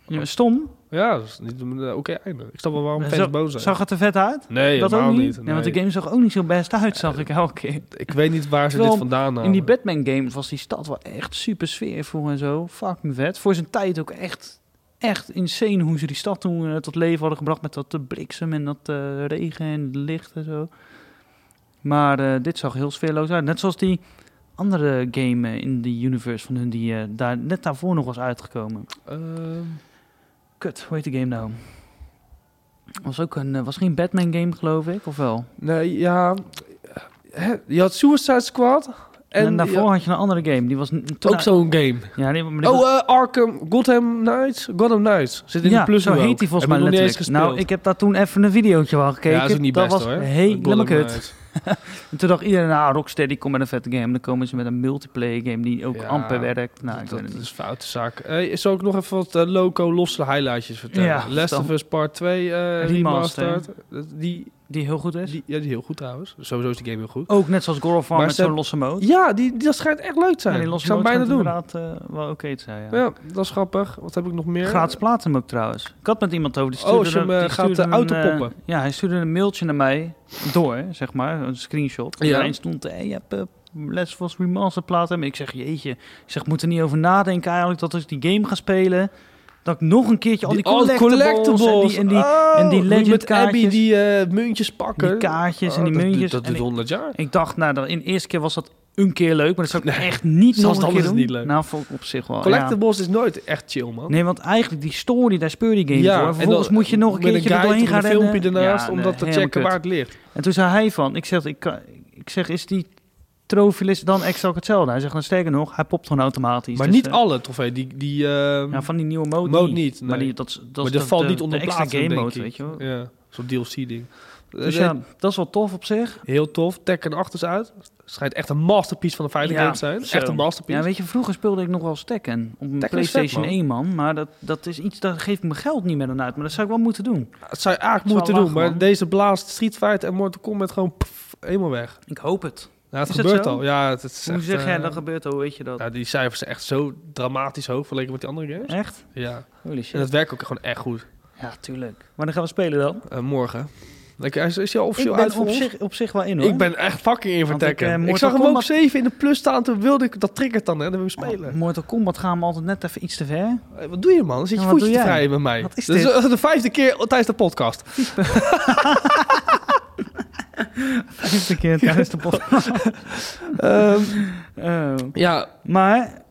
[SPEAKER 1] Ja, stom.
[SPEAKER 2] Ja, dat is niet een eh, oké einde. Ik snap wel waarom
[SPEAKER 1] Eh,
[SPEAKER 2] fans
[SPEAKER 1] zo-
[SPEAKER 2] boos zijn.
[SPEAKER 1] Zag het er vet uit?
[SPEAKER 2] nee,
[SPEAKER 1] dat ook
[SPEAKER 2] helemaal
[SPEAKER 1] niet.
[SPEAKER 2] niet.
[SPEAKER 1] Nee, want de
[SPEAKER 2] nee.
[SPEAKER 1] game zag ook niet zo best uit, zag ik elke keer.
[SPEAKER 2] Ik weet niet waar ze dit
[SPEAKER 1] Terwijl
[SPEAKER 2] vandaan halen.
[SPEAKER 1] In die Batman games was die stad wel echt super sfeervol en zo. Fucking vet. Voor zijn tijd ook echt, echt insane hoe ze die stad toen eh, tot leven hadden gebracht. Met dat eh, bliksem en dat eh, regen en het licht en zo. Maar eh, dit zag heel sfeerloos uit. Net zoals die andere game eh, in die universe van hun die eh, daar, net daarvoor nog was uitgekomen.
[SPEAKER 2] Ehm,
[SPEAKER 1] Kut, hoe heet de game nou? Was ook een, eh, was geen Batman game geloof ik, of wel?
[SPEAKER 2] nee, ja. Hè, Je had Suicide Squad.
[SPEAKER 1] En,
[SPEAKER 2] En,
[SPEAKER 1] daarvoor
[SPEAKER 2] je-
[SPEAKER 1] had je een andere game, die was n- toen
[SPEAKER 2] ook zo'n game.
[SPEAKER 1] Ja, die, maar die
[SPEAKER 2] Oh,
[SPEAKER 1] was-
[SPEAKER 2] eh, Arkham, Gotham Knights. Gotham Knights. Zit in
[SPEAKER 1] ja,
[SPEAKER 2] de plus
[SPEAKER 1] zo Nou, heet die volgens mij letterlijk. Nou, ik heb daar toen even een videootje van gekeken.
[SPEAKER 2] Ja, is ook niet
[SPEAKER 1] dat
[SPEAKER 2] best
[SPEAKER 1] was
[SPEAKER 2] hoor. eh,
[SPEAKER 1] helemaal
[SPEAKER 2] Gotham
[SPEAKER 1] kut.
[SPEAKER 2] Knights.
[SPEAKER 1] En toen dacht iedereen, nou, Rocksteady komt met een vette game. Dan komen ze met een multiplayer game die ook
[SPEAKER 2] Ja,
[SPEAKER 1] amper werkt. Nou, ik
[SPEAKER 2] dat
[SPEAKER 1] weet het
[SPEAKER 2] dat
[SPEAKER 1] niet.
[SPEAKER 2] is foute zaak. Eh zal ik nog even wat eh, loco losse highlightjes vertellen?
[SPEAKER 1] Ja,
[SPEAKER 2] Last of
[SPEAKER 1] vertel.
[SPEAKER 2] Us Part 2 eh
[SPEAKER 1] Remastered.
[SPEAKER 2] remastered. Dat- Die,
[SPEAKER 1] Die heel goed is.
[SPEAKER 2] die, ja, die is heel goed trouwens. Sowieso is die game heel goed.
[SPEAKER 1] Ook net zoals God of War
[SPEAKER 2] Maar
[SPEAKER 1] met
[SPEAKER 2] ze-
[SPEAKER 1] zo'n losse mode.
[SPEAKER 2] Ja, die, die, dat schijnt echt leuk te zijn.
[SPEAKER 1] Ja, die
[SPEAKER 2] ik
[SPEAKER 1] losse
[SPEAKER 2] zou het
[SPEAKER 1] mode
[SPEAKER 2] bijna
[SPEAKER 1] schijnt
[SPEAKER 2] doen.
[SPEAKER 1] inderdaad eh, wel oké te zijn, ja.
[SPEAKER 2] Ja, dat is grappig. Wat heb ik nog meer?
[SPEAKER 1] Gratis platinum ook trouwens. Ik had met iemand over. Die
[SPEAKER 2] Oh,
[SPEAKER 1] stuurde,
[SPEAKER 2] als je hem, eh,
[SPEAKER 1] die
[SPEAKER 2] gaat, eh,
[SPEAKER 1] stuurde een,
[SPEAKER 2] autopoppen.
[SPEAKER 1] eh, ja, hij stuurde een mailtje naar mij door, zeg maar. Een screenshot.
[SPEAKER 2] Ja.
[SPEAKER 1] En daarin stond, hey, je hebt eh, Les Vos Remastered platinum. Ik zeg, jeetje. Ik zeg, moet er niet over nadenken eigenlijk dat als ik die game ga spelen... Dat ik nog een keertje al die
[SPEAKER 2] oh,
[SPEAKER 1] collectibles, en die, en die,
[SPEAKER 2] Oh,
[SPEAKER 1] en die
[SPEAKER 2] moet je
[SPEAKER 1] legend
[SPEAKER 2] met Abby
[SPEAKER 1] kaartjes.
[SPEAKER 2] die eh, muntjes pakken.
[SPEAKER 1] die kaartjes en
[SPEAKER 2] Oh,
[SPEAKER 1] die
[SPEAKER 2] dat duurt-
[SPEAKER 1] muntjes.
[SPEAKER 2] Dat
[SPEAKER 1] En
[SPEAKER 2] duurt
[SPEAKER 1] ik-
[SPEAKER 2] 100 jaar.
[SPEAKER 1] ik dacht, nou, dan, in de eerste keer was dat een keer leuk, maar dat zou ik
[SPEAKER 2] Nee,
[SPEAKER 1] echt niet
[SPEAKER 2] zelfs
[SPEAKER 1] nog een
[SPEAKER 2] dan
[SPEAKER 1] keer
[SPEAKER 2] is het
[SPEAKER 1] doen.
[SPEAKER 2] niet leuk.
[SPEAKER 1] Nou, vond ik op zich wel. ja.
[SPEAKER 2] Collectibles is nooit echt chill, man.
[SPEAKER 1] Nee, want eigenlijk die story, daar speel je die game
[SPEAKER 2] Oh. Ja,
[SPEAKER 1] voor.
[SPEAKER 2] en
[SPEAKER 1] En vervolgens
[SPEAKER 2] dan-
[SPEAKER 1] moet je nog een
[SPEAKER 2] met
[SPEAKER 1] keertje er
[SPEAKER 2] guide
[SPEAKER 1] doorheen
[SPEAKER 2] of
[SPEAKER 1] gaan
[SPEAKER 2] een
[SPEAKER 1] rennen.
[SPEAKER 2] filmpje ernaast,
[SPEAKER 1] Ja,
[SPEAKER 2] om dat
[SPEAKER 1] nee,
[SPEAKER 2] te
[SPEAKER 1] helemaal
[SPEAKER 2] checken waar
[SPEAKER 1] kut.
[SPEAKER 2] het ligt.
[SPEAKER 1] En toen zei hij van, ik zeg, ik, kan- ik zeg is die trofilist dan exact hetzelfde? Hij zegt, nou sterker nog, hij popt gewoon automatisch.
[SPEAKER 2] Maar
[SPEAKER 1] Dus,
[SPEAKER 2] niet
[SPEAKER 1] eh,
[SPEAKER 2] alle trofee, die... die eh,
[SPEAKER 1] ja, van die nieuwe mode,
[SPEAKER 2] Mode
[SPEAKER 1] niet.
[SPEAKER 2] niet, nee.
[SPEAKER 1] Maar die, dat, is- dat, is
[SPEAKER 2] maar dat
[SPEAKER 1] de-
[SPEAKER 2] valt
[SPEAKER 1] de-
[SPEAKER 2] niet onder
[SPEAKER 1] de extra
[SPEAKER 2] platinum,
[SPEAKER 1] game
[SPEAKER 2] denk
[SPEAKER 1] mode,
[SPEAKER 2] ik. Eh,
[SPEAKER 1] weet je wel.
[SPEAKER 2] Ja, zo'n DLC-ding.
[SPEAKER 1] Dus ja, dat is wel tof op zich.
[SPEAKER 2] Heel tof. Tekken 8 is uit. Schijnt echt een masterpiece van de fighting
[SPEAKER 1] Ja,
[SPEAKER 2] game te zijn.
[SPEAKER 1] zo.
[SPEAKER 2] Echt een masterpiece.
[SPEAKER 1] Ja, weet je, vroeger speelde ik nog wel eens Tekken op een
[SPEAKER 2] Tekken is vet,
[SPEAKER 1] PlayStation
[SPEAKER 2] man.
[SPEAKER 1] 1, man. Maar dat, dat is iets, dat geeft mijn geld niet meer dan uit. Maar dat zou ik wel moeten doen.
[SPEAKER 2] Het zou je eigenlijk
[SPEAKER 1] Zou
[SPEAKER 2] moeten
[SPEAKER 1] lachen,
[SPEAKER 2] doen, maar
[SPEAKER 1] man.
[SPEAKER 2] deze blaast Street Fighter en Mortal Kombat gewoon pff, helemaal weg.
[SPEAKER 1] Ik hoop het.
[SPEAKER 2] Nou, het
[SPEAKER 1] Is dat
[SPEAKER 2] gebeurt
[SPEAKER 1] zo?
[SPEAKER 2] al. Ja, het, het is
[SPEAKER 1] Hoe
[SPEAKER 2] echt,
[SPEAKER 1] zeg jij
[SPEAKER 2] eh,
[SPEAKER 1] dat gebeurt, hoe weet je dat?
[SPEAKER 2] nou, die cijfers zijn echt zo dramatisch hoog vergeleken met die andere games.
[SPEAKER 1] Echt?
[SPEAKER 2] Ja.
[SPEAKER 1] Holy
[SPEAKER 2] En
[SPEAKER 1] shit.
[SPEAKER 2] dat werkt ook gewoon echt goed.
[SPEAKER 1] Ja, tuurlijk. Wanneer gaan we spelen dan?
[SPEAKER 2] Eh, morgen. Ik, is, is je
[SPEAKER 1] Ik
[SPEAKER 2] officieel uit
[SPEAKER 1] ben
[SPEAKER 2] voor
[SPEAKER 1] op
[SPEAKER 2] ons?
[SPEAKER 1] zich, op zich wel in hoor.
[SPEAKER 2] Ik ben echt fucking in voor
[SPEAKER 1] Want ik,
[SPEAKER 2] Tekken.
[SPEAKER 1] eh,
[SPEAKER 2] Ik,
[SPEAKER 1] Mortal
[SPEAKER 2] zag hem ook
[SPEAKER 1] Kombat-
[SPEAKER 2] 7 in de plus staan, toen wilde ik, dat triggert dan hè, dan wil ik spelen.
[SPEAKER 1] Oh, Mortal Kombat gaan we altijd net even iets te
[SPEAKER 2] (laughs)
[SPEAKER 1] ver.
[SPEAKER 2] Eh, Wat doe je man? Zit je
[SPEAKER 1] Ja, wat
[SPEAKER 2] voetje
[SPEAKER 1] doe
[SPEAKER 2] te
[SPEAKER 1] jij?
[SPEAKER 2] vrijen met mij?
[SPEAKER 1] Wat is
[SPEAKER 2] dat
[SPEAKER 1] dit?
[SPEAKER 2] is eh, de vijfde keer tijdens de podcast.
[SPEAKER 1] Vijfde keer tijdens
[SPEAKER 2] (laughs)
[SPEAKER 1] de podcast.
[SPEAKER 2] Ehm,
[SPEAKER 1] Oh.
[SPEAKER 2] ja,
[SPEAKER 1] Maar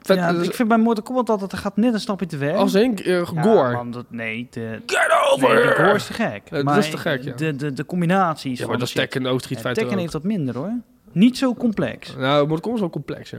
[SPEAKER 2] vet,
[SPEAKER 1] ja,
[SPEAKER 2] eh,
[SPEAKER 1] ik vind bij Mortal Kombat altijd, er gaat net een stapje te ver.
[SPEAKER 2] als Henk, eh,
[SPEAKER 1] Ja,
[SPEAKER 2] gore.
[SPEAKER 1] man, dat, nee, de,
[SPEAKER 2] Get
[SPEAKER 1] nee, de
[SPEAKER 2] here!
[SPEAKER 1] gore is te gek.
[SPEAKER 2] dat
[SPEAKER 1] Maar
[SPEAKER 2] is te gek, ja.
[SPEAKER 1] De, de, de combinaties
[SPEAKER 2] Ja,
[SPEAKER 1] van
[SPEAKER 2] maar dat is
[SPEAKER 1] shit.
[SPEAKER 2] Tekken ook, Street
[SPEAKER 1] En
[SPEAKER 2] Fighter
[SPEAKER 1] Tekken
[SPEAKER 2] ook.
[SPEAKER 1] heeft dat minder hoor. Niet zo complex.
[SPEAKER 2] Nou, Mortal Kombat is wel complex, ja.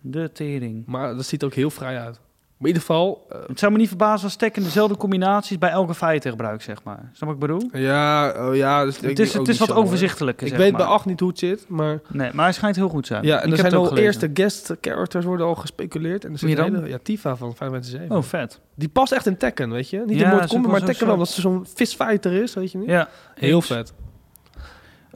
[SPEAKER 1] De tering.
[SPEAKER 2] Maar dat ziet er ook heel vrij uit. Maar in ieder geval... eh,
[SPEAKER 1] Het zou me niet verbazen als Tekken dezelfde combinaties bij elke fighter gebruikt, zeg maar. Snap je wat ik bedoel?
[SPEAKER 2] ja, oh, ja... Dus,
[SPEAKER 1] Het is, het is wat
[SPEAKER 2] overzicht.
[SPEAKER 1] overzichtelijker,
[SPEAKER 2] Ik
[SPEAKER 1] zeg
[SPEAKER 2] weet
[SPEAKER 1] maar.
[SPEAKER 2] bij 8 niet hoe het zit, maar...
[SPEAKER 1] Nee, maar hij schijnt heel goed te
[SPEAKER 2] Ja,
[SPEAKER 1] zijn.
[SPEAKER 2] en er
[SPEAKER 1] Ik heb
[SPEAKER 2] zijn
[SPEAKER 1] het ook
[SPEAKER 2] al
[SPEAKER 1] gelezen.
[SPEAKER 2] eerste guest characters worden al gespeculeerd. En er zit
[SPEAKER 1] Wie
[SPEAKER 2] een
[SPEAKER 1] dan?
[SPEAKER 2] hele- Ja, Tifa van Final Fantasy 7.
[SPEAKER 1] Oh, vet.
[SPEAKER 2] Die past echt in Tekken, weet je? Niet
[SPEAKER 1] Ja,
[SPEAKER 2] in Mortal
[SPEAKER 1] ze
[SPEAKER 2] Kombat, maar
[SPEAKER 1] was ook
[SPEAKER 2] Tekken
[SPEAKER 1] zo.
[SPEAKER 2] wel. Omdat ze zo'n fistfighter is, weet je niet?
[SPEAKER 1] Ja.
[SPEAKER 2] Heel vet.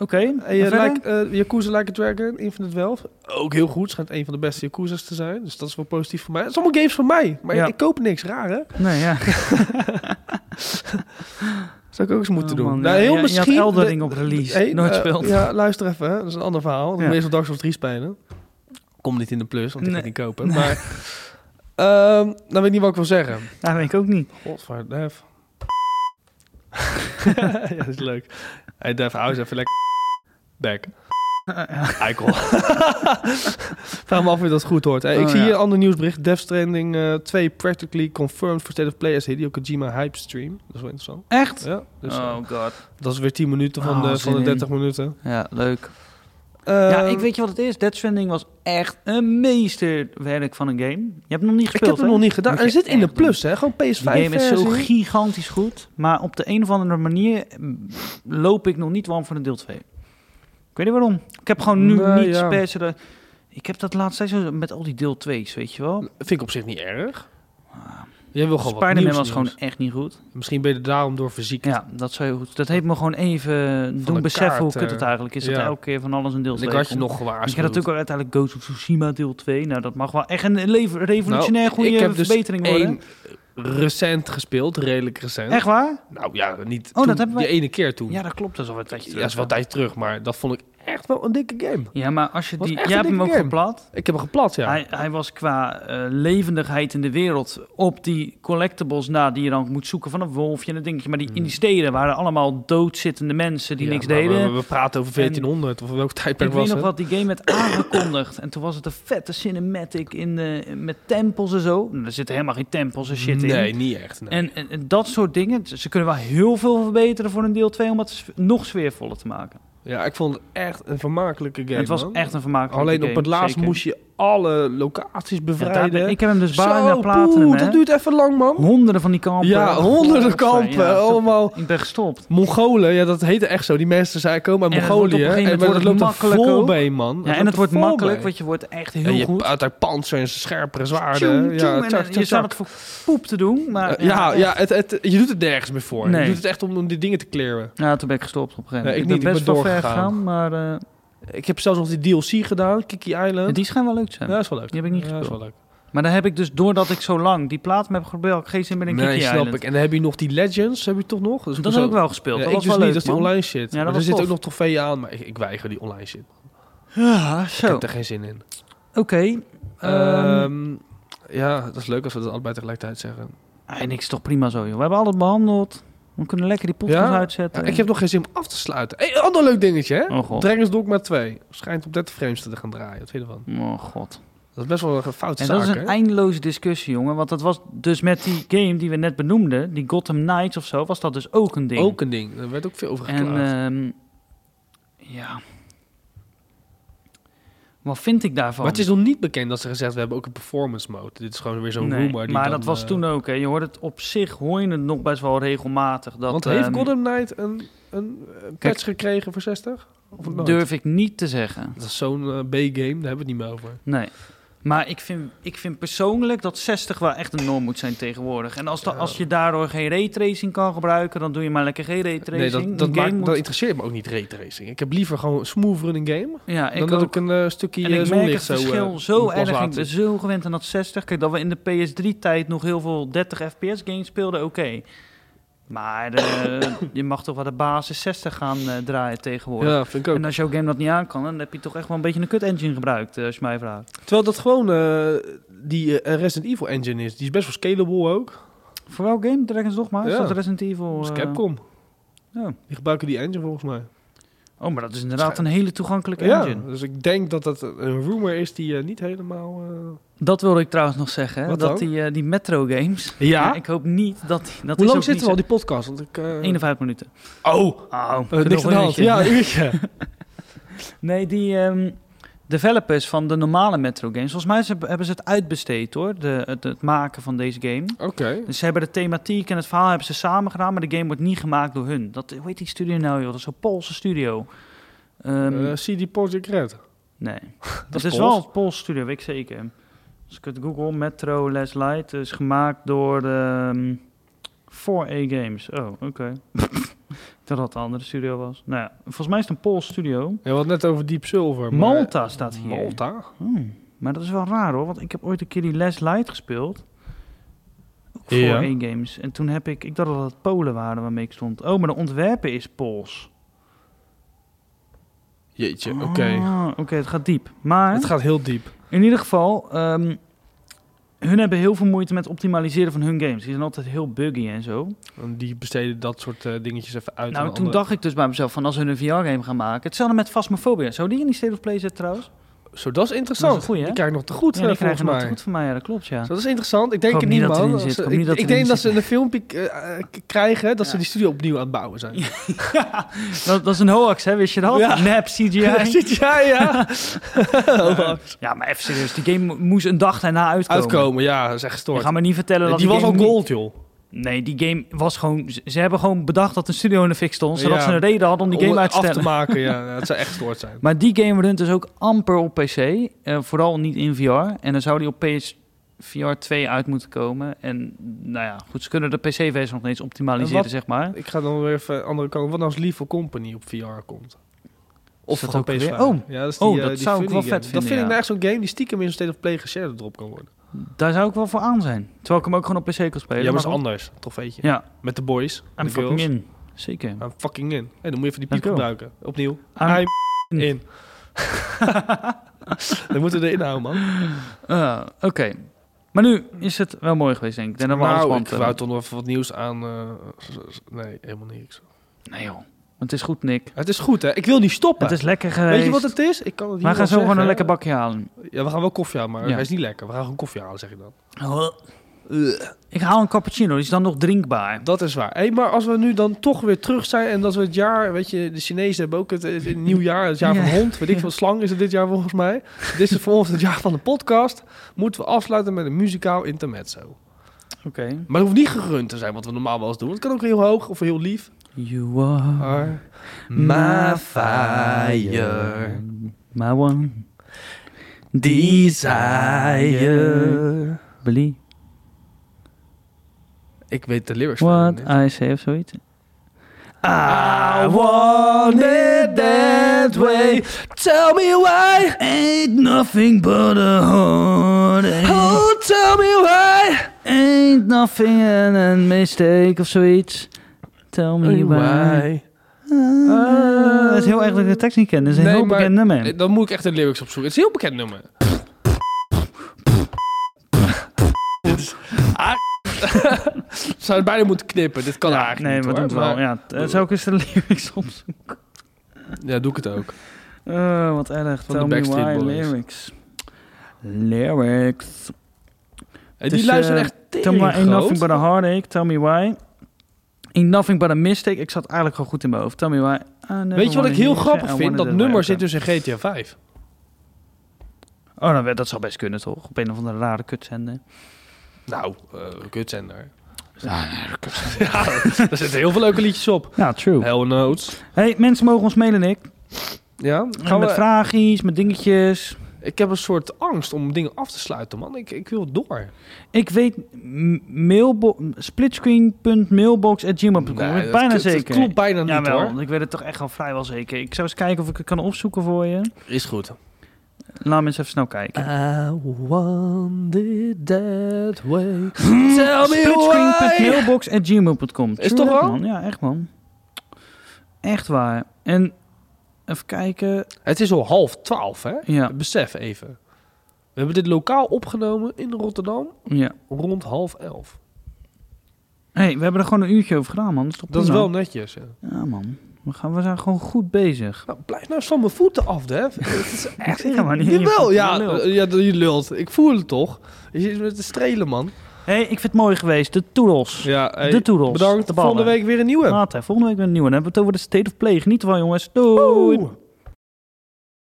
[SPEAKER 1] Oké.
[SPEAKER 2] En
[SPEAKER 1] en
[SPEAKER 2] je
[SPEAKER 1] verder?
[SPEAKER 2] like, eh, Yakuza Like a Dragon, Infinite Wealth. Ook heel goed. Schijnt een van de beste Yakuza's te zijn. Dus dat is wel positief voor mij. Het zijn allemaal games van mij. Maar
[SPEAKER 1] Ja.
[SPEAKER 2] ik koop niks. Raar, hè?
[SPEAKER 1] Nee, ja.
[SPEAKER 2] Zou ik ook eens (laughs) moeten
[SPEAKER 1] Oh,
[SPEAKER 2] doen.
[SPEAKER 1] man,
[SPEAKER 2] nou,
[SPEAKER 1] ja.
[SPEAKER 2] heel
[SPEAKER 1] Je- je had
[SPEAKER 2] misschien...
[SPEAKER 1] Elden Ring op release. Nooit
[SPEAKER 2] eh,
[SPEAKER 1] speeld.
[SPEAKER 2] Ja, luister even. Hè. Dat is een ander verhaal. Ik
[SPEAKER 1] Ja.
[SPEAKER 2] meestal Dark Souls 3 spelen. Kom niet in de plus, want ik
[SPEAKER 1] Nee.
[SPEAKER 2] ga het niet kopen. Maar... ehm nou weet ik niet wat ik wil zeggen.
[SPEAKER 1] Nou, weet ik ook
[SPEAKER 2] (laughs)
[SPEAKER 1] niet.
[SPEAKER 2] Godver, Def. ja, dat is leuk. Hey Def, hou eens even lekker back. Eikel. Vraag me af of dat goed hoort. Hey, ik
[SPEAKER 1] Oh,
[SPEAKER 2] zie
[SPEAKER 1] ja.
[SPEAKER 2] hier een ander nieuwsbericht. Death Stranding eh, 2 practically confirmed for State of Play as Hideo Kojima hype stream. Dat is wel interessant. Ah,
[SPEAKER 1] Echt?
[SPEAKER 2] Ja, dus, eh,
[SPEAKER 1] oh god.
[SPEAKER 2] dat is weer 10 minuten van,
[SPEAKER 1] Oh,
[SPEAKER 2] de, van
[SPEAKER 1] zin
[SPEAKER 2] de
[SPEAKER 1] in.
[SPEAKER 2] 30 minuten.
[SPEAKER 1] Ja, leuk. ja,
[SPEAKER 2] Ehm,
[SPEAKER 1] ik weet je wat het is? Dead Stranding was echt een meesterwerk van een game. Je hebt hem nog niet
[SPEAKER 2] ik
[SPEAKER 1] gespeeld,
[SPEAKER 2] heb het
[SPEAKER 1] hè?
[SPEAKER 2] nog niet gedaan.
[SPEAKER 1] Moet
[SPEAKER 2] Hij
[SPEAKER 1] je
[SPEAKER 2] zit in de
[SPEAKER 1] echt doen.
[SPEAKER 2] plus, hè? Gewoon PS5
[SPEAKER 1] Die game is zo
[SPEAKER 2] versie.
[SPEAKER 1] gigantisch goed, maar op de een of andere manier mm, loop ik nog niet warm voor een deel 2. Ik weet niet waarom. Ik heb gewoon nu
[SPEAKER 2] Nee,
[SPEAKER 1] niet
[SPEAKER 2] ja.
[SPEAKER 1] per se... de- Ik heb dat laatst tijd zo met al die deel 2's, weet je wel. Ah,
[SPEAKER 2] Vind ik op zich niet erg. Jij wil gewoon wat
[SPEAKER 1] Spider-Man
[SPEAKER 2] nieuws,
[SPEAKER 1] was gewoon
[SPEAKER 2] nieuws.
[SPEAKER 1] echt niet goed.
[SPEAKER 2] Misschien ben je er daarom door verziekt.
[SPEAKER 1] Ja, dat zou heel goed. Dat heeft me gewoon even
[SPEAKER 2] de
[SPEAKER 1] doen beseffen
[SPEAKER 2] kaart,
[SPEAKER 1] hoe kut het
[SPEAKER 2] eh,
[SPEAKER 1] eigenlijk is. Dat
[SPEAKER 2] ja.
[SPEAKER 1] elke keer van alles een deel
[SPEAKER 2] Ik
[SPEAKER 1] 2
[SPEAKER 2] had je
[SPEAKER 1] komt.
[SPEAKER 2] nog
[SPEAKER 1] Ik
[SPEAKER 2] gewaarschuwd.
[SPEAKER 1] heb natuurlijk ook uiteindelijk Ghost of Tsushima deel 2. Nou, dat mag wel echt een lever- revolutionair
[SPEAKER 2] Nou,
[SPEAKER 1] goede
[SPEAKER 2] ik heb dus
[SPEAKER 1] verbetering worden.
[SPEAKER 2] Eén recent gespeeld, redelijk recent.
[SPEAKER 1] Echt waar?
[SPEAKER 2] Nou ja, niet
[SPEAKER 1] dat
[SPEAKER 2] toen,
[SPEAKER 1] hebben wij-
[SPEAKER 2] die ene keer toen.
[SPEAKER 1] Ja, dat klopt. Dat is alweer een tijdje
[SPEAKER 2] Ja,
[SPEAKER 1] terug.
[SPEAKER 2] is wel tijd terug, maar dat vond ik echt wel een dikke game.
[SPEAKER 1] Ja, maar als je
[SPEAKER 2] Was
[SPEAKER 1] die...
[SPEAKER 2] echt
[SPEAKER 1] Jij
[SPEAKER 2] een
[SPEAKER 1] hebt hem
[SPEAKER 2] dikke
[SPEAKER 1] ook
[SPEAKER 2] game.
[SPEAKER 1] geplat.
[SPEAKER 2] Ik heb hem geplat, ja.
[SPEAKER 1] Hij, hij was qua eh, levendigheid in de wereld op die collectibles na die je dan moet zoeken van een wolfje en een dingetje. Maar die, in die steden waren allemaal doodzittende mensen die
[SPEAKER 2] Mm. Ja,
[SPEAKER 1] niks
[SPEAKER 2] maar we-
[SPEAKER 1] deden.
[SPEAKER 2] We, we praten over 1400, of welk tijdperk
[SPEAKER 1] Ik weet
[SPEAKER 2] was
[SPEAKER 1] nog
[SPEAKER 2] het?
[SPEAKER 1] wat die game
[SPEAKER 2] (coughs)
[SPEAKER 1] werd aangekondigd. En toen was het een vette cinematic in, eh, met tempels en zo. Nou, er zitten helemaal geen tempels en shit in.
[SPEAKER 2] nee, niet echt. nee.
[SPEAKER 1] En, en, en dat soort dingen. Ze kunnen wel heel veel verbeteren voor een deel 2 om het s- nog sfeervoller te maken.
[SPEAKER 2] Ja, ik vond het echt een vermakelijke game,
[SPEAKER 1] het was
[SPEAKER 2] man.
[SPEAKER 1] echt een vermaak.
[SPEAKER 2] Alleen op het laatst moest je alle locaties
[SPEAKER 1] Ja, daar
[SPEAKER 2] bevrijden.
[SPEAKER 1] ben- ik heb hem dus
[SPEAKER 2] Zo,
[SPEAKER 1] baar naar platen.
[SPEAKER 2] poeh, dat duurt even lang, man.
[SPEAKER 1] Honderden van die kampen. Oh,
[SPEAKER 2] Ja, honderden kampen, Oh,
[SPEAKER 1] Ja, dat-
[SPEAKER 2] allemaal.
[SPEAKER 1] Ik ben gestopt.
[SPEAKER 2] Mongolen, ja, dat heette echt zo. Die mensen zijn komen uit
[SPEAKER 1] En het wordt op
[SPEAKER 2] Mongolië.
[SPEAKER 1] een gegeven
[SPEAKER 2] En
[SPEAKER 1] moment
[SPEAKER 2] maar dat loopt
[SPEAKER 1] wordt
[SPEAKER 2] er
[SPEAKER 1] het makkelijk
[SPEAKER 2] vol
[SPEAKER 1] ook.
[SPEAKER 2] bij, man.
[SPEAKER 1] Ja, en het
[SPEAKER 2] loopt er
[SPEAKER 1] wordt
[SPEAKER 2] vol
[SPEAKER 1] makkelijk,
[SPEAKER 2] bij.
[SPEAKER 1] want je wordt echt
[SPEAKER 2] En
[SPEAKER 1] heel
[SPEAKER 2] je
[SPEAKER 1] goed.
[SPEAKER 2] hebt uit panzer en scherpere
[SPEAKER 1] Tjoem,
[SPEAKER 2] zwaarden.
[SPEAKER 1] tjoem, en
[SPEAKER 2] Ja, tjak,
[SPEAKER 1] dan-
[SPEAKER 2] tjak,
[SPEAKER 1] je zou
[SPEAKER 2] tjak.
[SPEAKER 1] het voor poep te doen, maar...
[SPEAKER 2] Eh, ja, ja het, het, je doet het nergens meer voor. Je
[SPEAKER 1] Ah, Nee.
[SPEAKER 2] doet het echt om, om die dingen te clearen.
[SPEAKER 1] Ja, toen ben ik gestopt op een gegeven
[SPEAKER 2] Ja,
[SPEAKER 1] moment.
[SPEAKER 2] ik
[SPEAKER 1] ik, ben
[SPEAKER 2] niet,
[SPEAKER 1] best
[SPEAKER 2] ik ben
[SPEAKER 1] wel ver
[SPEAKER 2] doorgegaan.
[SPEAKER 1] gegaan, maar eh,
[SPEAKER 2] Ik heb zelfs nog die DLC gedaan, Kiki Island.
[SPEAKER 1] die schijnt wel leuk te zijn.
[SPEAKER 2] ja, dat is wel leuk.
[SPEAKER 1] Die heb ik niet
[SPEAKER 2] Ja, dat is
[SPEAKER 1] gespeeld.
[SPEAKER 2] wel leuk.
[SPEAKER 1] Maar dan heb ik dus, doordat ik zo lang die plaat heb gebruikt, geen zin meer in
[SPEAKER 2] nee,
[SPEAKER 1] Kiki
[SPEAKER 2] snap
[SPEAKER 1] Island.
[SPEAKER 2] ik. En dan heb je nog die Legends, heb je toch nog?
[SPEAKER 1] Dus
[SPEAKER 2] is
[SPEAKER 1] dat
[SPEAKER 2] zo-
[SPEAKER 1] heb ik wel gespeeld.
[SPEAKER 2] Ja,
[SPEAKER 1] dat
[SPEAKER 2] ik
[SPEAKER 1] was
[SPEAKER 2] dus
[SPEAKER 1] wel leuk,
[SPEAKER 2] niet, dat is die
[SPEAKER 1] man.
[SPEAKER 2] online shit.
[SPEAKER 1] dat
[SPEAKER 2] maar er
[SPEAKER 1] was
[SPEAKER 2] zit
[SPEAKER 1] tof.
[SPEAKER 2] ook nog trofeeën aan, maar ik, ik weiger die online shit.
[SPEAKER 1] Ja,
[SPEAKER 2] Ik
[SPEAKER 1] zo.
[SPEAKER 2] heb
[SPEAKER 1] Oké.
[SPEAKER 2] er geen zin in.
[SPEAKER 1] ehm,
[SPEAKER 2] Ehm, ja, dat is leuk als we dat allebei tegelijkertijd zeggen.
[SPEAKER 1] ah, en ik is toch prima zo, joh. We hebben alles behandeld. We kunnen lekker die podcast
[SPEAKER 2] Ja? Ja,
[SPEAKER 1] uitzetten.
[SPEAKER 2] ik heb nog geen zin om af te sluiten. Hey, ander leuk dingetje, hè?
[SPEAKER 1] Oh god.
[SPEAKER 2] Dragon's Dogma 2 schijnt op 30 frames te gaan draaien. Wat vind je ervan?
[SPEAKER 1] Oh god.
[SPEAKER 2] Dat is best wel een foute
[SPEAKER 1] En
[SPEAKER 2] zaak,
[SPEAKER 1] dat is een
[SPEAKER 2] hè?
[SPEAKER 1] eindeloze discussie, jongen. Want dat was dus met die game die we net benoemden, die Gotham Knights of zo, was dat dus ook een ding.
[SPEAKER 2] Ook een ding. Er werd ook veel over
[SPEAKER 1] En
[SPEAKER 2] geklaagd.
[SPEAKER 1] ehm, ja. Wat vind ik daarvan?
[SPEAKER 2] maar het is nog niet bekend dat ze gezegd we hebben ook een performance mode. Dit is gewoon weer zo'n
[SPEAKER 1] Nee,
[SPEAKER 2] rumor. Die
[SPEAKER 1] maar
[SPEAKER 2] dan,
[SPEAKER 1] dat was
[SPEAKER 2] eh,
[SPEAKER 1] toen ook. Hè. Je hoorde het op zich, hoor je het nog best wel regelmatig. Dat,
[SPEAKER 2] want heeft
[SPEAKER 1] ehm,
[SPEAKER 2] Gotham Knight een, een eh, patch
[SPEAKER 1] Kijk,
[SPEAKER 2] gekregen voor 60? Of nooit?
[SPEAKER 1] durf ik niet te zeggen.
[SPEAKER 2] Dat is zo'n eh, B-game, daar hebben we het niet meer over.
[SPEAKER 1] Nee. Maar ik vind, ik vind persoonlijk dat 60 wel echt een norm moet zijn tegenwoordig. En als, da-
[SPEAKER 2] Ja.
[SPEAKER 1] als je daardoor geen raytracing kan gebruiken, dan doe je maar lekker geen raytracing.
[SPEAKER 2] Nee, dat, dat,
[SPEAKER 1] Een game
[SPEAKER 2] maakt,
[SPEAKER 1] moet-
[SPEAKER 2] dat interesseert me ook niet raytracing. Ik heb liever gewoon een smooth running game.
[SPEAKER 1] ja, ik
[SPEAKER 2] dan dat
[SPEAKER 1] ook.
[SPEAKER 2] ik een eh, stukje
[SPEAKER 1] en ik
[SPEAKER 2] eh,
[SPEAKER 1] merk
[SPEAKER 2] zonlicht
[SPEAKER 1] het
[SPEAKER 2] zo, eh,
[SPEAKER 1] verschil
[SPEAKER 2] in
[SPEAKER 1] zo
[SPEAKER 2] de pas
[SPEAKER 1] erg. Ik
[SPEAKER 2] laat
[SPEAKER 1] ben
[SPEAKER 2] zien.
[SPEAKER 1] zo gewend aan dat 60. Kijk, dat we in de PS3-tijd nog heel veel 30 FPS games speelden, oké. Maar
[SPEAKER 2] (coughs)
[SPEAKER 1] eh, je mag toch wel de basis 60 gaan eh, draaien tegenwoordig.
[SPEAKER 2] Ja, vind ik ook.
[SPEAKER 1] En als jouw game dat niet aan kan, dan heb je toch echt wel een beetje een kut engine gebruikt, eh, als je mij vraagt.
[SPEAKER 2] Terwijl dat gewoon eh, die eh, Resident Evil engine is. Die is best wel scalable ook.
[SPEAKER 1] Voor welk game? Dragon's Dogma? Is
[SPEAKER 2] Ja.
[SPEAKER 1] dat Resident Evil?
[SPEAKER 2] Dat is
[SPEAKER 1] eh?
[SPEAKER 2] Capcom.
[SPEAKER 1] ja.
[SPEAKER 2] Die gebruiken die engine volgens mij.
[SPEAKER 1] Oh, maar dat is inderdaad een hele toegankelijke
[SPEAKER 2] Ja,
[SPEAKER 1] engine.
[SPEAKER 2] dus ik denk dat dat een rumor is die eh, niet helemaal... eh,
[SPEAKER 1] Dat wilde ik trouwens nog zeggen. hè,
[SPEAKER 2] Wat
[SPEAKER 1] dat
[SPEAKER 2] dan?
[SPEAKER 1] die, eh, die Metro games...
[SPEAKER 2] Ja?
[SPEAKER 1] Ik hoop niet dat... Die, dat
[SPEAKER 2] Hoe
[SPEAKER 1] is
[SPEAKER 2] lang
[SPEAKER 1] ook
[SPEAKER 2] zitten we al,
[SPEAKER 1] niet
[SPEAKER 2] die podcast? Want ik, eh,
[SPEAKER 1] zo- 51 minuten.
[SPEAKER 2] Oh,
[SPEAKER 1] Oh,
[SPEAKER 2] eh, niks aan de
[SPEAKER 1] (laughs)
[SPEAKER 2] hand. Ja, een uurtje.
[SPEAKER 1] Nee, die ehm, developers van de normale Metro games... Volgens mij ze- hebben ze het uitbesteed, hoor. De, het, het maken van deze game.
[SPEAKER 2] Oké.
[SPEAKER 1] Dus ze hebben de thematiek en het verhaal hebben ze samen gedaan... maar de game wordt niet gemaakt door hun. Dat, hoe heet die studio nou, joh? Dat is zo'n Poolse studio. Ehm,
[SPEAKER 2] Eh, CD Project Red. (laughs)
[SPEAKER 1] nee. Dat
[SPEAKER 2] is
[SPEAKER 1] is dus
[SPEAKER 2] Pools.
[SPEAKER 1] wel een Poolse studio, weet ik zeker. Als ik het google, Metro Last Light... is gemaakt door ehm 4A Games. Oh, oké. (laughs) ik dacht dat het een andere studio was. Nou ja, volgens mij is het een Poolse studio...
[SPEAKER 2] Ja, we hadden het net over Deep Silver. maar-
[SPEAKER 1] Malta staat hier.
[SPEAKER 2] Malta?
[SPEAKER 1] Hmm, Maar dat is wel raar hoor, want ik heb ooit een keer die Les Light gespeeld. Ook voor
[SPEAKER 2] Ja.
[SPEAKER 1] E-games. En toen heb ik, ik dacht dat het Polen waren waarmee ik stond. Oh, maar de ontwerper is Pools.
[SPEAKER 2] Jeetje, oké.
[SPEAKER 1] Ah, Oké, het gaat diep. Maar
[SPEAKER 2] Het gaat heel diep.
[SPEAKER 1] in ieder geval, ehm, hun hebben heel veel moeite met optimaliseren van hun games. Die zijn altijd heel buggy en zo.
[SPEAKER 2] En die besteden dat soort eh, dingetjes even uit.
[SPEAKER 1] nou, toen
[SPEAKER 2] aan de andere-
[SPEAKER 1] dacht ik dus bij mezelf van als hun een VR-game gaan maken. Hetzelfde met Phasmophobia. Zou die in die State of Play zitten trouwens?
[SPEAKER 2] Zo, dat is interessant.
[SPEAKER 1] Dat is een goeie, hè?
[SPEAKER 2] die krijg ik nog te goed,
[SPEAKER 1] ja, die
[SPEAKER 2] eh,
[SPEAKER 1] krijgen
[SPEAKER 2] volgens
[SPEAKER 1] nog
[SPEAKER 2] mij.
[SPEAKER 1] goed van mij. Ja, dat klopt, ja.
[SPEAKER 2] Zo, dat is interessant. Ik denk
[SPEAKER 1] Ik hoop
[SPEAKER 2] het niet,
[SPEAKER 1] niet dat
[SPEAKER 2] man.
[SPEAKER 1] erin
[SPEAKER 2] Als
[SPEAKER 1] zit.
[SPEAKER 2] ze-
[SPEAKER 1] Ik hoop
[SPEAKER 2] Ik,
[SPEAKER 1] niet dat
[SPEAKER 2] ik
[SPEAKER 1] erin
[SPEAKER 2] denk dat ze
[SPEAKER 1] zit.
[SPEAKER 2] een filmpje eh, eh, k- krijgen dat ze
[SPEAKER 1] Ja.
[SPEAKER 2] die studio opnieuw aan het bouwen zijn.
[SPEAKER 1] Dat, dat is een hoax, hè? Wist je dat?
[SPEAKER 2] Ja.
[SPEAKER 1] Nep CGI.
[SPEAKER 2] (laughs) Ja, zit jij, (laughs) ja. (laughs) Overal
[SPEAKER 1] Eh, Ja, maar even serieus. Die game mo- moest een dag daarna uitkomen.
[SPEAKER 2] Uitkomen, ja, dat is echt
[SPEAKER 1] Je
[SPEAKER 2] gestoord.
[SPEAKER 1] gaat me niet vertellen dat
[SPEAKER 2] die was
[SPEAKER 1] game
[SPEAKER 2] al
[SPEAKER 1] niet-
[SPEAKER 2] gold, joh.
[SPEAKER 1] Nee, die game was gewoon... ze- Ze hebben gewoon bedacht dat een studio in de fik stond... zodat
[SPEAKER 2] Ja.
[SPEAKER 1] ze een reden hadden om die game
[SPEAKER 2] het
[SPEAKER 1] uit te
[SPEAKER 2] af
[SPEAKER 1] stellen.
[SPEAKER 2] te maken, ja. Het zou echt gestoord zijn.
[SPEAKER 1] Maar die game runt dus ook amper op PC. eh, vooral niet in VR. En dan zou die op PSVR 2 uit moeten komen. En nou ja, goed. Ze kunnen de PC-versie nog niet eens optimaliseren,
[SPEAKER 2] En wat-
[SPEAKER 1] zeg maar.
[SPEAKER 2] Ik ga dan weer even andere kant. Wat nou als Lethal Company op VR komt? Of
[SPEAKER 1] dat
[SPEAKER 2] gewoon
[SPEAKER 1] ook
[SPEAKER 2] PS5.
[SPEAKER 1] weer? Oh.
[SPEAKER 2] ja, dat, is
[SPEAKER 1] Oh,
[SPEAKER 2] eh,
[SPEAKER 1] dat zou ik
[SPEAKER 2] funny
[SPEAKER 1] wel
[SPEAKER 2] game.
[SPEAKER 1] vet
[SPEAKER 2] Dat
[SPEAKER 1] vinden,
[SPEAKER 2] vind ik
[SPEAKER 1] ja.
[SPEAKER 2] nou echt zo'n game die stiekem in State of Play geshared erop kan worden.
[SPEAKER 1] Daar zou ik wel voor aan zijn. Terwijl ik hem ook gewoon op PC kan spelen.
[SPEAKER 2] ja, maar dat is
[SPEAKER 1] goed.
[SPEAKER 2] anders. Trofeetje.
[SPEAKER 1] Ja,
[SPEAKER 2] Met de boys. en
[SPEAKER 1] I'm
[SPEAKER 2] de
[SPEAKER 1] fucking
[SPEAKER 2] girls.
[SPEAKER 1] in. Zeker.
[SPEAKER 2] I'm fucking in. En dan moet je even die piep
[SPEAKER 1] Let's go.
[SPEAKER 2] gebruiken. Opnieuw.
[SPEAKER 1] I'm
[SPEAKER 2] I'm,
[SPEAKER 1] in.
[SPEAKER 2] in. Oh.
[SPEAKER 1] (laughs)
[SPEAKER 2] dan moeten we erin houden, man.
[SPEAKER 1] Eh, Oké. Maar nu is het wel mooi geweest, denk ik. En dan was
[SPEAKER 2] nou,
[SPEAKER 1] alles eh,
[SPEAKER 2] ik wou toch nog even wat nieuws aan... eh, s- s- nee, helemaal niks.
[SPEAKER 1] Nee joh. Het is goed, Nick.
[SPEAKER 2] Het is goed, hè. Ik wil niet stoppen.
[SPEAKER 1] Het is lekker geweest.
[SPEAKER 2] Weet je wat het is? Ik kan het hier
[SPEAKER 1] Maar we gaan
[SPEAKER 2] wel
[SPEAKER 1] zo gewoon
[SPEAKER 2] zeggen.
[SPEAKER 1] een lekker bakje halen.
[SPEAKER 2] Ja, we gaan wel koffie halen, maar
[SPEAKER 1] Ja.
[SPEAKER 2] hij is niet lekker. We gaan gewoon koffie halen, zeg je dan. Ugh.
[SPEAKER 1] Ik haal een cappuccino, die is dan nog drinkbaar.
[SPEAKER 2] Dat is waar. Hey, maar als we nu dan toch weer terug zijn en dat we het jaar, weet je, de Chinezen hebben ook het, het, het nieuw jaar, het jaar
[SPEAKER 1] Ja.
[SPEAKER 2] van hond, weet ik veel, slang is het dit jaar volgens mij. Dit is voor ons het jaar van de podcast. Moeten we afsluiten met een muzikaal intermezzo.
[SPEAKER 1] Oké.
[SPEAKER 2] Maar het hoeft niet gerund te zijn, wat we normaal wel eens doen. Het kan ook heel hoog of heel lief.
[SPEAKER 1] You are my fire, my one desire. Believe
[SPEAKER 2] Ik weet de lyrics van
[SPEAKER 1] what
[SPEAKER 2] niet.
[SPEAKER 1] I say of zoiets.
[SPEAKER 2] I want it that way. Tell me why.
[SPEAKER 1] Ain't nothing but a heartache.
[SPEAKER 2] Oh, tell me why.
[SPEAKER 1] Ain't nothing and a mistake of zoiets. Tell me why. Ah, Het is heel erg dat ik de tekst niet ken. Dat is een
[SPEAKER 2] Nee,
[SPEAKER 1] heel
[SPEAKER 2] maar-
[SPEAKER 1] bekend nummer.
[SPEAKER 2] Eh, Dan moet ik echt de lyrics opzoeken. Het is een heel bekend nummer. Dit is- Ah, (laughs) Zou het bijna moeten knippen. Dit kan
[SPEAKER 1] ja,
[SPEAKER 2] eigenlijk
[SPEAKER 1] nee,
[SPEAKER 2] niet
[SPEAKER 1] maar
[SPEAKER 2] hoor.
[SPEAKER 1] doet wel.
[SPEAKER 2] Maar-
[SPEAKER 1] Ja, t- eh, zou ik eens de (laughs) lyrics opzoeken?
[SPEAKER 2] Ja, doe ik het ook.
[SPEAKER 1] Eh, wat erg.
[SPEAKER 2] Van
[SPEAKER 1] Tell
[SPEAKER 2] de
[SPEAKER 1] me
[SPEAKER 2] Backstreet
[SPEAKER 1] why
[SPEAKER 2] Boys.
[SPEAKER 1] lyrics. Lyrics.
[SPEAKER 2] En
[SPEAKER 1] Dus,
[SPEAKER 2] die luisteren
[SPEAKER 1] eh,
[SPEAKER 2] echt
[SPEAKER 1] Tell me
[SPEAKER 2] tering
[SPEAKER 1] why ain't nothing but
[SPEAKER 2] groot.
[SPEAKER 1] a heartache. Tell me why. Ain't nothing but a mistake. Ik zat eigenlijk gewoon goed in mijn hoofd. Tell me why. I never
[SPEAKER 2] Weet je wat
[SPEAKER 1] wanna
[SPEAKER 2] ik heel
[SPEAKER 1] hear
[SPEAKER 2] grappig
[SPEAKER 1] you, I
[SPEAKER 2] vind?
[SPEAKER 1] wanna
[SPEAKER 2] Dat
[SPEAKER 1] do it
[SPEAKER 2] nummer
[SPEAKER 1] right.
[SPEAKER 2] zit dus in GTA 5.
[SPEAKER 1] Oh, nou, dat zou best kunnen toch? Op een of andere rare kutzender.
[SPEAKER 2] Nou, eh kutzender. (laughs) Ja, daar zitten heel veel leuke liedjes op.
[SPEAKER 1] Ja, true.
[SPEAKER 2] Hell Notes.
[SPEAKER 1] Hey, mensen mogen ons mailen, Nick.
[SPEAKER 2] Ja,
[SPEAKER 1] Gaan
[SPEAKER 2] gaan
[SPEAKER 1] met
[SPEAKER 2] we...
[SPEAKER 1] vraagjes, met dingetjes.
[SPEAKER 2] Ik heb een soort angst om dingen af te sluiten, man. Ik, ik wil door.
[SPEAKER 1] Ik weet m- mailbo- splitscreen.mailbox.gmailbox.com.
[SPEAKER 2] Nee,
[SPEAKER 1] weet
[SPEAKER 2] dat
[SPEAKER 1] bijna
[SPEAKER 2] klopt-
[SPEAKER 1] zeker.
[SPEAKER 2] Dat klopt bijna niet,
[SPEAKER 1] Jawel,
[SPEAKER 2] hoor.
[SPEAKER 1] want ik weet het toch echt al vrijwel zeker. Ik zou eens kijken of ik het kan opzoeken voor je.
[SPEAKER 2] Is goed.
[SPEAKER 1] Laat me eens even snel kijken.
[SPEAKER 2] I want it that way. Tell me why.
[SPEAKER 1] Splitscreen.mailbox.gmail.com. True
[SPEAKER 2] Is toch
[SPEAKER 1] that,
[SPEAKER 2] wel?
[SPEAKER 1] man. Ja, echt man. Echt waar. En even kijken.
[SPEAKER 2] Het is al half twaalf, hè?
[SPEAKER 1] Ja,
[SPEAKER 2] Besef even. We hebben dit lokaal opgenomen in Rotterdam
[SPEAKER 1] ja.
[SPEAKER 2] rond half elf.
[SPEAKER 1] hey, we hebben er gewoon een uurtje over gedaan, man. Dat is, toch
[SPEAKER 2] Dat is
[SPEAKER 1] prima?
[SPEAKER 2] wel netjes. Hè?
[SPEAKER 1] Ja, man. We, gaan, we zijn gewoon goed
[SPEAKER 2] (laughs)
[SPEAKER 1] bezig.
[SPEAKER 2] Nou, blijf nou van mijn voeten af, Def. Het is echt...
[SPEAKER 1] Ik ga maar niet in je
[SPEAKER 2] Jawel,
[SPEAKER 1] voeten
[SPEAKER 2] ja,
[SPEAKER 1] lul.
[SPEAKER 2] eh, ja, je lult. Ik voel het toch. Je zit met de strelen, man.
[SPEAKER 1] Hé, hey, ik vind het mooi geweest. De toedels.
[SPEAKER 2] Ja, hey,
[SPEAKER 1] de toedels.
[SPEAKER 2] Bedankt.
[SPEAKER 1] De ballen.
[SPEAKER 2] Volgende week weer een nieuwe.
[SPEAKER 1] Later, volgende week weer een nieuwe. Dan hebben we het over de State of Play. Geniet ervan, jongens. Doei.
[SPEAKER 2] Oeh.